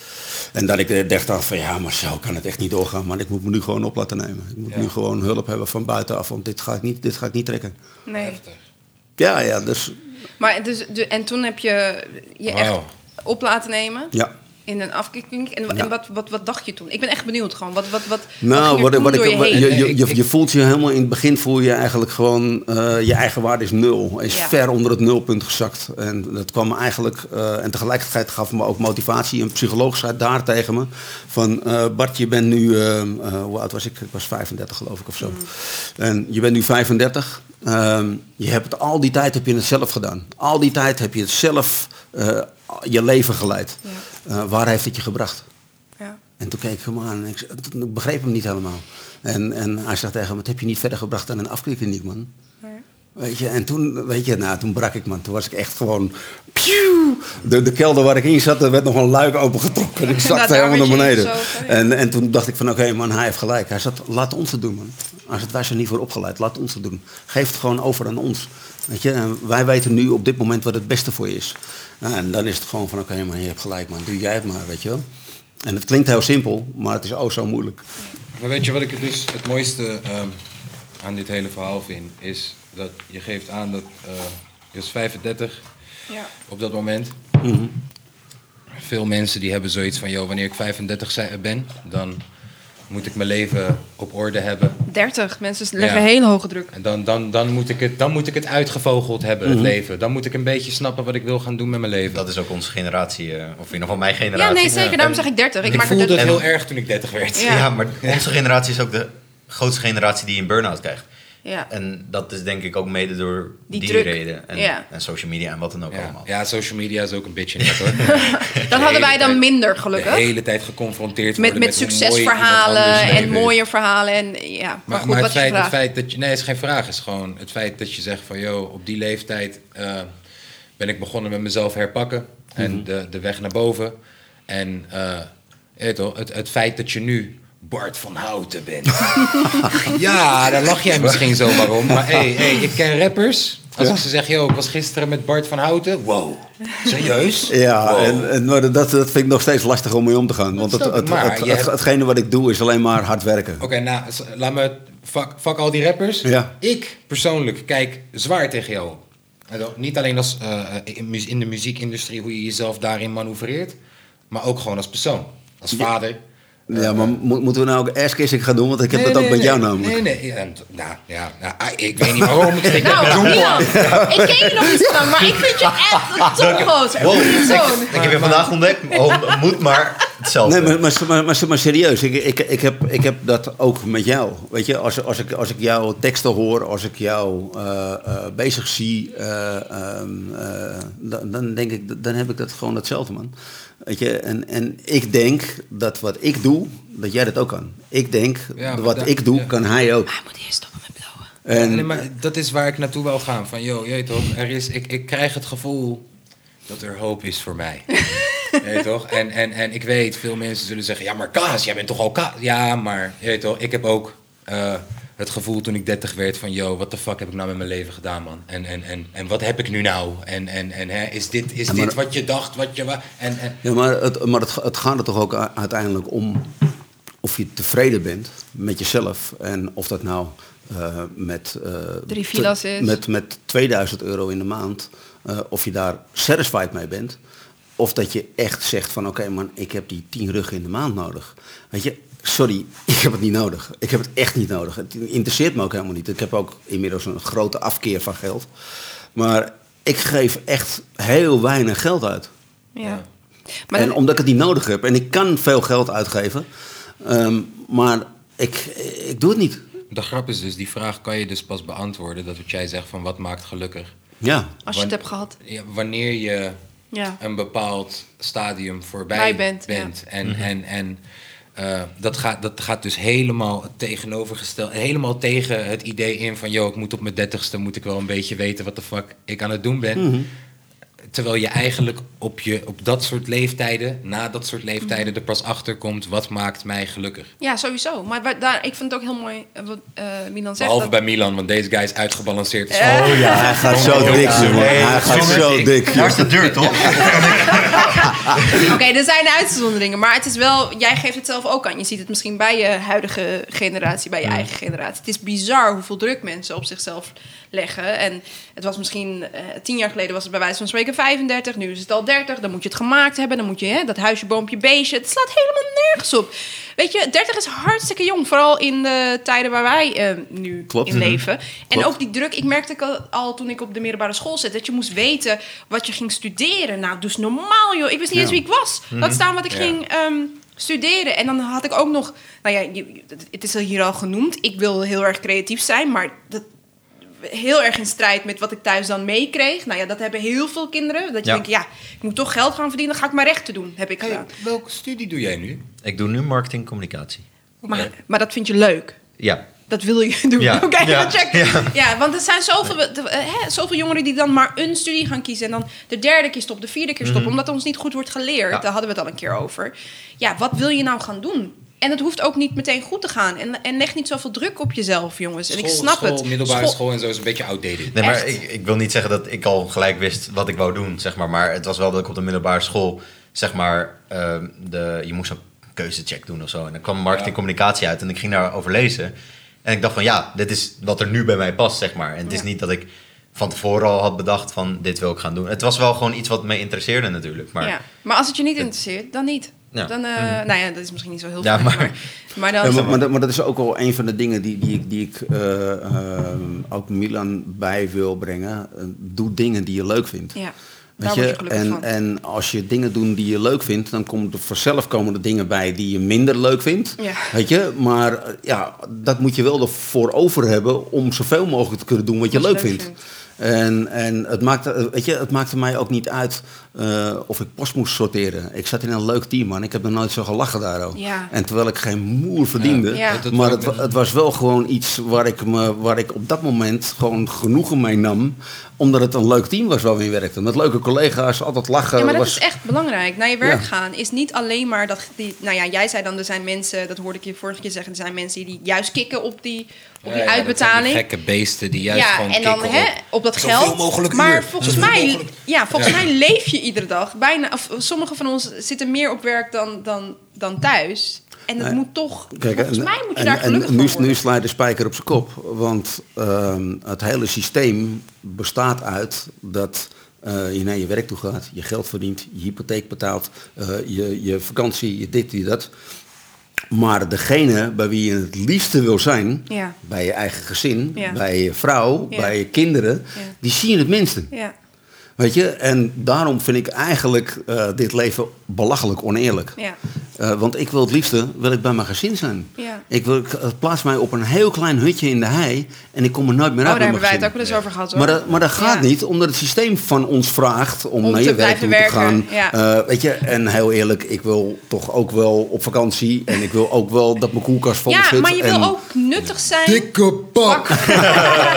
S3: En dat ik eh, dacht af van ja, maar zo kan het echt niet doorgaan. Maar ik moet me nu gewoon op laten nemen. Ik moet
S1: Ja.
S3: nu gewoon hulp hebben van buitenaf, want dit ga ik niet, dit ga ik niet trekken.
S2: Nee.
S1: Heftig.
S3: Ja, ja, dus
S2: Maar dus, de- en toen heb je je
S1: Wauw.
S2: echt op laten nemen?
S3: ja.
S2: In een afkikking. En,
S3: Ja.
S2: en wat, wat, wat dacht je toen? Ik ben echt benieuwd gewoon. Wat, wat, wat, wat
S3: Nou,
S2: ging er
S3: wat,
S2: toen
S3: wat ik,
S2: door je
S3: wat-
S2: heen?
S3: je, je,
S1: Ik-
S3: je,
S1: ik-
S3: je voelt je helemaal in het begin voel je eigenlijk gewoon eh, je eigen waarde is nul. Is
S2: Ja.
S3: ver onder het nulpunt gezakt. En dat kwam eigenlijk, eh, en tegelijkertijd gaf me ook motivatie. Een psycholoog zei daar tegen me van eh, Bart, je bent nu, eh, eh, hoe oud was ik? Ik was 35 geloof ik of zo.
S2: Mm.
S3: En je bent nu 35. Ehm, je hebt het, al die tijd heb je het zelf gedaan. Al die tijd heb je het zelf eh, je leven geleid.
S2: Ja.
S3: Eh, waar heeft het je gebracht?
S2: Ja.
S3: En toen keek ik hem aan en ik, ik begreep hem niet helemaal. En, en hij zegt tegen me, wat heb je niet verder gebracht dan een afklikkliniek, man?
S2: Nee.
S3: Weet je, en toen, weet je, nou, toen brak ik, man. Toen was ik echt gewoon, pjoe! De, de kelder waar ik in zat, er werd nog een luik opengetrokken. En ik
S2: Nou,
S3: zakte
S2: daar
S3: helemaal
S2: werd
S3: naar
S2: je dus
S3: beneden.
S2: ingezogen, ja.
S3: En, en toen dacht ik van, oké, man, hij heeft gelijk. Hij zat, laat ons het doen, man. Hij zat, wij zijn niet voor opgeleid, laat ons het doen. Geef het gewoon over aan ons. Weet je, en wij weten nu op dit moment wat het beste voor je is. Nou, en dan is het gewoon van, oké, man, je hebt gelijk, man. Doe jij het maar, weet je wel. En het klinkt heel simpel, maar het is ook zo moeilijk.
S1: Maar weet je wat ik het dus het mooiste ehm, aan dit hele verhaal vind? Is dat je geeft aan dat eh, je was 35
S2: Ja.
S1: op dat moment. Veel mensen die hebben zoiets van, joh, wanneer ik 35 zij- ben, dan moet ik mijn leven op orde hebben.
S2: 30. Mensen leggen
S1: Ja.
S2: hele hoge druk.
S1: En dan, dan, dan, moet ik het, dan moet ik het uitgevogeld hebben, het leven. Dan moet ik een beetje snappen wat ik wil gaan doen met mijn leven.
S4: Dat is ook onze generatie, eh, of in ieder geval mijn
S2: Ja,
S4: generatie.
S2: nee, zeker. Daarom zeg ik 30. Ik,
S1: ik
S2: maak er
S1: voelde dat
S2: 30.
S1: heel erg toen ik 30 werd.
S2: Ja.
S4: Ja, maar onze generatie is ook de grootste generatie die een burn-out krijgt.
S2: Ja.
S4: En dat is denk ik ook mede door
S2: Die
S4: die,
S2: druk.
S4: reden. En,
S2: Ja.
S4: en social media en wat dan ook
S1: Ja.
S4: allemaal.
S1: ja, social media is ook een bitch inderdaad, hoor.
S2: Dat hadden wij
S1: hele
S2: dan
S1: tijd-
S2: minder,
S1: De
S2: gelukkig.
S1: hele tijd geconfronteerd
S2: Met,
S1: worden
S2: met
S1: hoe mooi iemand
S2: succesverhalen
S1: anders
S2: en
S1: leeft.
S2: mooie verhalen. En, ja. Maar,
S1: Maar,
S2: goed,
S1: maar het,
S2: wat je
S1: feit, het
S2: vraagt.
S1: feit dat je. Nee, het is geen vraag. Het is gewoon het feit dat je zegt van. joh, op die leeftijd eh, ben ik begonnen met mezelf herpakken. En
S2: Mhm.
S1: de, de weg naar boven. En eh, je weet wel, het, het feit dat je nu. Bart van Houten bent. ja, daar lach jij misschien zo waarom. Maar hey, hey, ik ken rappers. Als ik ze zeg, joh, ik was gisteren met Bart van Houten. Wow, serieus?
S3: Ja,
S1: Wow.
S3: en, en maar dat, dat vind ik nog steeds lastig om mee om te gaan. Want het,
S1: snap ik,
S3: het,
S1: maar
S3: het-
S1: je
S3: het-
S1: hebt-
S3: hetgene wat ik doe is alleen maar hard werken.
S1: Oké, nou, s- laat me... Fuck, fuck al die rappers.
S3: Ja.
S1: Ik persoonlijk kijk zwaar tegen jou. op. En dan niet alleen als, eh, in, mu- in de muziekindustrie, hoe je jezelf daarin manoeuvreert. Maar ook gewoon als persoon. Als vader.
S3: Ja, maar mo- moeten we nou ook ass-kissing gaan doen? Want ik heb
S1: Nee,
S3: dat ook
S1: nee,
S3: met jou
S1: nee.
S3: namelijk.
S1: Nee, nee. ja, en t- nou, ja, nou, ah, ik weet niet waarom. Ik denk dat ik
S2: Nou,
S1: dronken
S2: Milan,
S1: was.
S2: ik ken je nog niet zo lang, maar ik vind je echt een topgozer.
S4: Wow,
S2: Een persoon.
S4: ik, ik heb je vandaag ontdekt. Oh, moet maar hetzelfde.
S3: Nee, maar, maar, maar, maar, maar serieus, ik, ik, ik, heb, ik heb dat ook met jou. Weet je, als, als, ik, als ik jouw teksten hoor, als ik jou eh, eh, bezig zie, eh, ehm, eh, dan, dan denk ik, dan heb ik dat gewoon hetzelfde, man. Weet je, en, en ik denk dat wat ik doe, dat jij dat ook kan. Ik denk,
S1: Ja, maar
S3: wat
S1: daar-
S3: ik doe,
S1: ja.
S3: kan hij ook.
S2: Hij moet eerst stoppen met blowen.
S3: En,
S1: Nee, maar dat is waar ik naartoe wil gaan. Van, joh, je weet toch, er is, ik, ik krijg het gevoel dat er hoop is voor mij. je weet toch? En, en, en ik weet, veel mensen zullen zeggen, ja, maar Kaas, jij bent toch al Kaas? Ja, maar, je weet toch, ik heb ook eh, het gevoel toen ik 30 werd van, joh, wat de fuck heb ik nou met mijn leven gedaan, man? En, en, en, en wat heb ik nu nou? En, en, en hè, is dit, is
S3: Ja, maar-
S1: dit wat je dacht, wat je... wa- En, en,
S3: Ja, maar het, maar het, het gaat er toch ook u- uiteindelijk om of je tevreden bent met jezelf. En of dat nou eh, met, eh,
S2: Drie
S3: te-
S2: villa's is.
S3: met, met 2000 euro in de maand, eh, of je daar satisfied mee bent. Of dat je echt zegt van oké man, ik heb die 10 ruggen in de maand nodig. Weet je, sorry, ik heb het niet nodig. Ik heb het echt niet nodig. Het interesseert me ook helemaal niet. Ik heb ook inmiddels een grote afkeer van geld. Maar ik geef echt heel weinig geld uit
S2: Ja. Maar
S3: en omdat ik het niet nodig heb. En ik kan veel geld uitgeven. ehm, maar ik, ik doe het niet.
S1: de grap is dus, die vraag kan je dus pas beantwoorden, dat wat jij zegt van, wat maakt gelukkig?
S3: Ja.
S2: als je het
S1: Wan-
S2: hebt gehad.
S1: Ja, wanneer je
S2: Ja.
S1: een bepaald stadium voorbij
S2: Bij bent,
S1: bent. En, en, en eh, dat, gaat, dat gaat dus helemaal het tegenovergesteld, helemaal tegen het idee in van, joh, ik moet op mijn dertigste, moet ik wel een beetje weten wat de fuck ik aan het doen ben. Terwijl je eigenlijk op, je, op dat soort leeftijden, na dat soort
S2: Mhm.
S1: leeftijden, er pas achter komt, wat maakt mij gelukkig.
S2: Ja, sowieso. Maar wa- daar, ik vind het ook heel mooi eh, wat eh, Milan zegt.
S1: Behalve
S2: dat-
S1: bij Milan, want deze guy is uitgebalanceerd. als
S2: Eh,
S1: fuck.
S3: Ja, hij gaat zo
S1: Ja.
S3: dik, jongen.
S1: Nee,
S3: Hij gaat
S1: jongen,
S3: zo
S1: ik-
S3: dik.
S4: Daar is de deur, toch?
S2: Oké, er zijn uitzonderingen. Maar het is wel, jij geeft het zelf ook aan. Je ziet het misschien bij je huidige generatie, bij je eigen generatie. Het is bizar hoeveel druk mensen op zichzelf leggen. En het was misschien eh, tien jaar geleden was het bij wijze van spreken 35. Nu is het al 30. Dan moet je het gemaakt hebben. Dan moet je hè, dat huisje, boompje, beestje. Het slaat helemaal nergens op. Weet je, 30 is hartstikke jong. Vooral in de tijden waar wij eh, nu
S3: Klopt.
S2: in leven. En
S3: Klopt.
S2: ook die druk. Ik merkte ik al, al toen ik op de middelbare school zat. Dat je moest weten wat je ging studeren. Nou, dus normaal joh. Ik wist niet eens wie ik was. Laat staan wat ik
S1: Ja.
S2: ging ehm, studeren. En dan had ik ook nog... Nou ja, je- je- het is hier al genoemd. Ik wil heel erg creatief zijn. Maar dat, heel erg in strijd met wat ik thuis dan meekreeg. Nou ja, dat hebben heel veel kinderen. Dat je
S4: Ja.
S2: denkt, ja, ik moet toch geld gaan verdienen. Ga ik maar rechten doen, heb ik
S1: Hey,
S2: gedaan.
S1: welke studie doe jij nu?
S4: Ik doe nu marketing en communicatie.
S2: Maar, maar dat vind je leuk.
S4: Ja.
S2: Dat wil je doen.
S4: Ja.
S2: Oké,
S4: Ja.
S2: dat check. Ja. want er zijn zoveel, eh, hè, zoveel jongeren die dan maar een studie gaan kiezen. En dan de derde keer stoppen, de vierde keer stoppen. Omdat ons niet goed wordt geleerd.
S4: Ja.
S2: Daar hadden we het al een keer over. Ja, wat wil je nou gaan doen? En het hoeft ook niet meteen goed te gaan. En, en leg niet zoveel druk op jezelf, jongens. En ik
S1: School-
S2: snap
S1: school,
S2: het.
S1: Middelbare
S2: School-
S1: school, en zo is een beetje outdated.
S4: Nee, maar
S2: Echt?
S4: ik, ik wil niet zeggen dat ik al gelijk wist wat ik wou doen, zeg maar. Maar het was wel dat ik op de middelbare school, zeg maar, ehm, de, je moest een keuzecheck doen of zo. En dan kwam marketing
S1: Ja.
S4: communicatie uit en ik ging daarover lezen. En ik dacht van, ja, dit is wat er nu bij mij past, zeg maar. En het is
S2: Ja.
S4: niet dat ik van tevoren al had bedacht van, dit wil ik gaan doen. Het was wel gewoon iets wat me interesseerde natuurlijk. Maar
S2: ja. maar als het je niet interesseert, dan niet.
S4: Ja.
S2: Dan, eh, Nou ja, dat is misschien niet zo heel
S4: Ja,
S2: fijn,
S4: maar-
S2: maar, maar dan...
S3: Ja, maar, maar, dat, maar dat is ook wel een van de dingen die, die ik, die ik eh, ehm, ook Milan bij wil brengen. Eh, Doe dingen die je leuk vindt.
S2: Ja,
S3: Weet
S2: daar
S3: je?
S2: word je gelukkig
S3: en,
S2: van.
S3: en als je dingen doet die je leuk vindt, dan komen er vanzelf komen er dingen bij die je minder leuk vindt.
S2: Ja.
S3: Weet je? Maar eh, ja, dat moet je wel ervoor over hebben om zoveel mogelijk te kunnen doen wat je
S2: Wat
S3: leuk vindt. En, en het, maakte, eh, weet je, het maakte mij ook niet uit eh, of ik post moest sorteren. Ik zat in een leuk team, man. Ik heb nog nooit zo gelachen daarover.
S2: Ja.
S3: En terwijl ik geen moer verdiende.
S2: Ja.
S1: Dat- dat
S3: Maar
S1: ook
S3: het, wa- het was wel gewoon iets waar ik, me, waar ik op dat moment gewoon genoegen mee nam. Omdat het een leuk team was waar we in werkten. Met leuke collega's, altijd lachen.
S1: Eh,
S2: Ja, maar dat
S3: was,
S2: is echt belangrijk. Naar je werk
S3: Ja.
S2: gaan is niet alleen maar dat die. Nou ja, jij zei dan, er zijn mensen, dat hoorde ik je vorige keer zeggen, er zijn mensen die juist kikken op die, op die
S1: Ja, ja, dat zijn
S2: uitbetaling.
S1: die gekke beesten die juist
S2: ja,
S1: gewoon
S2: en dan
S1: kikken
S2: hè,
S1: op-
S2: op dat
S1: Zoveel
S2: geld.
S1: mogelijk
S2: maar
S1: uur.
S2: volgens
S1: Zoveel
S2: mij,
S1: mogelijk-
S2: ja, volgens
S1: Ja.
S2: mij leef je iedere dag. Bijna, of sommige van ons zitten meer op werk dan, dan, dan thuis. En dat moet toch.
S3: Kijk,
S2: volgens
S3: en-
S2: mij moet je
S3: en-
S2: daar
S3: en
S2: gelukkig
S3: nu,
S2: van worden.
S3: nu slaat de spijker op zijn kop. Want ehm, het hele systeem bestaat uit dat eh, je naar je werk toe gaat, je geld verdient, je hypotheek betaalt, eh, je, je vakantie, je dit, je dat. Maar degene bij wie je het liefste wil zijn,
S2: Ja.
S3: bij je eigen gezin,
S2: Ja.
S3: bij je vrouw,
S2: Ja.
S3: bij je kinderen,
S2: Ja.
S3: die zie je het minste.
S2: ja.
S3: Weet je, en daarom vind ik eigenlijk eh, dit leven belachelijk oneerlijk.
S2: Ja.
S3: Eh, want ik wil het liefste wil ik bij mijn gezin zijn.
S2: Ja.
S3: Ik, wil, ik eh, plaats mij op een heel klein hutje in de hei en ik kom er nooit meer
S2: Oh,
S3: uit.
S2: daar hebben
S3: bij
S2: wij
S3: mijn
S2: het ook
S3: gezin.
S2: wel eens over gehad. Hoor.
S3: Maar dat, maar dat gaat
S2: Ja.
S3: niet, omdat het systeem van ons vraagt om,
S2: Om
S3: naar
S2: te
S3: je werk toe
S2: blijven
S3: te gaan.
S2: werken, ja.
S3: Eh, weet je, en heel eerlijk, ik wil toch ook wel op vakantie en ik wil ook wel dat mijn koelkast vol
S2: Ja,
S3: zit.
S2: maar je
S3: en-
S2: wil ook nuttig zijn.
S1: Dikke pak!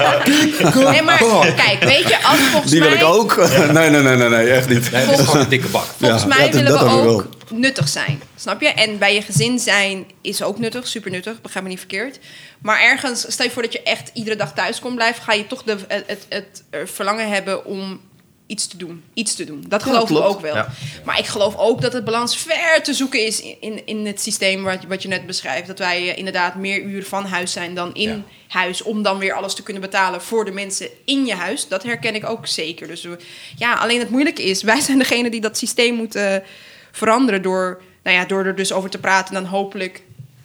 S2: Nee, maar kijk, weet je, als volgens
S3: Die wil
S2: mij...
S3: ik ook. nee, nee, nee, nee, nee, echt niet.
S1: Nee, dat is gewoon een dikke bak.
S2: Volgens
S3: Ja,
S2: mij
S3: dat-
S2: willen
S3: dat
S2: we
S3: hebben we
S2: ook nuttig zijn. Snap je? En bij je gezin zijn is ook nuttig, super nuttig, begrijp me niet verkeerd. Maar ergens, stel je voor dat je echt iedere dag thuis komt blijven, ga je toch de, het, het, het eh, verlangen hebben om iets te doen. Iets te doen. Dat geloof ik
S3: klopt.
S2: ook wel.
S4: Ja.
S2: Maar ik geloof ook dat het balans ver te zoeken is in- in, in het systeem wat, je- wat je net beschrijft. Dat wij eh, inderdaad meer uren van huis zijn dan in
S1: Ja.
S2: huis. Om dan weer alles te kunnen betalen voor de mensen in je huis. Dat herken ik ook zeker. Dus we- ja, alleen het moeilijke is, wij zijn degene die dat systeem moeten eh, veranderen. Door, nou ja, door er dus over te praten en dan hopelijk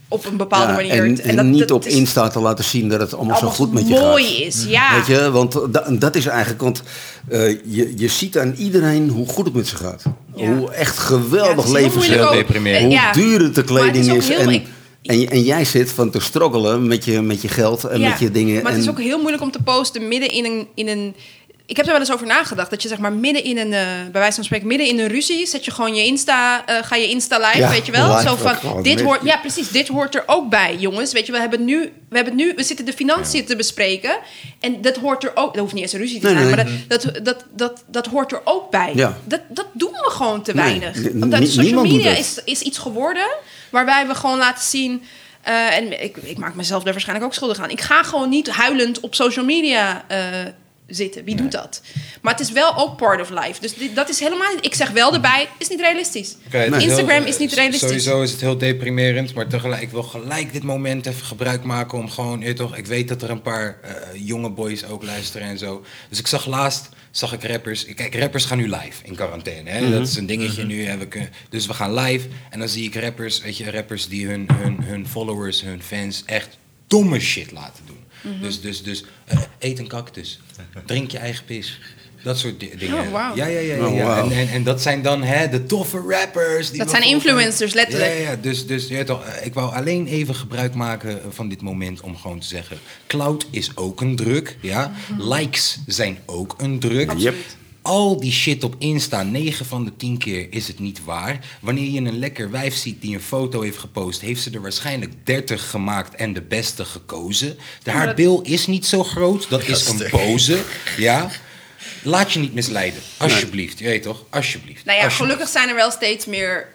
S2: op een bepaalde
S3: Ja,
S2: manier.
S3: en,
S2: het-
S3: en
S2: dat-
S3: niet
S2: dat
S3: op
S2: is
S3: Insta te laten zien dat het allemaal,
S2: allemaal
S3: zo goed met je gaat. Hm.
S2: mooi is. Ja.
S3: Weet je, want da- dat is eigenlijk, want eh, je, je ziet aan iedereen hoe goed het met ze gaat.
S2: Ja.
S3: Hoe echt
S2: Ja, het
S3: geweldig
S2: is heel
S3: leven ze
S2: moeilijk
S1: heel
S2: ook.
S1: deprimerend.
S2: Eh,
S3: Hoe
S2: ja.
S3: duur het de
S2: Maar het
S3: kleding
S2: ook
S3: is.
S2: heel-
S3: en,
S2: ik-
S3: en, en jij zit van te struggelen met je, met je geld en
S2: Ja,
S3: met je dingen.
S2: Maar
S3: en,
S2: het is ook heel moeilijk om te posten midden in een, in een ik heb er wel eens over nagedacht. Dat je zeg maar midden in een, eh, bij wijze van spreken, midden in een ruzie, zet je gewoon je Insta, eh, ga je Insta live,
S3: Ja,
S2: weet je wel.
S3: live
S2: Zo
S3: ook
S2: van,
S3: gewoon
S2: dit
S3: midden-
S2: hoort, ja precies, dit hoort er ook bij, jongens. Weet je, we hebben nu, we hebben nu, we zitten de financiën te bespreken. En dat hoort er ook, dat hoeft niet eens een ruzie te
S3: Nee,
S2: zijn,
S3: nee,
S2: maar dat, dat, dat, dat, dat hoort er ook bij.
S3: Ja.
S2: Dat, dat doen we gewoon te
S3: Nee,
S2: weinig.
S3: n-
S2: Want uit
S3: nie-
S2: social
S3: niemand doet
S2: media
S3: het.
S2: is, is iets geworden waarbij we gewoon laten zien. eh, en ik, ik maak mezelf daar waarschijnlijk ook schuldig aan. Ik ga gewoon niet huilend op social media eh, zitten. Wie doet dat? Maar het is wel ook part of life. Dus dit- dat is helemaal niet. Ik zeg wel erbij, is niet realistisch.
S1: Oké, het
S2: Instagram
S1: heel-
S2: is niet
S1: s-
S2: realistisch.
S1: Sowieso is het heel deprimerend, maar tegelijk, ik wil gelijk dit moment even gebruik maken om gewoon, je weet toch, ik weet dat er een paar eh, jonge boys ook luisteren en zo. Dus ik zag laatst, zag ik rappers, kijk, rappers gaan nu live in quarantaine, hè? dat is een dingetje nu, hè? We kun- dus we gaan live en dan zie ik rappers, weet je, rappers die hun, hun, hun followers, hun fans echt domme shit laten doen.
S2: Mhm.
S1: Dus, dus, dus eh, eet een cactus, drink je eigen pis. Dat soort di- dingen.
S2: Oh, wauw.
S1: Ja, ja, ja. ja,
S3: Oh,
S1: ja.
S3: wauw.
S1: En- en, en dat zijn dan hè, de toffe rappers. Die
S2: Dat
S1: we
S2: zijn
S1: volgen.
S2: influencers, letterlijk.
S1: Ja, ja, ja. dus, dus je weet toch, eh, ik wou alleen even gebruik maken eh, van dit moment om gewoon te zeggen... cloud is ook een druk, ja.
S2: Mhm.
S1: Likes zijn ook een druk.
S3: Yep.
S1: Al die shit op Insta, 9 van de 10 keer is het niet waar. Wanneer je een lekker wijf ziet die een foto heeft gepost, heeft ze er waarschijnlijk 30 gemaakt en de beste gekozen. De, haar bil is niet zo groot, dat is een
S4: Gasten.
S1: pose. Ja. Laat je niet misleiden, alsjeblieft. Je weet toch, alsjeblieft.
S2: Nou ja,
S1: Alsjeblieft.
S2: gelukkig zijn er wel steeds meer.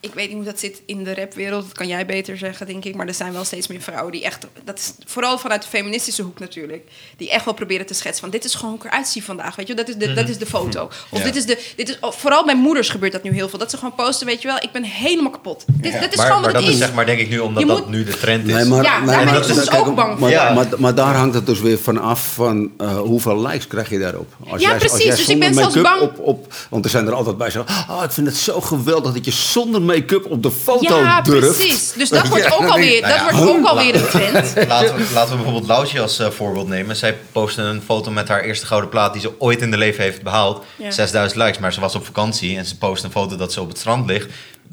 S2: Ik weet niet hoe dat zit in de rapwereld, dat kan jij beter zeggen, denk ik. Maar er zijn wel steeds meer vrouwen die echt. Dat is vooral vanuit de feministische hoek natuurlijk. Die echt wel proberen te schetsen van: dit is gewoon hoe ik eruit zie vandaag. Weet je, wel, dat is de, dat is de foto. Of
S1: Ja.
S2: dit is de. Dit is, oh, vooral bij moeders gebeurt dat nu heel veel. Dat ze gewoon posten: weet je wel, ik ben helemaal kapot. Dit, dat is
S4: maar,
S2: gewoon wat
S4: maar dat
S2: het is.
S4: is zeg maar denk ik nu omdat
S2: Je
S4: dat
S2: moet-
S4: nu de trend is.
S3: Nee, maar,
S2: Ja,
S3: nee,
S2: daar ben
S3: maar-
S2: ik dus
S3: kijk,
S2: ook bang
S3: Maar,
S4: voor. Ja.
S3: maar, maar daar hangt het dus weer van af van eh, hoeveel likes krijg je daarop. Als
S2: Ja,
S3: jij,
S2: precies,
S3: Als jij
S2: dus ik
S3: zonder
S2: ben zelfs
S3: make-up
S2: bang-
S3: Op, op, want er zijn er altijd bij zo. Oh, ik vind het zo geweldig dat je zonder make-up op de foto
S2: ja,
S3: durft.
S2: precies. Dus dat wordt
S3: Ja,
S2: ook
S3: dan denk
S2: alweer,
S3: ik,
S2: dat
S4: nou ja.
S2: wordt ook alweer een trend.
S4: Laten we, laten we bijvoorbeeld Loutje als eh, voorbeeld nemen. Zij postte een foto met haar eerste gouden plaat die ze ooit in de leven heeft behaald.
S2: Ja.
S4: 6000 likes, maar ze was op vakantie en ze postte een foto dat ze op het strand ligt.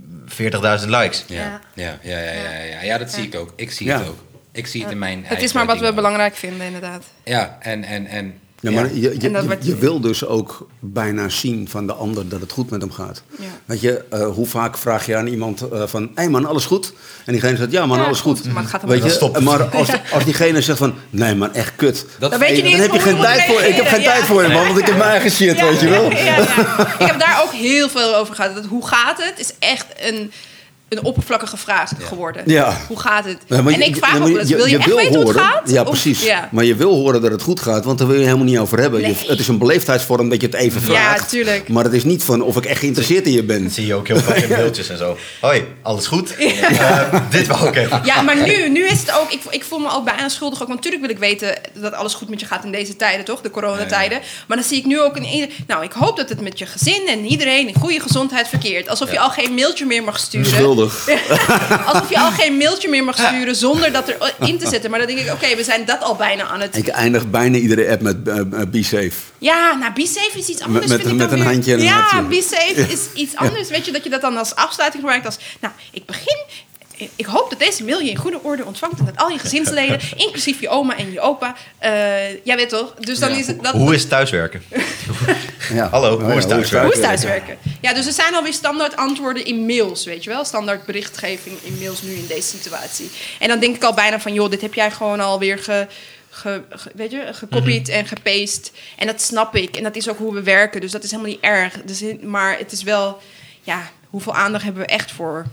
S4: 40.000 likes.
S1: Ja, ja, ja, ja, ja, ja. ja dat zie ik ook. Ik zie
S3: Ja.
S1: het ook. Ik zie het in mijn
S2: Het is
S1: eigen
S2: maar wat
S1: dingen
S2: we
S1: ook.
S2: belangrijk vinden, inderdaad.
S1: Ja, en... en, en
S3: Ja, maar je, je,
S2: En dat
S3: je,
S2: wordt-
S3: je wil dus ook bijna zien van de ander dat het goed met hem gaat.
S2: Ja.
S3: Weet je, eh, hoe vaak vraag je aan iemand eh, van, hé man, alles goed? En diegene zegt, ja man,
S2: Ja,
S3: alles goed.
S2: goed, maar het gaat hem
S3: Weet
S2: wel.
S3: je, eh,
S4: Dan stopt het.
S3: maar als, als diegene zegt van, nee man, echt kut.
S1: Dat-
S2: Dan weet je
S3: dan
S2: niet eens
S3: heb je
S2: hoe je
S3: geen
S2: moet
S3: tijd voor. Ik heb geen
S2: reageren,
S3: tijd
S2: ja.
S3: voor hem, man, want ik heb mijn eigen shit, weet je wel.
S2: Ja, ja, ja. Ik heb daar ook heel veel over gehad. Dat hoe gaat het? Is echt een, een oppervlakkige vraag geworden.
S3: Ja.
S2: Hoe gaat het?
S3: Ja, maar
S2: en
S3: je-
S2: ik vraag
S3: ja, maar
S2: ook wel eens, wil je, echt
S3: wil
S2: weten hoe
S3: horen-
S2: het gaat?
S3: Ja,
S2: Of-
S3: precies.
S2: ja.
S3: Maar je wil horen dat het goed gaat, want daar wil je helemaal niet over hebben. Je-
S2: Nee.
S3: het is een beleefdheidsvorm dat je het even
S2: Ja,
S3: vraagt.
S2: tuurlijk.
S3: Maar het is niet van of ik echt geïnteresseerd in je ben.
S4: Dat zie je ook heel vaak in beeldjes en zo. Hoi, alles goed? Eh, dit wou ik even.
S3: Ah,
S2: Ja, maar nu, nu is het ook. Ik, ik voel me ook bijna schuldig. Ook, want natuurlijk wil ik weten dat alles goed met je gaat in deze tijden, toch? De coronatijden. Maar dan zie ik nu ook in ieder. Nou, ik hoop dat het met je gezin en iedereen in goede gezondheid verkeert. Alsof je al geen mailtje meer mag sturen.
S3: Schuldig.
S2: Alsof je al geen mailtje meer mag sturen zonder dat er in te zetten. Maar dan denk ik, oké, we zijn dat al bijna aan het
S3: Ik eindig bijna iedere app met eh, eh, be safe.
S2: Ja, nou, be safe is iets anders.
S3: met-
S2: vind ik
S3: met
S2: dan
S3: een
S2: weer.
S3: handje en een
S2: Ja,
S3: hartje.
S2: be safe is iets anders. Weet je, dat je dat dan als afsluiting gebruikt als... Nou, ik begin... Ik hoop dat deze mail je in goede orde ontvangt... en dat al je gezinsleden, inclusief je oma en je opa... eh jij weet toch? Dus dan
S1: Ja.
S2: is het... Dat,
S4: Hoe is thuiswerken?
S3: Ja. Oh
S4: Hallo,
S3: Ja,
S4: hoe is
S3: ja,
S4: thuiswerken?
S2: hoe is thuiswerken? Ja, dus er zijn alweer standaard antwoorden in mails, weet je wel? Standaard berichtgeving in mails nu in deze situatie. En dan denk ik al bijna van, joh, dit heb jij gewoon alweer ge, ge, ge- weet je, gekopied en gepaced. En dat snap ik. En dat is ook hoe we werken. Dus dat is helemaal niet erg. Dus, maar het is wel, ja, hoeveel aandacht hebben we echt voor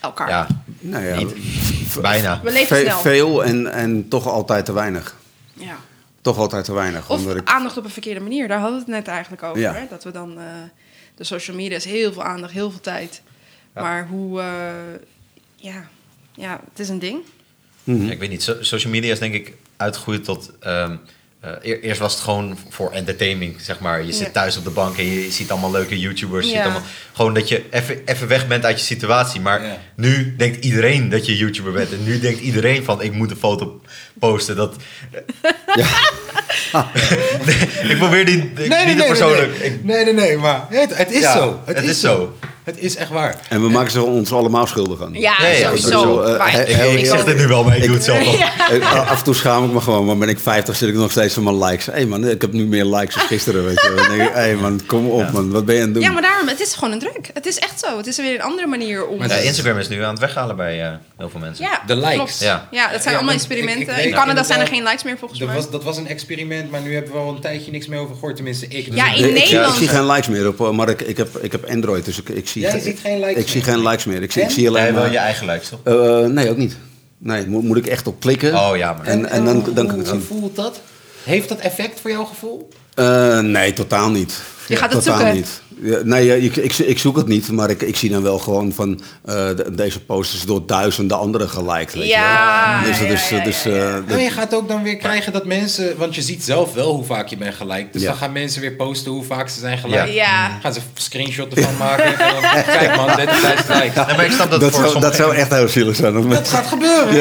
S2: elkaar?
S4: Ja,
S3: Nou ja,
S4: Niet. bijna.
S2: We leven
S3: ve-
S2: snel.
S3: veel en, en toch altijd te weinig.
S2: Ja.
S3: Toch altijd te weinig.
S2: Of
S3: omdat ik-
S2: aandacht op een verkeerde manier. Daar hadden we het net eigenlijk over.
S3: Ja.
S2: Hè? Dat we dan... eh, de social media is heel veel aandacht, heel veel tijd. Maar hoe... eh, ja. ja, het is een ding.
S4: Ja, ik weet niet, so- social media is denk ik uitgegroeid tot... ehm, eh, eer- eerst was het gewoon voor entertaining, zeg maar. Je
S2: Ja.
S4: zit thuis op de bank en je ziet allemaal leuke YouTubers. je
S2: Ja.
S4: Ziet allemaal, gewoon dat je even- even weg bent uit je situatie. Maar
S1: Ja.
S4: nu denkt iedereen dat je YouTuber bent. En nu denkt iedereen van, ik moet een foto posten. Dat... ik probeer die, ik-
S1: Nee, nee, nee,
S4: niet te persoonlijk.
S1: Nee,
S4: Ik-
S1: nee, nee, nee, maar het, het is
S4: ja,
S1: zo.
S4: Het, is zo.
S1: Het is echt waar.
S3: En we maken ze ons allemaal schuldig aan.
S2: Ja,
S4: Ja, ja,
S2: sowieso.
S3: sowieso, eh,
S2: Maar-
S3: hij-
S4: Ik, ik zeg dit nu wel, maar ik doe het zelf nog.
S3: Eh, Af en toe schaam ik me gewoon, maar ben ik 50 zit ik nog steeds van mijn likes. Hé man, ik heb nu meer likes dan gisteren, weet je. wel. Dan denk ik, hé man, kom op man, wat ben je aan het doen?
S2: Ja, maar daarom, het is gewoon een druk. Het is echt zo. Het is weer een andere manier om...
S1: Maar
S4: Ja,
S1: dat-
S4: Instagram is nu aan het weghalen bij eh, heel veel mensen.
S2: Ja,
S1: De likes.
S2: klopt.
S4: Ja.
S2: Ja. dat zijn
S1: Ja,
S2: allemaal
S1: want ik-
S2: experimenten.
S1: ik weet
S2: in Canada
S1: inderdaad-
S2: zijn er geen likes meer volgens
S1: Dat
S2: mij.
S1: was, dat was een experiment, maar nu hebben we al een tijdje niks meer over gehoord. Tenminste, ik.
S2: Ja,
S1: Dus
S2: in
S1: ik-
S3: ik, ik,
S2: Nederland.
S3: zie geen likes meer op, eh, maar ik, ik, heb, ik heb Android, dus ik, ik zie,
S1: Jij ziet geen likes
S3: ik zie
S1: meer.
S3: geen likes meer. Ik zie, ik
S1: En?
S3: zie alleen
S4: Jij wil
S3: maar-
S4: je eigen likes, toch?
S3: Eh, nee, ook niet. Nee, moet, moet ik echt op klikken.
S4: Oh, ja, maar-
S3: En, en dan, dan kan ik het
S1: Hoe
S3: zien.
S1: voelt dat? Heeft dat effect voor jouw gevoel?
S3: Eh, nee, totaal niet.
S2: Je gaat het
S3: totaal
S2: zoeken.
S3: Niet. Ja, nee, ja, ik, ik, ik zoek het niet, maar ik, ik zie dan wel gewoon van eh, de- deze post is door duizenden anderen geliked. Weet
S2: Ja,
S3: Je wel. Dus dat
S2: ja,
S3: is.
S2: ja, Oh,
S3: dat is, eh, dat-
S1: Nou, je gaat ook dan weer krijgen dat mensen... Want je ziet zelf wel hoe vaak je bent gelijk. Dus
S3: Ja.
S1: dan gaan mensen weer posten hoe vaak ze zijn gelijk.
S2: Ja. Ja.
S1: Gaan ze een screenshot ervan maken. en van, Kijk man, 30.000 likes.
S4: Nee, maar ik snap dat,
S3: dat,
S4: voor
S3: zou, dat
S4: sommige...
S3: zou echt heel zielig zijn. als
S1: Dat
S3: mensen-
S1: gaat gebeuren.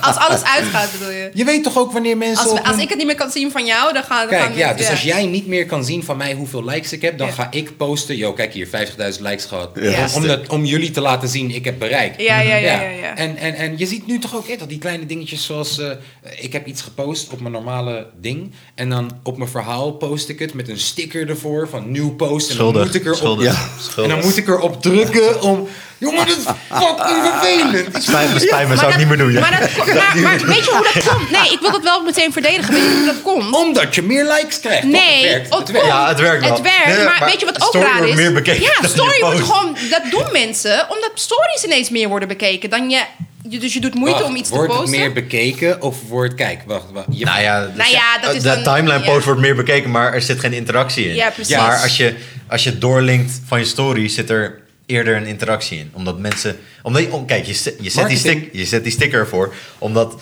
S2: Als alles uitgaat, bedoel je?
S1: Je weet toch ook wanneer mensen...
S2: Als,
S1: op
S2: als
S1: hun-
S2: ik het niet meer kan zien van jou, dan gaan, dan gaan
S1: Kijk, ja,
S2: mensen-
S1: dus als jij niet meer kan zien van mij hoeveel likes ik heb, dan
S2: Ja.
S1: ga ik posten. Yo, kijk hier, 50.000 likes gehad.
S2: Ja.
S1: Om, om dat, om jullie te laten zien, ik heb bereik.
S2: Ja, ja, ja, ja, ja.
S1: En, en, en je ziet nu toch ook eh, dat die kleine dingetjes zoals... eh, ik heb iets gepost op mijn normale ding. En dan op mijn verhaal post ik het met een sticker ervoor van nieuw post. En dan moet ik erop...
S4: schuldig.
S3: Ja.
S1: En
S4: schuldig.
S1: dan moet ik erop drukken om... Jongen, dat is fucking vervelend. Ik-
S4: Spijt me, spijt me,
S2: Maar
S4: zou ik
S2: dat-
S4: niet meer doen. ja.
S2: Maar, dat, maar, maar weet je hoe dat komt? Nee, ik wil dat wel meteen verdedigen. Weet je hoe dat komt?
S1: Omdat je meer likes krijgt. toch?
S2: Nee,
S1: het werkt. Het
S2: op-
S1: werkt.
S4: Ja, het werkt wel.
S2: Het werkt,
S4: Nee, nee,
S2: maar,
S4: maar
S2: weet je wat ook
S4: story
S2: raar
S4: wordt
S2: is?
S4: meer bekeken dan
S2: ja,
S4: je
S2: story wordt
S4: post.
S2: gewoon... Dat doen mensen omdat stories ineens meer worden bekeken dan je... je- Dus je doet moeite
S1: Wacht,
S2: om iets te
S1: wordt het
S2: posten.
S1: meer bekeken of wordt... Kijk, wacht, wacht. Je-
S4: Nou ja, dus
S2: Nou ja, dat
S4: eh,
S2: is
S4: de
S2: dan-
S4: timeline post
S2: ja.
S4: wordt meer bekeken, maar er zit geen interactie in.
S2: Ja, precies.
S4: Maar als je, als je doorlinkt van je story, zit er eerder een interactie in. Omdat mensen... Omdat, je- oh, kijk, je, zet- je, zet die
S1: Marketing.
S4: stick, je zet die sticker ervoor, omdat...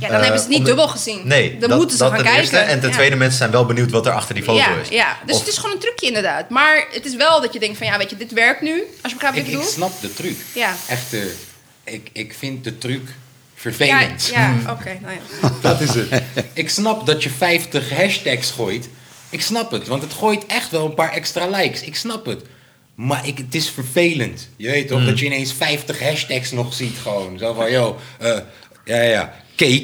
S2: Ja, dan
S4: eh,
S2: hebben ze het niet
S4: omdat-
S2: dubbel gezien.
S4: Nee,
S2: dan
S4: dat,
S2: moeten ze
S4: dat
S2: gaan
S4: ten
S2: kijken.
S4: eerste. en ten
S2: Ja.
S4: tweede, mensen zijn wel benieuwd wat er achter die foto
S2: ja,
S4: is.
S2: Ja, dus
S4: Of-
S2: het is gewoon een trucje inderdaad. Maar het is wel dat je denkt van ja, weet je, dit werkt nu. Als je begrijpt wat
S1: Ik,
S2: ik,
S1: ik
S2: bedoel.
S1: snap de truc.
S2: Ja.
S1: Echter, ik, ik vind de truc
S2: Ja,
S1: vervelend.
S2: ja oké. nou ja.
S1: Dat is het. ik snap dat je 50 hashtags gooit. Ik snap het, want het gooit echt wel een paar extra likes. Ik snap het. Maar ik, het is vervelend. Je weet toch, dat je ineens 50 hashtags nog ziet gewoon. Zo van, joh, eh, ja, ja, cake,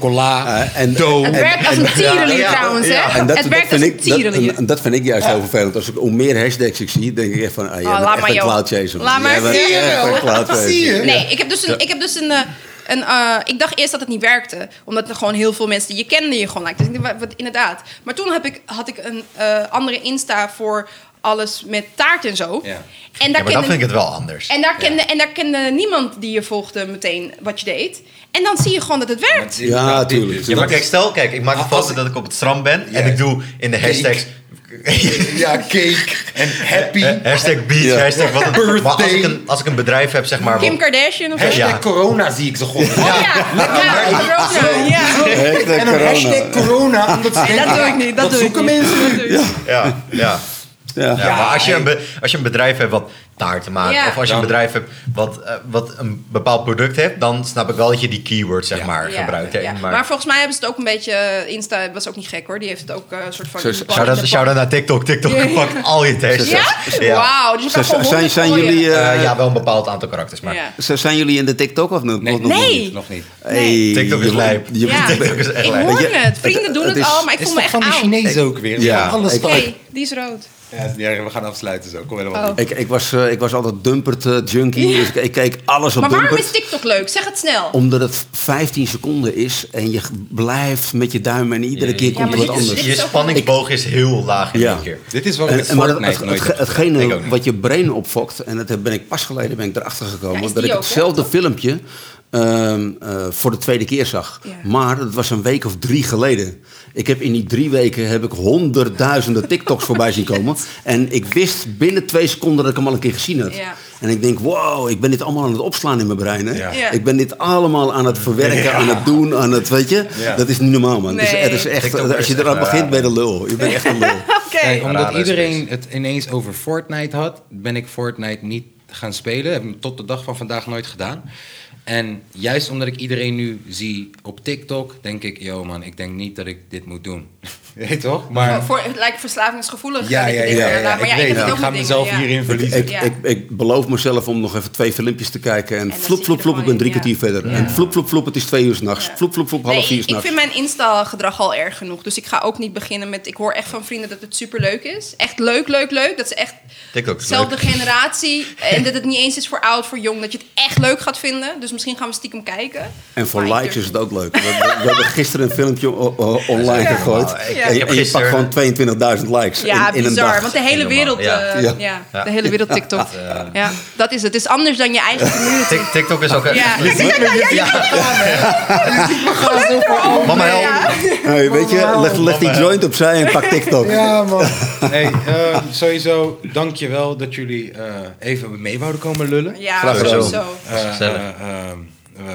S1: chocola,
S3: Eh, en-
S1: dough.
S2: Het werkt als een tierenlier trouwens,
S4: ja.
S2: hè?
S3: En
S2: het
S3: dat, dat
S2: werkt als
S3: vind
S2: een
S3: ik, dat,
S2: tierenlier.
S3: en- en dat vind ik juist heel vervelend. Als ik hoe meer hashtags ik zie, denk ik echt van, ah, jij
S2: Oh,
S3: bent
S2: laat
S3: echt
S2: maar,
S3: een
S2: joh.
S3: cloud chaser.
S2: Laat maar,
S3: Jij bent
S2: zie je
S3: echt
S1: wel.
S3: een cloud chaser.
S1: Zie je?
S2: Nee, ik heb dus een. Ik, heb dus een, eh, een eh, ik dacht eerst dat het niet werkte. Omdat er gewoon heel veel mensen die je kende je gewoon likten. Dus ik dacht, wat, wat- inderdaad. Maar toen heb ik, had ik een eh, andere Insta voor alles met taart en zo.
S1: Ja.
S2: En
S4: Ja,
S2: daar
S4: maar
S2: kende,
S4: dan vind ik het wel anders.
S2: en daar kende, en daar kende niemand die je volgde meteen wat je deed. En dan zie je gewoon dat het werkt.
S3: Ja, tuurlijk.
S4: Ja, maar
S1: dat
S4: kijk,
S1: is-
S4: stel, kijk, ik maak een
S1: Ah, als
S4: foto
S1: ik-
S4: dat ik op het strand ben en
S1: Ja.
S4: ik doe in de hashtags... Eh.
S1: Ja, cake en happy.
S4: hashtag beach,
S3: Ja.
S4: hashtag wat een,
S1: Birthday.
S4: maar als ik een, als ik een bedrijf heb, zeg maar...
S2: Kim
S4: wat-
S2: Kardashian of zo.
S1: Hashtag
S4: Ja.
S1: corona zie ik ze gewoon.
S2: Ja, ja, corona, ja.
S3: Hashtag
S1: En een hashtag corona. Omdat ze denken,
S2: dat doe ik niet, dat doe ik
S1: zoeken
S2: niet.
S1: mensen nu.
S2: Ja.
S4: ja, ja.
S3: Ja.
S4: Ja, maar als je, een be- als je een bedrijf hebt wat taarten maakt,
S2: Ja.
S4: of als je
S1: Dan-
S4: een bedrijf hebt wat, eh, wat een bepaald product hebt, dan snap ik wel dat je die keywords zeg
S1: Ja.
S4: maar
S2: Ja,
S4: gebruikt. hè.
S2: ja. Maar,
S4: Maar,
S2: volgens mij hebben ze het ook een beetje. eh, Insta was ook niet gek hoor. Die heeft het ook eh, een soort van.
S3: Zo-
S2: die bal in
S4: shout-out
S2: de
S4: shout-out naar TikTok. TikTok pakt al je tests.
S2: Ja? Wauw. Dus je kan gewoon
S3: Z- Zijn,
S2: honderd
S3: zijn,
S2: gooien.
S3: jullie, eh,
S4: Eh, ja, wel een bepaald aantal karakters, maar
S2: Ja.
S3: z- zijn jullie in de TikTok of nog, nog- nog
S2: Nee.
S3: niet?
S1: Nog niet, Nog niet.
S3: Hey,
S4: TikTok is
S3: je-
S4: lijp.
S3: je-
S2: Ja.
S4: TikTok is echt
S2: ik
S4: leuk.
S2: hoor
S3: Weet je,
S2: het. Vrienden
S3: het-
S2: doen het,
S3: het is-
S2: al, maar ik
S1: Is
S2: voel me
S1: toch
S2: echt
S1: van die
S2: oud.
S1: Chinezen ook weer?
S3: Ja.
S1: Alles
S3: Ik-
S1: toch?
S2: Hey, die is rood.
S1: Ja, ja, we gaan afsluiten zo. Kom helemaal
S2: Oh.
S1: goed.
S3: Ik, ik, was, eh, ik was altijd dumpert eh, junkie, dus ik, ik keek alles op
S2: Maar waarom
S3: dumpert.
S2: is TikTok leuk? Zeg het snel.
S3: Omdat het 15 seconden is en je g- blijft met je duim en iedere keer
S2: maar
S3: komt er
S2: dit
S3: wat
S2: is-
S3: anders.
S2: dit
S4: Je
S2: is ook-
S4: spanningsboog is heel laag in
S3: Ja.
S4: één keer.
S1: Dit is wat
S3: En-
S1: ik met
S3: en Eh, maar het,
S1: Fortnite
S3: het-
S1: nooit
S3: het-
S1: heb gedaan.
S3: hetgene
S4: Ik ook niet.
S3: wat je brein opfokt, en dat heb- ben ik pas geleden ben ik erachter gekomen,
S2: Ja, is
S3: dat
S2: die
S3: ik
S2: ook, hè?
S3: hetzelfde filmpje ehm, eh, voor de tweede keer zag.
S2: Ja.
S3: Maar dat was een week of drie geleden. Ik heb in die drie weken heb ik honderdduizenden TikToks voorbij zien komen. En ik wist binnen twee seconden dat ik hem al een keer gezien had.
S2: Ja.
S3: En ik denk, wow, ik ben dit allemaal aan het opslaan in mijn brein. Hè?
S1: Ja.
S2: Ja.
S3: Ik ben dit allemaal aan het verwerken, aan het doen, aan het, weet je.
S1: Ja.
S3: Dat is niet normaal, man. Het is-
S2: Nee.
S3: het is echt,
S4: TikTok
S3: als je
S4: is echt
S3: eraan
S4: een
S3: begint,
S4: raar.
S3: ben je de lul. Je bent echt een lul.
S2: Oké.
S1: Kijk, omdat
S4: Rare
S1: iedereen het ineens over Fortnite had, ben ik Fortnite niet gaan spelen. Heb hem tot de dag van vandaag nooit gedaan. En juist omdat ik iedereen nu zie op TikTok, denk ik, yo man, ik denk niet dat ik dit moet doen. Weet toch? Maar,
S2: Oh, Voor, het lijkt verslavingsgevoelig.
S1: ja,
S2: eh,
S1: ja, ja,
S2: dit
S1: ja,
S2: weer,
S1: ja,
S2: maar
S1: ik
S2: ja,
S1: weet het.
S2: heb het
S1: Ik
S2: ook
S1: ga
S2: met
S1: mezelf
S2: dingen, ja.
S1: hierin
S3: Ik,
S1: verliezen.
S3: ik,
S2: Ja.
S3: ik, ik beloof mezelf om nog even twee filmpjes te kijken. En
S2: dan
S3: vloep,
S2: zit
S3: vloep,
S2: je
S3: vloep,
S2: er
S3: ik ben drie
S2: gewoon in,
S3: kwartier verder. En vloep, vloep, vloep, het is twee uur s'nachts. Vloep, vloep, vloep, half
S2: Nee,
S3: vier
S2: ik
S3: s'nachts.
S2: vind mijn Insta-gedrag al erg genoeg. Dus ik ga ook niet beginnen met... Ik hoor echt van vrienden dat het superleuk is. Echt leuk, leuk, leuk. Dat ze echt
S4: TikTok is
S2: dezelfde
S4: leuk.
S2: generatie... en dat het niet eens is voor oud, voor jong. Dat je het echt leuk gaat vinden. Dus misschien gaan we stiekem kijken.
S3: En voor
S2: Maar ik
S3: likes
S2: durf
S3: is het ook leuk. We, we- we hebben gisteren een filmpje o- o- online
S4: Ja.
S3: gegooid.
S4: Ja.
S3: En,
S4: Ik
S3: je-
S4: heb
S3: en je pakt
S4: gisteren-
S3: gewoon 22.000 likes
S2: Ja,
S3: in, in een
S2: bizar.
S3: dag.
S2: Want de hele
S4: Helemaal,
S2: wereld... eh,
S3: ja.
S2: ja.
S4: Ja.
S2: de hele wereld TikTok. Ja. dat is het. Het is anders dan je eigen community.
S4: Tik- TikTok is ook echt
S2: Ja.
S4: leuk.
S2: Ja, ja, ja,
S4: Mama help.
S3: Hey, Nou, weet je, leg, leg die joint opzij en pak TikTok.
S1: Ja, man. Hey, eh, sowieso, dank je wel dat jullie eh, even mee wouden komen lullen.
S2: Ja,
S3: Graag gedaan.
S2: sowieso.
S1: Eh,
S4: Gezellig.
S1: eh, eh,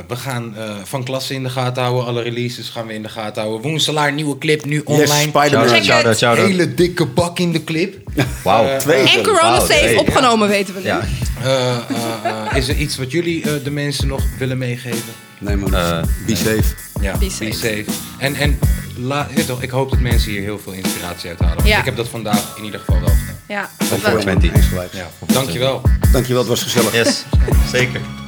S1: we gaan eh, van klasse in de gaten houden. Alle releases gaan we in de gaten houden. Woenselaar, nieuwe clip, nu
S3: Yes,
S1: online.
S3: Spider-Man.
S2: Check it.
S4: Shout-out, shout-out.
S1: Hele dikke bak in de clip.
S4: Wauw.
S3: Twee.
S2: En corona
S4: Wauw,
S2: safe
S4: nee,
S2: opgenomen, weten we nu.
S4: Ja.
S1: Eh, eh, eh, is er iets wat jullie eh, de mensen nog willen meegeven?
S3: Nee man,
S4: Eh,
S3: be safe.
S1: Ja, be safe.
S2: safe.
S1: En, en la, weet je toch, ik hoop dat mensen hier heel veel inspiratie uit halen.
S2: Ja.
S1: Ik heb dat vandaag in ieder geval wel gedaan.
S2: Ja.
S3: Dankjewel man,
S4: Twenty.
S3: eens gelijk.
S1: Ja. Dankjewel.
S3: Dankjewel, het was gezellig.
S4: Yes, zeker.